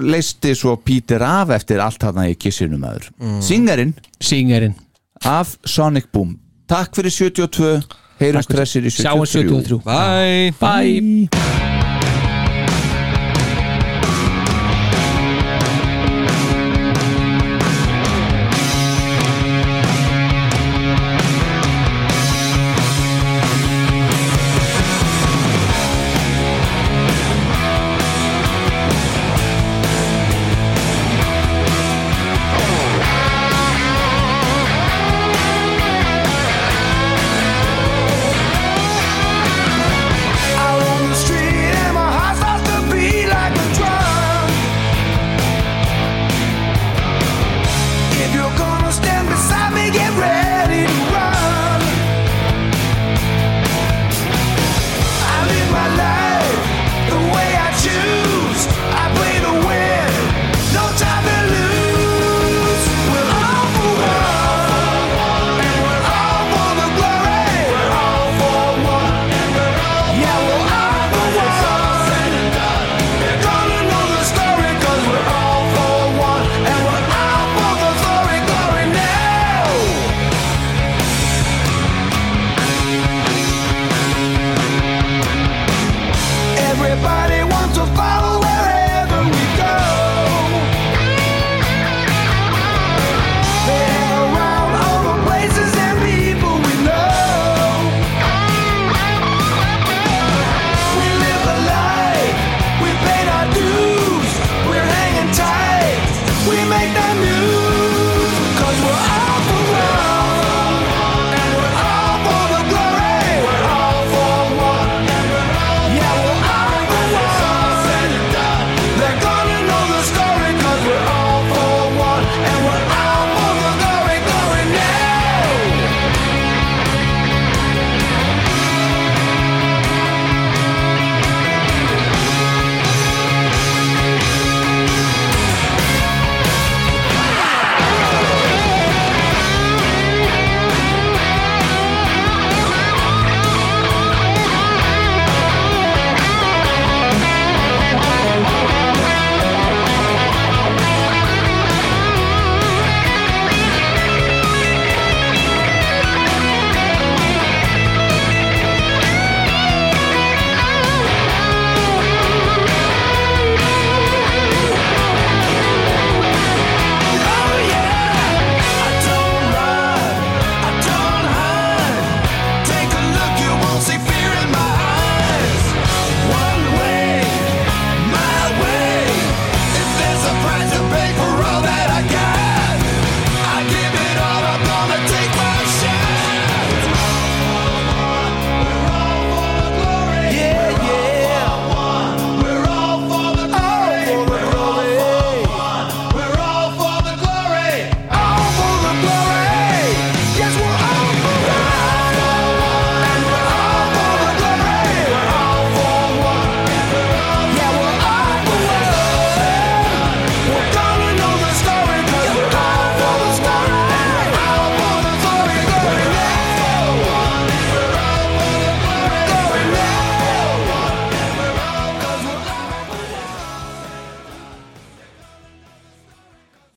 [SPEAKER 3] leisti svo Pítur af eftir allt hana í kissinum aður Singarinn
[SPEAKER 4] Singarinn
[SPEAKER 3] af Sonic Boom Takk fyrir 72, heyrumst hressir í
[SPEAKER 4] Sjáum
[SPEAKER 3] 73
[SPEAKER 4] 73. Bye. Bye.
[SPEAKER 2] Oh,